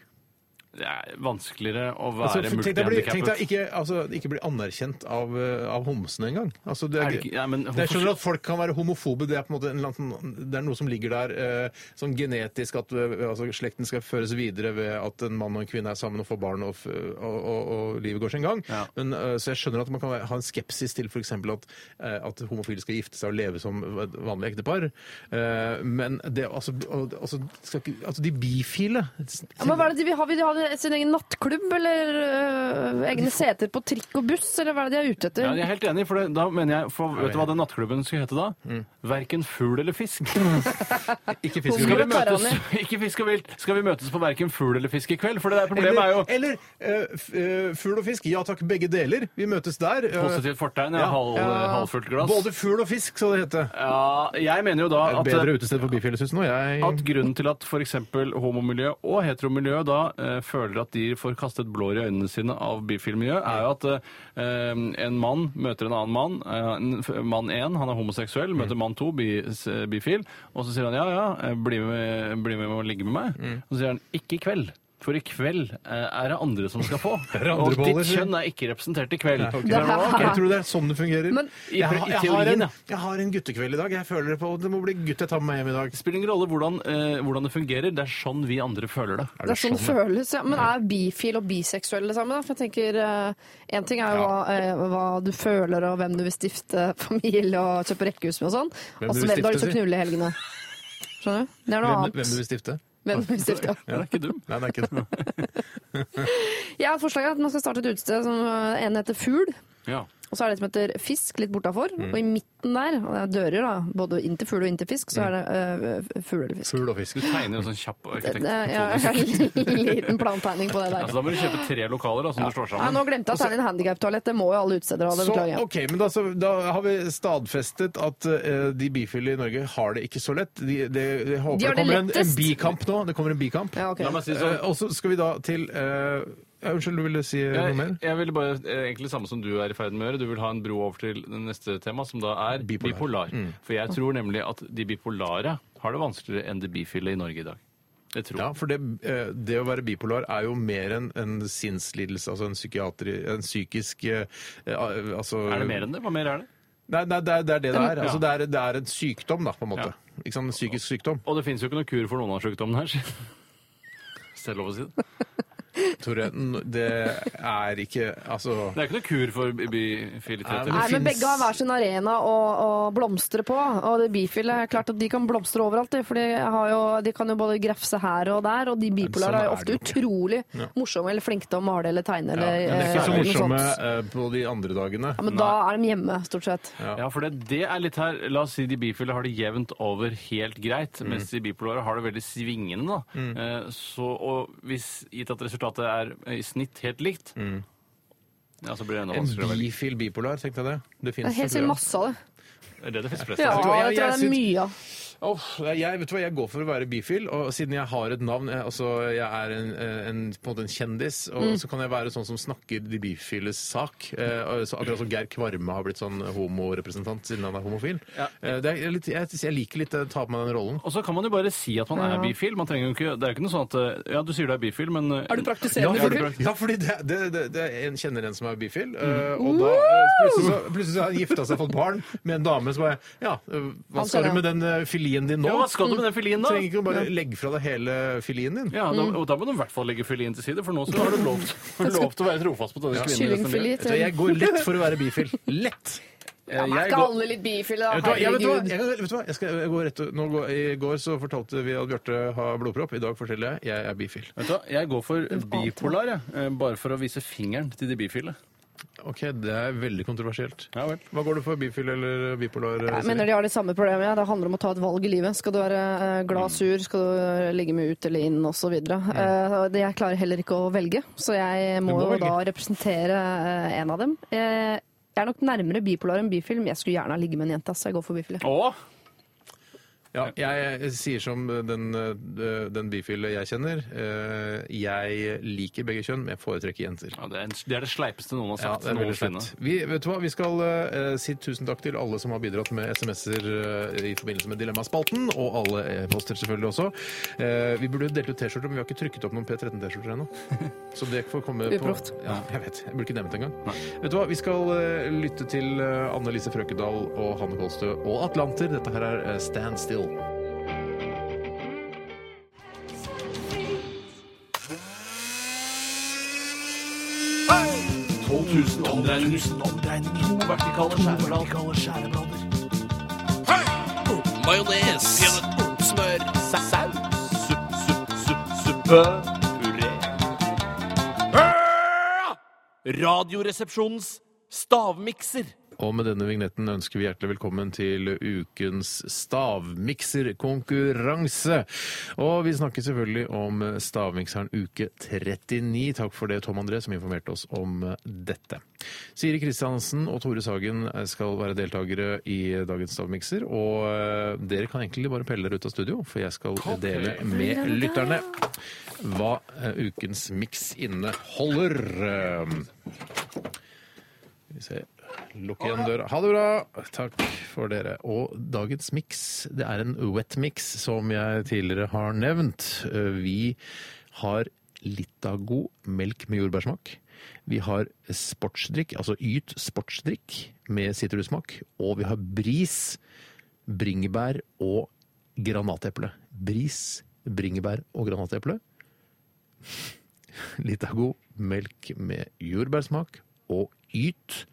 Speaker 4: Det er vanskeligere å
Speaker 2: Altså,
Speaker 4: være
Speaker 2: for- tenk deg å bli- tenk deg
Speaker 4: multihandikappet.
Speaker 2: ikke, altså, ikke bli anerkjent av, eh, av homsene engang. Altså, det
Speaker 4: Er
Speaker 2: er,
Speaker 4: det ikke- Nei, men
Speaker 2: jeg
Speaker 4: hvorfor-
Speaker 2: skjønner at folk kan være homofobe. Det er, på en måte en eller annen, sånn- det er noe som ligger der eh, sånn genetisk, at eh, altså, slekten skal føres videre ved at en mann og en kvinne er sammen og får barn, og, f- og, og, og livet går sin gang. Men, eh, så jeg skjønner at man kan være- ha en skepsis til f.eks. At, eh, at homofile skal gifte seg og leve som vanlige ektepar. Eh, men det altså, og- altså, skal ikke, altså de bifile
Speaker 3: Ja, men hva er det de vil ha? Vil de ha sin egen nattklubb, eller øh, egne seter på trikk og buss, eller hva er det de er ute etter?
Speaker 4: Ja, jeg er helt enig, for det, da mener jeg for, Vet du hva den nattklubben skulle hete da?
Speaker 2: Mm.
Speaker 4: Verken fugl eller fisk.
Speaker 2: ikke
Speaker 3: fisk og
Speaker 4: skal vi
Speaker 3: vilt.
Speaker 4: møtes, Ikke fisk og vilt. Skal vi møtes på verken fugl eller fisk i kveld? For det der problemet er jo
Speaker 2: Eller eh, f- eh, fugl og fisk. Ja takk, begge deler. Vi møtes der. eh,
Speaker 4: Positivt fortegn, ja. Halv, Halvfullt glass.
Speaker 2: Både fugl og fisk, skal det hete.
Speaker 4: Ja, jeg mener jo da
Speaker 2: Det er et
Speaker 4: at
Speaker 2: bedre utested for bifile, syns nå jeg.
Speaker 4: At grunnen til at f.eks. homomiljø og heteromiljø da eh, føler at de får kastet blår i øynene sine av bifilmiljø, er jo at eh, en mann møter en annen mann. Eh, en f- mann én, han er homoseksuell, møter mann to, bi, s- bifil. Og så sier han ja, ja, eh, bli med, bli med og ligge med meg.
Speaker 2: Mm.
Speaker 4: Og så sier han ikke i kveld. For i kveld eh, er det andre som skal få.
Speaker 2: Er det andre
Speaker 4: Og
Speaker 2: boller,
Speaker 4: ditt
Speaker 2: sier han.
Speaker 4: kjønn er ikke representert i kveld.
Speaker 2: Ja, ok.
Speaker 4: Så er det bare, ok.
Speaker 2: Jeg tror det er sånn det fungerer.
Speaker 4: Men-
Speaker 2: jeg, har-
Speaker 4: I- i
Speaker 2: jeg, har en,
Speaker 4: teorien, ja.
Speaker 2: jeg har en guttekveld i dag. Jeg føler det på Det må bli gutt jeg tar med meg hjem i dag.
Speaker 4: Det spiller ingen rolle hvordan, eh, hvordan det fungerer, det er sånn vi andre føler det.
Speaker 3: Det er sånn det føles, ja. Men er bifil og biseksuelle sammen? Da? For jeg tenker, Én ting er jo hva, eh, hva du føler, og hvem du vil stifte familie og kjøpe rekkehus med og sånn.
Speaker 2: Hvem
Speaker 3: Og
Speaker 2: du
Speaker 3: så
Speaker 2: vil
Speaker 3: hvem du
Speaker 2: stifte,
Speaker 3: har lyst til å
Speaker 2: sier.
Speaker 3: knulle i helgene. Skjønner du? Det er noe
Speaker 2: Hvem,
Speaker 3: annet.
Speaker 2: hvem du vil stifte?
Speaker 3: Hvem du vil stifte, ja.
Speaker 2: Den er ikke dum. Nei, den er ikke dum.
Speaker 3: Jeg har et forslag at man skal starte et utested som eh, en heter Fugl.
Speaker 2: ja.
Speaker 3: Og så er det et som heter Fisk, litt bortafor.
Speaker 2: Mm.
Speaker 3: Og i midten der, og det er dører da, både inn til fugl og inn til fisk, så er det eh, fugl eller fisk.
Speaker 2: Mm. Fugl og fisk.
Speaker 4: Du tegner en sånn kjapp arkitekt.
Speaker 3: Det- det- Jeg har en liten plantegning på det der.
Speaker 4: Altså, da må du kjøpe tre lokaler da, som du slår
Speaker 3: Nei,
Speaker 4: sammen.
Speaker 3: nå glemte jeg å tegne inn handikaptoalett. Det må jo alle utesteder ha. det
Speaker 2: Så,
Speaker 3: beklager jeg.
Speaker 2: ok, men da, så, da har vi stadfestet at eh, de bifile i Norge har det ikke så lett. De, de, jeg håper
Speaker 3: De
Speaker 2: det kommer
Speaker 3: har det
Speaker 2: en, en
Speaker 3: lettest.
Speaker 2: bikamp nå. Det kommer en bikamp.
Speaker 3: Ja, ok. La meg si det
Speaker 4: sånn.
Speaker 2: Eh, og så skal vi da til eh, ja, Unnskyld, du ville si noe
Speaker 4: Jeg,
Speaker 2: mer?
Speaker 4: jeg ville bare eh, egentlig det samme som du er i ferd med å gjøre. Du vil ha en bro over til det neste tema, som da er bipolar.
Speaker 2: Mm.
Speaker 4: For jeg tror nemlig at de bipolare har det vanskeligere enn de bifile i Norge i dag. Jeg tror.
Speaker 2: Ja, for det, eh, det å være bipolar er jo mer enn en sinnslidelse, altså en, psykiatri- en psykisk eh, eh, altså,
Speaker 4: Er det mer enn det? Hva mer er det?
Speaker 2: Nei, nei det, er, det er det det er.
Speaker 4: Ja.
Speaker 2: Altså, det, er det er en sykdom, da, på en måte. Ikke sant? En psykisk sykdom.
Speaker 4: Og det fins jo ikke noen kur for noen av sykdommene her. Hvis det er lov å si det.
Speaker 2: Tore, n- det er ikke Altså
Speaker 4: Det er ikke noen kur for bi- bifilitet.
Speaker 3: Nei, men Begge har hver sin arena å, å blomstre på. Og det bifile er klart at de kan blomstre overalt, de, for de, har jo, de kan jo både grefse her og der. Og de bipolare
Speaker 2: sånn
Speaker 3: er
Speaker 2: er
Speaker 3: jo ofte
Speaker 2: det
Speaker 3: utrolig
Speaker 2: Ja.
Speaker 3: morsomme eller flinke til å male eller tegne. Eller,
Speaker 2: Men det er ikke så
Speaker 3: eh, noe
Speaker 2: morsomme
Speaker 3: sånt.
Speaker 2: eh, på de andre dagene.
Speaker 3: Ja, men da er de hjemme, stort sett.
Speaker 2: Ja.
Speaker 4: for det, det er litt her La oss si de bifile har det jevnt over helt greit,
Speaker 2: Mm.
Speaker 4: mens de bipolare har det veldig svingende. Da.
Speaker 2: Mm.
Speaker 4: Eh, så, og hvis, gitt at resultatet er eh, i snitt helt likt, ja, så blir det enda
Speaker 2: Mm. En
Speaker 4: vanskeligere å velge.
Speaker 2: bifil bipolar, tenkte jeg det. Det
Speaker 3: Det er
Speaker 2: finnes
Speaker 3: helt sikkert masse av det.
Speaker 4: Er det det finnes flest
Speaker 3: Ja,
Speaker 4: av?
Speaker 3: det tror jeg det er mye av.
Speaker 2: Uff, jeg, vet du hva, jeg går for å være bifil, og siden jeg har et navn Jeg, altså, jeg er en, eh, en, på en måte en kjendis, og
Speaker 3: Mm.
Speaker 2: så kan jeg være sånn som snakker de bifiles sak. Eh, og så akkurat som Geir Kvarme har blitt sånn homorepresentant siden han er homofil. Eh, det er litt, jeg, jeg liker litt å ta på meg den rollen.
Speaker 4: Og så kan man jo bare si at man
Speaker 2: Ja.
Speaker 4: er bifil. Man trenger jo ikke, det er jo ikke noe sånn at eh, Ja, du sier du er bifil, men eh,
Speaker 2: Ja,
Speaker 4: ja, er du
Speaker 2: fordi,
Speaker 4: praktiserende
Speaker 2: ja, fordi det, det, det, det er en kjenner en som er bifil, eh,
Speaker 4: Mm.
Speaker 2: og da eh, plutselig, så, plutselig så har han gifta seg og fått barn med en dame som bare Ja, eh, hva
Speaker 4: Han
Speaker 2: skal
Speaker 4: kjenner
Speaker 2: du med den eh, filien din nå?
Speaker 4: Ja, hva skal du med den filien da?
Speaker 2: Trenger ikke Mm. å bare
Speaker 4: Ja.
Speaker 2: legge fra deg hele filien din.
Speaker 4: Ja, da, og da må du i hvert fall legge filien til side, for nå så har du lov, lov til å være trofast mot denne
Speaker 2: Ja.
Speaker 4: kvinnen. resten av
Speaker 2: Vet
Speaker 4: livet.
Speaker 2: du hva, Jeg går lett for å være bifil. Lett!
Speaker 3: Ja, men er
Speaker 2: Jeg
Speaker 3: ikke
Speaker 2: går-
Speaker 3: alle litt bifile, da?
Speaker 2: Jeg vet hva, jeg vet hva,
Speaker 3: Herregud.
Speaker 2: jeg, vet hva, jeg skal, jeg går rett, nå går, I går så fortalte vi at Bjarte har blodpropp. I dag forteller jeg jeg er bifil.
Speaker 4: Vet du hva, jeg går for bipolar, jeg. Eh, Bare for å vise fingeren til de bifile.
Speaker 2: Ok, Det er veldig kontroversielt.
Speaker 4: Ja vel.
Speaker 2: Hva går du for? Bifil eller bipolar?
Speaker 3: Jeg
Speaker 2: Siri?
Speaker 3: mener de har det samme problemet. Ja. Det handler om å ta et valg i livet. Skal du være eh, glad, sur, skal du eh, ligge med ut eller inn, osv. Eh, Jeg klarer heller ikke å velge, så jeg må,
Speaker 15: må
Speaker 3: jo
Speaker 15: velge.
Speaker 3: da representere eh, en av dem. Eh, Jeg er nok nærmere bipolar enn bifil, men jeg skulle gjerne ha ligget med en jente, så jeg går for bifil.
Speaker 2: Ja, jeg sier som den, eh, den bifile jeg kjenner. eh, Jeg liker begge kjønn, men jeg foretrekker jenter.
Speaker 4: Ja, det, er en, det er det sleipeste noen har
Speaker 2: Ja,
Speaker 4: sagt.
Speaker 2: det er veldig
Speaker 4: noensinne.
Speaker 2: fett. Vi, vet du hva? vi skal eh, si tusen takk til alle som har bidratt med SMS-er eh, i forbindelse med Dilemmaspalten, og alle e-poster selvfølgelig også. Eh, vi burde delt ut T-skjorter, men vi har ikke trykket opp noen P13-T-skjorter ennå. Så det får komme
Speaker 3: Uproft.
Speaker 2: på Ja, jeg vet. Jeg burde ikke nevnt det engang. Vet du hva? Vi skal eh, lytte til eh, Anne Lise Frøkedal og Hanne Kolstø og Atlanter. Dette her er eh, Stand Still.
Speaker 10: Hei! 12 000 omdreininger. To vertikale skjæreblader. Hei! Majones. Smør. Saus. Supp, supp, supp, suppe. Puré. Ah! Radioresepsjonens stavmikser.
Speaker 2: Og med denne vignetten ønsker vi hjertelig velkommen til ukens stavmikserkonkurranse. Og vi snakker selvfølgelig om stavmikseren uke 39. Takk for det, Tom André, som informerte oss om dette. Siri Kristiansen og Tore Sagen skal være deltakere i dagens stavmikser. Og eh, dere kan egentlig bare pelle dere ut av studio, for jeg skal dele med lytterne hva eh, ukens miks inneholder. Eh, vi ser. Lukk igjen døra. Ha det bra! Takk for dere. Og dagens miks, det er en wet mix, som jeg tidligere har nevnt. Eh, Vi har Litago melk med jordbærsmak. Vi har sportsdrikk, altså Yt sportsdrikk med sitrussmak. Og vi har Bris, bringebær og granateple. Bris, bringebær og granateple. Litago melk med jordbærsmak og Yt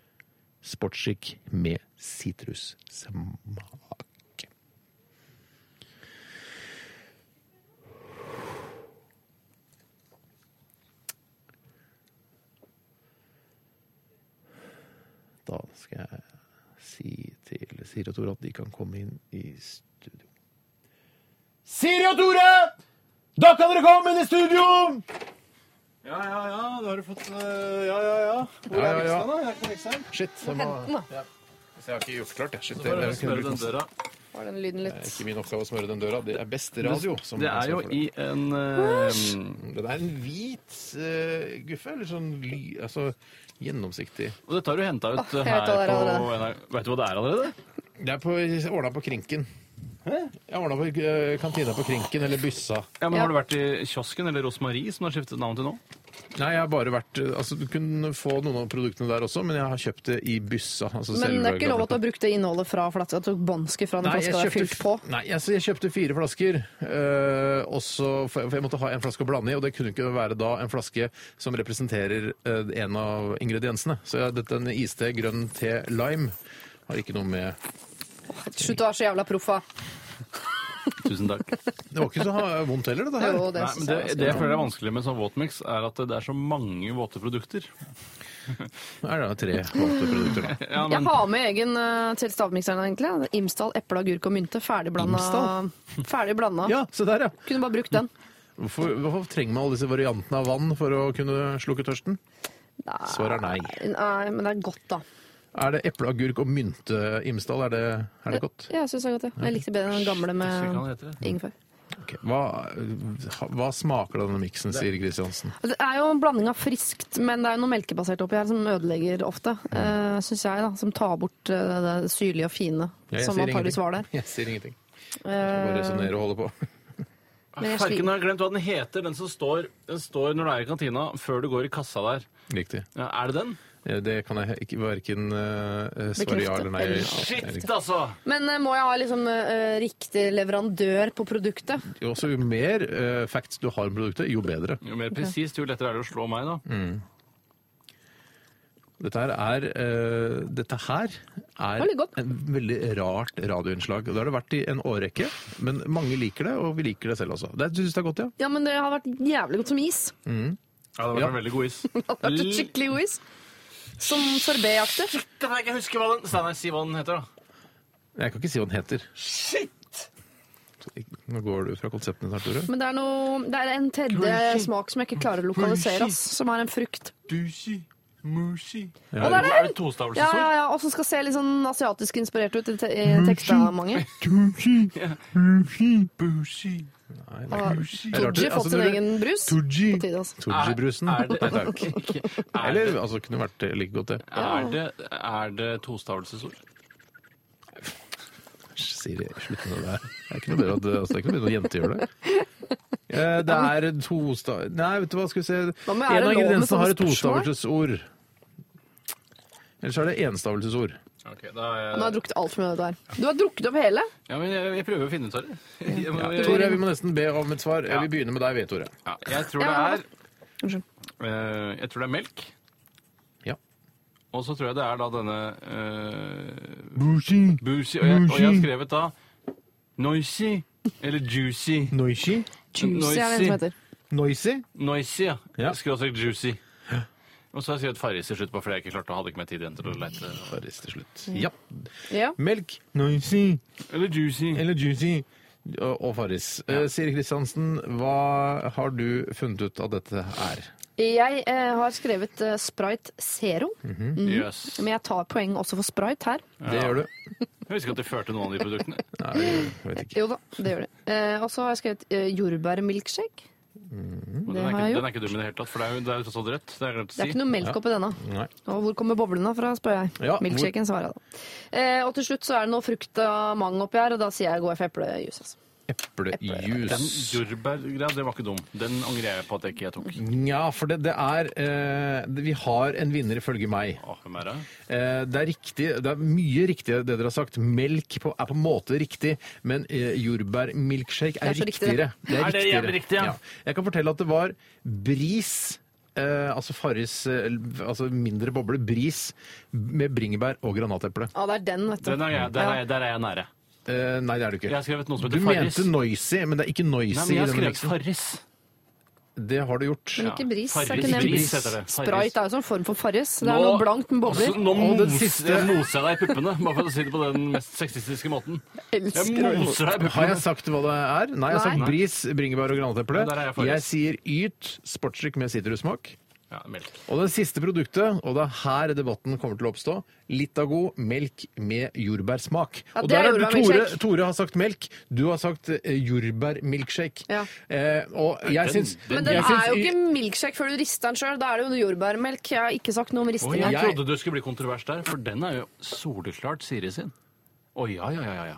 Speaker 2: sportsdrikk med sitrussmak. Siri og Tore at de kan komme inn i studio.
Speaker 11: Siri og Tore! Da kan dere komme inn i studio!
Speaker 10: Ja, ja, ja. Da har du fått eh, Ja, ja, ja. Hvor
Speaker 2: Ja, ja,
Speaker 10: er
Speaker 2: ja.
Speaker 10: miksen, da? Jeg har ikke miksen.
Speaker 2: Shit. Den var... Så jeg har ikke gjort klart, jeg. Shit,
Speaker 10: Så bare
Speaker 2: det- jeg
Speaker 10: smøre
Speaker 2: kunne brukt
Speaker 10: den
Speaker 2: masse-
Speaker 10: døra.
Speaker 3: Var den lyden
Speaker 2: Det er
Speaker 3: litt
Speaker 2: ikke min oppgave å smøre den døra. Det er best radio. som
Speaker 4: det er jo
Speaker 2: står for det.
Speaker 4: i en eh,
Speaker 2: Det er en hvit eh, guffe, eller sånn ly... Altså gjennomsiktig.
Speaker 4: Og dette har du henta ut
Speaker 2: Åh, jeg vet hva
Speaker 4: her
Speaker 2: det er
Speaker 4: på
Speaker 2: allerede.
Speaker 4: NRK. Vet du hva det er allerede?
Speaker 2: Det er på, ordna på Krinken. Jeg ordna på eh, kantina på Krinken, eller Byssa.
Speaker 4: Ja, men Har du vært i kiosken eller Rosmarie, som du har skiftet navn til nå?
Speaker 2: Nei, jeg har bare vært Altså, du kunne få noen av produktene der også, men jeg har kjøpt det i Byssa. Altså
Speaker 3: Men det er
Speaker 2: selve
Speaker 3: ikke lov
Speaker 2: gamle-
Speaker 3: at du har brukt det innholdet fra flaska? At du tok bånsket fra den flaska det er fylt på?
Speaker 2: Nei, altså, jeg kjøpte fire flasker, eh, og så, for, jeg- for jeg måtte ha en flaske å blande i, og det kunne ikke være da en flaske som representerer eh, en av ingrediensene. Så jeg, dette er en iste, grønn te, lime. Har ikke noe med
Speaker 3: Slutt å være så jævla proffa.
Speaker 4: Tusen takk.
Speaker 2: Det var ikke så ha- vondt heller, det her.
Speaker 3: Jo, det
Speaker 4: Nei,
Speaker 3: synes jeg
Speaker 4: men det,
Speaker 3: var skummelt.
Speaker 4: det jeg føler er vanskelig med sånn våtmix, er at det er så mange våte produkter.
Speaker 2: Er det tre våte produkter, da?
Speaker 4: Ja,
Speaker 3: Jeg
Speaker 4: men
Speaker 3: har med egen eh, til stavmikseren, egentlig. Imsdal, eple, agurk og mynte. Ferdig blanda.
Speaker 2: Imsdal?
Speaker 3: Ferdig blanda.
Speaker 2: Ja, se der, ja.
Speaker 3: Kunne bare brukt den.
Speaker 2: Hvorfor, hvorfor trenger man alle disse variantene av vann for å kunne slukke tørsten? Svaret er nei.
Speaker 3: Nei, men det er godt, da.
Speaker 2: Er det eple, agurk og mynte, Imsdal? Er det, er det godt?
Speaker 3: Ja, jeg synes det er godt, ja. Jeg likte bedre den gamle med ingefær.
Speaker 2: Ok, Hva, hva smaker denne miksen, sier Kristiansen?
Speaker 3: Altså, Det er jo en blanding av friskt, men det er jo noe melkebasert oppi her som ødelegger ofte, mm. syns jeg, da. Som tar bort eh, det syrlige og fine
Speaker 2: Ja, jeg
Speaker 3: som
Speaker 2: sier
Speaker 3: antakeligvis
Speaker 2: ingenting.
Speaker 3: var der.
Speaker 2: Jeg sier ingenting. Bare
Speaker 3: Eh,
Speaker 2: resonnere og holde på.
Speaker 3: Men jeg
Speaker 4: Farken
Speaker 3: sliter.
Speaker 4: har jeg glemt hva den heter, den som står, den står når du er i kantina, før du går i kassa der.
Speaker 2: Riktig.
Speaker 4: Ja, er det den?
Speaker 2: Eh, Det kan jeg ikke verken eh, svare ja eller nei.
Speaker 3: Bekrefte.
Speaker 4: Shit, altså!
Speaker 3: men eh, må jeg ha liksom eh, riktig leverandør på produktet?
Speaker 2: Jo, også jo mer eh, facts du har om produktet, jo bedre.
Speaker 4: Jo mer presist, jo lettere er det å slå meg, da.
Speaker 2: Mm. Dette her er, eh, dette her er
Speaker 3: Veldig
Speaker 2: en veldig rart radioinnslag. og Det har det vært i en årrekke, men mange liker det, og vi liker det selv også. Det du synes det er godt, ja?
Speaker 3: Ja, men det har vært jævlig godt som is.
Speaker 2: Mm.
Speaker 4: Ja, det var en veldig god is.
Speaker 3: Det har vært et skikkelig god is. Som sorbetaktig.
Speaker 4: Jeg kan ikke huske hva den Steinar, si hva den heter, da.
Speaker 2: Jeg kan ikke si hva den heter. Nå går du fra konseptene snart, Tore.
Speaker 3: Men det er, noe, det er en tredje smak som jeg ikke klarer å lokalisere, ass, som er en frukt.
Speaker 10: Douchey, mushy.
Speaker 3: Å, der er den!
Speaker 4: tostavelsesord?
Speaker 3: Ja, ja, ja, og som skal se litt sånn asiatisk inspirert ut i, te i teksta mange.
Speaker 2: Nei,
Speaker 3: Og
Speaker 2: det er rart.
Speaker 3: Tooji
Speaker 2: Altså,
Speaker 3: fått sin
Speaker 2: dere-
Speaker 3: egen brus.
Speaker 2: Tooji.
Speaker 3: På tide, altså.
Speaker 2: Torgi-brusen.
Speaker 4: Er- er det-
Speaker 2: Nei, takk. Eller altså, kunne vært like godt, det.
Speaker 4: Er det, er det tostavelsesord?
Speaker 2: Æsj, Siri, slutt med det der. Det er ikke noe bedre at altså, det er ikke noe bedre at jenter gjør det. Eh, Det er tosta... Nei, vet du hva, skal vi se.
Speaker 3: Hva
Speaker 2: En
Speaker 3: med- er det
Speaker 2: av
Speaker 3: lov med
Speaker 2: ingrediensene
Speaker 3: sånne
Speaker 2: har et
Speaker 3: spørsmål?
Speaker 2: tostavelsesord. Ellers er det enstavelsesord.
Speaker 4: Ok, da er
Speaker 3: Nå har jeg
Speaker 4: jeg...
Speaker 3: drukket altfor mye av dette her. Du har drukket opp hele?
Speaker 4: Ja, men jeg, jeg prøver å finne ut av det. Jeg, må- jeg,
Speaker 2: Tore, vi må nesten be om et svar. Vi begynner med deg, vi, Tore.
Speaker 4: ja, jeg tror det
Speaker 3: Ja.
Speaker 4: er eh, Jeg tror det er melk.
Speaker 2: Ja.
Speaker 4: Og så tror jeg det er da denne uh, Boozy. Og jeg, og jeg har skrevet da Noisy eller Juicy.
Speaker 2: Noisy?
Speaker 3: Juicy er det den som heter.
Speaker 2: Noisy?
Speaker 4: Noisy, ja. Skråstrek Juicy. Og så har jeg skrevet Farris til slutt på, for jeg ikke klarte å hadde ikke mer tid igjen til å lete.
Speaker 2: Farris til slutt. Ja.
Speaker 3: Ja.
Speaker 2: Melk. Noisy.
Speaker 4: Eller juicy.
Speaker 2: Eller juicy. Og og Farris. Eh, Siri Kristiansen, hva har du funnet ut av dette er?
Speaker 3: Jeg eh, har skrevet eh, Sprite Zero.
Speaker 2: Mhm.
Speaker 3: Mhm.
Speaker 4: Yes.
Speaker 3: Men jeg tar poeng også for Sprite her.
Speaker 2: Det gjør du.
Speaker 4: Jeg visste ikke at de førte noen av de produktene.
Speaker 3: Jo da, det gjør det. Eh, og så har jeg skrevet eh, jordbærmilkshake.
Speaker 4: Men
Speaker 3: Det
Speaker 4: den, er
Speaker 3: har
Speaker 4: ikke,
Speaker 3: jeg
Speaker 4: den er ikke dum i det hele tatt, for det er jo, det er jo tross alt rødt. Det, har jeg glemt å
Speaker 3: Det er
Speaker 4: si.
Speaker 3: ikke noe melk oppi denne.
Speaker 2: Nei.
Speaker 3: Og hvor kommer boblene fra, spør jeg.
Speaker 4: Ja, hvor-
Speaker 3: Milkshaken svarer jeg da. Eh, og til slutt så er det noe frukt av mango oppi her, og da sier jeg går for eplejus. Altså.
Speaker 4: Den
Speaker 2: Eplejus.
Speaker 4: jordbærgreia, det var ikke dum. Den angrer jeg på at jeg ikke tok.
Speaker 2: Nja, for det, det er eh, det- Vi har en vinner, ifølge meg.
Speaker 4: Å, hvem er det?
Speaker 2: Eh, det, er riktig, det er mye riktig det dere har sagt. Melk på, er på en måte riktig, men eh, jordbærmilkshake er,
Speaker 4: Det er så riktig,
Speaker 2: riktigere.
Speaker 4: det. Er det jævlig riktig, ja?
Speaker 2: Jeg kan fortelle at det var bris. Eh, altså Farris eh, altså mindre boble, bris med bringebær og granateple.
Speaker 3: Ja, det er den, vet du.
Speaker 4: Den er jeg, der, er jeg, der er jeg nære.
Speaker 2: Eh, nei, det er du ikke.
Speaker 4: Jeg har skrevet noe som
Speaker 2: du
Speaker 4: heter Farris.
Speaker 2: mente noisy, men det er ikke
Speaker 4: Nei,
Speaker 2: noisy
Speaker 4: men jeg
Speaker 2: i
Speaker 4: har
Speaker 2: denne
Speaker 4: skrevet
Speaker 2: miksen.
Speaker 4: Farris.
Speaker 2: Det har du gjort.
Speaker 3: Men ikke bris.
Speaker 4: Farris.
Speaker 3: er ikke nevnt.
Speaker 4: Bris heter det. Farris.
Speaker 3: Sprite er jo sånn form for Farris. Det er
Speaker 4: Nå-
Speaker 3: noe blankt med bobler.
Speaker 4: Altså, nå
Speaker 2: Og den
Speaker 4: mos-
Speaker 2: siste-
Speaker 4: jeg moser jeg deg i puppene, bare for å si det på den mest sexistiske måten.
Speaker 3: Elsker
Speaker 4: Jeg moser deg i
Speaker 2: Har jeg
Speaker 4: puppene.
Speaker 2: sagt hva det er? Nei, jeg har sagt
Speaker 4: Nei.
Speaker 2: bris, bringebær og granateple.
Speaker 4: Ja, der er jeg forrest.
Speaker 2: jeg sier yt, sportsdrikk med sitrussmak.
Speaker 4: Ja, melk.
Speaker 2: Og det siste produktet, og det er her debatten kommer til å oppstå, Litago melk med jordbærsmak.
Speaker 3: Ja,
Speaker 2: og
Speaker 3: det er
Speaker 2: der er du, Tore,
Speaker 3: jordbærmilkshake.
Speaker 2: Tore har sagt melk, du har sagt eh, jordbærmilkshake.
Speaker 3: Ja.
Speaker 2: Eh, og jeg
Speaker 4: Den-
Speaker 2: syns
Speaker 3: Men den
Speaker 2: jeg syns
Speaker 3: er jo
Speaker 2: y-
Speaker 3: ikke milkshake før du rister den sjøl. Da er det jo jordbærmelk. Jeg har ikke sagt noe om
Speaker 4: Oi,
Speaker 3: risting.
Speaker 4: jeg
Speaker 3: her.
Speaker 4: trodde du skulle bli kontrovers der, for den er jo soleklart Siri sin. Å ja, ja, ja, ja, ja.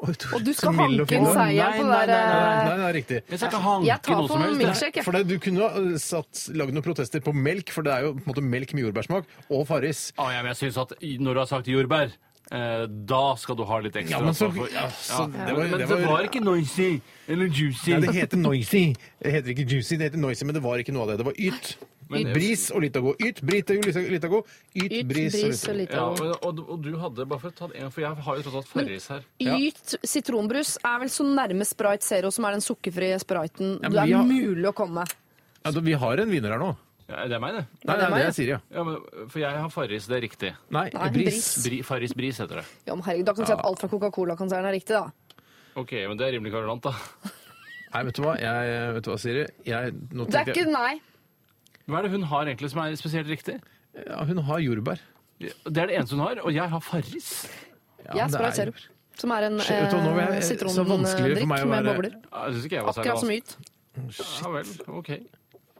Speaker 3: Og du skal
Speaker 2: Så mild og
Speaker 3: hanke inn
Speaker 2: fin.
Speaker 3: seieren på det
Speaker 2: Nei,
Speaker 4: Nei, nei, nei,
Speaker 3: der eh,
Speaker 2: nei, det er riktig.
Speaker 4: Jeg skal ikke hanke
Speaker 3: Jeg tar
Speaker 4: noe
Speaker 3: på
Speaker 4: som helst.
Speaker 3: milkshake. jeg.
Speaker 2: For det, Du kunne ha eh, satt- lagd noen protester på melk, for det er jo på en måte melk med jordbærsmak, og Farris.
Speaker 4: Å, ja, men jeg synes at i- når du har sagt jordbær, eh, da skal du ha litt ekstra.
Speaker 2: Ja, men så-
Speaker 4: ansvar for-
Speaker 2: ja, så det var-
Speaker 4: men
Speaker 2: det
Speaker 4: det
Speaker 2: var-
Speaker 4: var, ikke noisy eller juicy.
Speaker 2: Nei, det heter Noisy. Det heter ikke Juicy, det heter Noisy, men det var ikke noe av det. Det var Yt.
Speaker 4: Men-
Speaker 2: bris og Litago. Yt, Britago, Litago, Litago. Yt,
Speaker 3: Yt,
Speaker 2: bris,
Speaker 3: bris og
Speaker 2: og Litago.
Speaker 4: ja,
Speaker 3: Litago.
Speaker 4: men- og, og du hadde bare for, å ta det en, for jeg har jo tross alt Farris her.
Speaker 2: Ja.
Speaker 3: Yt sitronbrus er vel så nærme Sprite Zero, som er den sukkerfrie spriten
Speaker 2: Ja, men
Speaker 3: det
Speaker 2: vi
Speaker 3: er
Speaker 2: har-
Speaker 3: mulig å komme.
Speaker 2: Ja, da, vi har en vinner her nå.
Speaker 4: Ja, det er meg, det.
Speaker 2: Nei, nei, det er Siri, ja.
Speaker 4: Ja, men, for jeg har Farris, det er riktig.
Speaker 2: Nei,
Speaker 3: Nei,
Speaker 2: bris.
Speaker 3: bris.
Speaker 4: Bri, Farris Bris heter det.
Speaker 3: Ja, men herregud, da kan du si at alt fra Coca-Cola-konsernet er riktig, da.
Speaker 4: Ok, men det er rimelig kvarulant, da.
Speaker 2: Nei, vet du hva, jeg, vet du hva Siri? Jeg, nå
Speaker 3: Det er
Speaker 2: tenkte
Speaker 3: ikke
Speaker 2: jeg
Speaker 3: nei.
Speaker 4: Hva er det hun har egentlig som er spesielt riktig?
Speaker 2: ja, Hun har jordbær.
Speaker 4: Det er det eneste hun har, og jeg har Farris.
Speaker 3: Jeg er Sprite Zero, som er en
Speaker 2: Shit, vet du hva, nå vil jeg-
Speaker 3: eh,
Speaker 2: så vanskelig for
Speaker 3: sitrondrikk
Speaker 2: meg å
Speaker 3: med
Speaker 2: være- Altså,
Speaker 3: bobler.
Speaker 4: Ja, Jeg synes ikke jeg var særlig
Speaker 3: Akkurat som Yt.
Speaker 4: vanskelig. Ja vel, ok.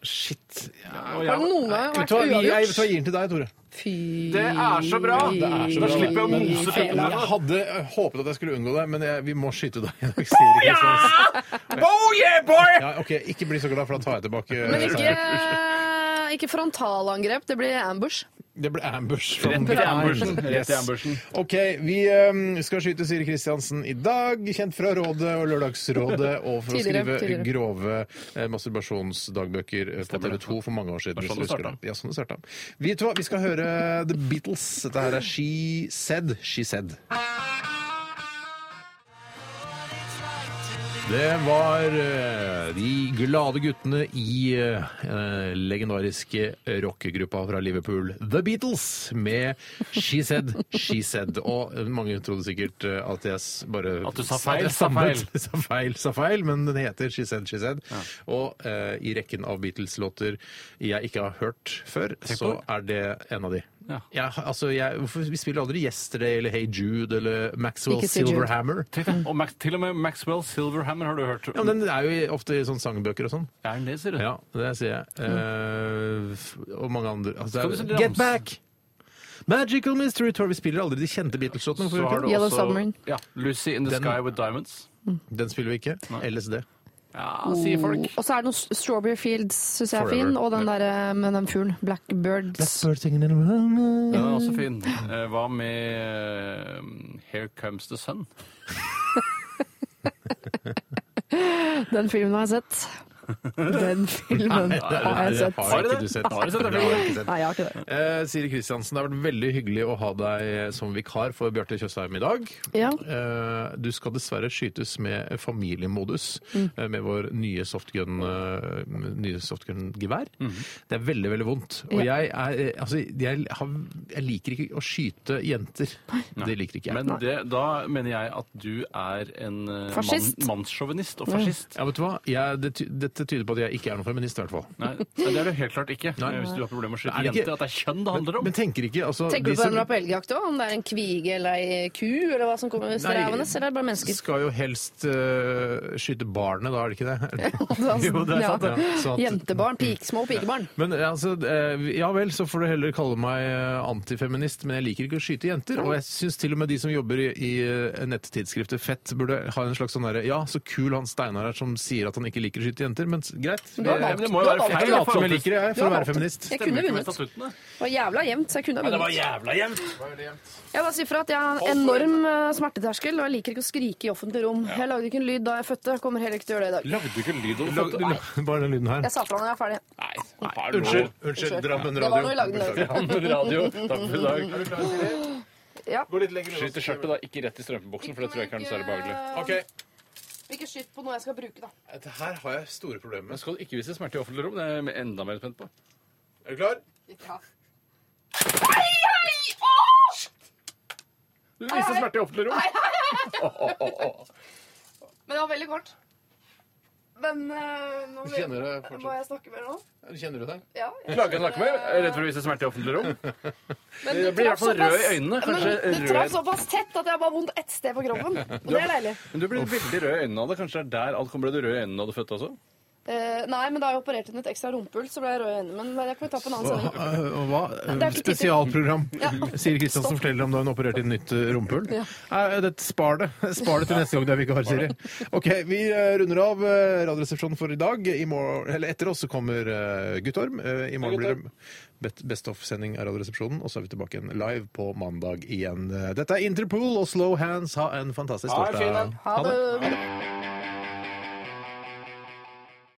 Speaker 2: Shit.
Speaker 4: Og
Speaker 3: Har det
Speaker 4: jeg,
Speaker 3: noen gang
Speaker 2: Vet
Speaker 3: vært
Speaker 2: du hva, jeg, jeg, vet du hva,
Speaker 3: uavgjort?
Speaker 2: jeg gir den til deg, Tore.
Speaker 3: Fy
Speaker 4: det er så bra!
Speaker 2: Det er så
Speaker 4: Da
Speaker 2: bra.
Speaker 4: slipper jeg å mose puppene.
Speaker 2: Jeg hadde eh, håpet at jeg skulle unngå det, men jeg, vi må skyte deg i dag, Siri.
Speaker 4: Oh yeah, boy!
Speaker 2: Ja, ok, Ikke bli så glad, for da tar jeg tilbake eh,
Speaker 3: Men ikke, eh,
Speaker 2: seieren.
Speaker 3: ikke frontalangrep, det blir ambush.
Speaker 2: Det ble ambush.
Speaker 4: Rett i ambushen.
Speaker 2: Yes.
Speaker 4: Rett i ambushen.
Speaker 2: Ok, vi ehm, skal skyte Siri Kristiansen i dag, kjent fra Rådet og Lørdagsrådet, og for å
Speaker 3: Tidligere,
Speaker 2: skrive
Speaker 3: tidligere.
Speaker 2: grove eh, masturbasjonsdagbøker eh, på TV 2 for mange år siden.
Speaker 4: Det var sånn
Speaker 2: hvis du
Speaker 4: det
Speaker 2: husker det. Ja, sånn det starta. Vi, vet du hva, vi skal høre The Beatles. Dette her er She Said, She Said. Det var eh, de glade guttene i eh, legendariske rockegruppa fra Liverpool, The Beatles, med She Said, She Said. Og mange trodde sikkert eh, at jeg s- bare
Speaker 4: At du sa feil, sa
Speaker 2: stammet.
Speaker 4: feil.
Speaker 2: sa feil, sa feil, men den heter She Said, She Said. Og eh, i rekken av Beatles-låter jeg ikke har hørt før, så er det en av de.
Speaker 4: Ja.
Speaker 2: Jeg, altså, jeg, hvorfor, vi spiller aldri Yesterday eller Hey Jude eller Maxwell
Speaker 3: Ikke si Jude.
Speaker 2: Silverhammer.
Speaker 4: Tenk deg, og Max, til og med Maxwell Silverhammer har du hørt.
Speaker 2: Ja, men Den er jo ofte i sånne sangbøker og sånn.
Speaker 4: Er den det, sier du?
Speaker 2: Ja, det sier jeg. Eh, f- og mange andre. Altså,
Speaker 4: Skal du
Speaker 2: det
Speaker 4: si
Speaker 2: er,
Speaker 4: ramse?
Speaker 2: Get Back! Magical Mystery Tour. Vi spiller aldri de kjente Beatles-låtene. hvorfor
Speaker 4: Så har
Speaker 2: gjør vi
Speaker 4: du
Speaker 3: Yellow
Speaker 4: også
Speaker 3: Submarine.
Speaker 4: ja, Lucy in the
Speaker 2: Den-
Speaker 4: Sky with Diamonds.
Speaker 2: ikke det? Den spiller vi ikke. LSD.
Speaker 4: Ja, sier folk.
Speaker 3: Og så er det noe Strawberry Fields, syns jeg er
Speaker 2: Oh. Forever.
Speaker 3: fin, og den der eh, med den fuglen. Blackbirds.
Speaker 4: Den er også fin. Eh, Hva med eh, Here Comes the Sun?
Speaker 3: Den filmen har jeg sett. Den filmen har jeg sett.
Speaker 2: Har
Speaker 4: du
Speaker 2: ikke
Speaker 4: det?
Speaker 2: du sett.
Speaker 4: Har du sett det?
Speaker 2: Det har jeg ikke sett.
Speaker 3: Nei, jeg har ikke det.
Speaker 2: Eh, Siri Kristiansen, det har vært veldig hyggelig å ha deg som vikar for Bjarte Tjøstheim i dag.
Speaker 3: Ja.
Speaker 2: Eh, du skal dessverre skytes med familiemodus
Speaker 3: Mm.
Speaker 2: eh, med vår nye softgun, eh, nye softgun-gevær.
Speaker 3: Mm.
Speaker 2: Det er veldig, veldig vondt. Og jeg, er, eh, altså, jeg, har, jeg liker ikke å skyte jenter. Det liker ikke jeg.
Speaker 4: Men det, da mener jeg at du er en eh, mann,
Speaker 3: Fascist. Mm.
Speaker 4: mannssjåvinist og fascist.
Speaker 2: ja, vet du hva? Jeg, det, ty- dette tyder på at jeg ikke er noen feminist, i hvert fall.
Speaker 4: Nei, det er du helt klart ikke.
Speaker 2: Nei.
Speaker 4: Hvis du har problemer med å
Speaker 2: Er
Speaker 4: skyte
Speaker 2: det ikke-
Speaker 4: jenter, at det er kjønn det handler om.
Speaker 2: Men tenker ikke altså, de
Speaker 3: Tenker du på
Speaker 2: som-
Speaker 3: den du er på elgjakt òg? Om det er en kvige eller ei ku, eller hva som kommer strevende? Eller er det bare mennesker?
Speaker 2: Skal jo helst øh, skyte barnet, da, er det ikke det?
Speaker 3: Jo,
Speaker 2: det er sant, det. Ja, så at-
Speaker 3: Jentebarn. Pik, små pikebarn.
Speaker 2: Men altså, eh, ja vel, så får du heller kalle meg eh, antifeminist, men jeg liker ikke å skyte jenter. Og jeg syns til og med de som jobber i, i eh, nettidsskriftet Fett, burde ha en slags sånn derre Ja, så kul han Steinar er som sier at han ikke liker å skyte jenter, men s- greit.
Speaker 3: Du har
Speaker 2: Jeg-
Speaker 3: valgt.
Speaker 4: men Eh, det
Speaker 3: Du
Speaker 4: må jo
Speaker 3: har
Speaker 4: være
Speaker 2: jeg
Speaker 3: valgt.
Speaker 4: feil.
Speaker 2: kan late som jeg liker det, jeg, for
Speaker 3: Ja,
Speaker 2: å være
Speaker 3: valgt.
Speaker 2: feminist.
Speaker 3: Jeg kunne
Speaker 4: Stemmer ikke med
Speaker 3: vunnet. Det
Speaker 4: statuttene.
Speaker 3: var jævla jevnt, så jeg kunne ha
Speaker 4: Det var
Speaker 3: vunnet.
Speaker 4: jævla jevnt!
Speaker 3: Jeg bare sier fra at jeg har en enorm eh, smerteterskel, og jeg liker ikke å skrike i offentlig rom. Jeg lagde ikke en lyd da jeg fødte, jeg kommer heller ikke til å gjøre det i dag.
Speaker 4: Lagde du ikke lyd over
Speaker 2: Lag-
Speaker 4: foto?
Speaker 2: Bare den lyden her.
Speaker 3: Jeg sa fra når jeg er ferdig.
Speaker 4: Nei,
Speaker 2: Unnskyld, unnskyld,
Speaker 3: Unnskyld.
Speaker 2: Drammen
Speaker 3: Det var noe i
Speaker 2: Radio.
Speaker 3: lagden der.
Speaker 4: Drammen radio. Takk for i dag.
Speaker 3: Ja.
Speaker 4: Skyt i skjørtet, da. Ikke rett i strømpebuksen, for det tror jeg ikke er noe særlig behagelig.
Speaker 2: Ok.
Speaker 3: Ikke skyt på noe jeg skal bruke, da.
Speaker 2: Dette her har jeg store problemer med.
Speaker 4: Skal du ikke vise smerte i offentlig rom? Det er jeg enda mer spent på.
Speaker 2: Er du klar?
Speaker 3: Ja.
Speaker 2: Hei, hei! Åh! Du viser smerte i offentlig rom.
Speaker 3: Nei,
Speaker 2: Åh, åh, åh, åh.
Speaker 3: Men det var veldig kort. Men eh, nå vil-
Speaker 2: Kjenner det fortsatt.
Speaker 3: må jeg snakke mer nå.
Speaker 2: Kjenner du det?
Speaker 3: Ja.
Speaker 4: Klager snakker med, rett for å vise smerte i offentlig rom.
Speaker 3: Men
Speaker 4: Jeg
Speaker 3: du
Speaker 4: blir
Speaker 3: traff
Speaker 4: i hvert fall
Speaker 3: såpass-
Speaker 4: rød i øynene. Kanskje
Speaker 3: Men du traff såpass tett at jeg har bare vondt ett sted på kroppen. Og det er deilig.
Speaker 4: Men du blir veldig rød i øynene av det. Kanskje det er der alt kommer til å bli rød i øynene når du er født også?
Speaker 3: Eh, nei, men da jeg opererte inn et ekstra rumpehull, så ble jeg rød i øynene. Men det kan vi ta på en annen sending.
Speaker 2: eh, Og hva?
Speaker 3: Det er ikke tid til-
Speaker 2: Spesialprogram.
Speaker 3: Ja.
Speaker 2: Siri Kristiansen forteller om da hun opererte i et nytt eh, rumpehull.
Speaker 3: Ja.
Speaker 2: Nei, det- Spar det Spar det til neste gang du er vikar, Siri. Ok, Vi eh, runder av eh, Radioresepsjonen for i dag. I morgen, eller etter oss så kommer eh, Guttorm. Eh, I morgen blir det bet- Best of-sending av Radioresepsjonen, og så er vi tilbake igjen live på mandag igjen. Eh, Dette er Interpol og Slow Hands. Ha en fantastisk
Speaker 4: Ha en
Speaker 2: torsdag.
Speaker 4: fin en.
Speaker 3: Ha det.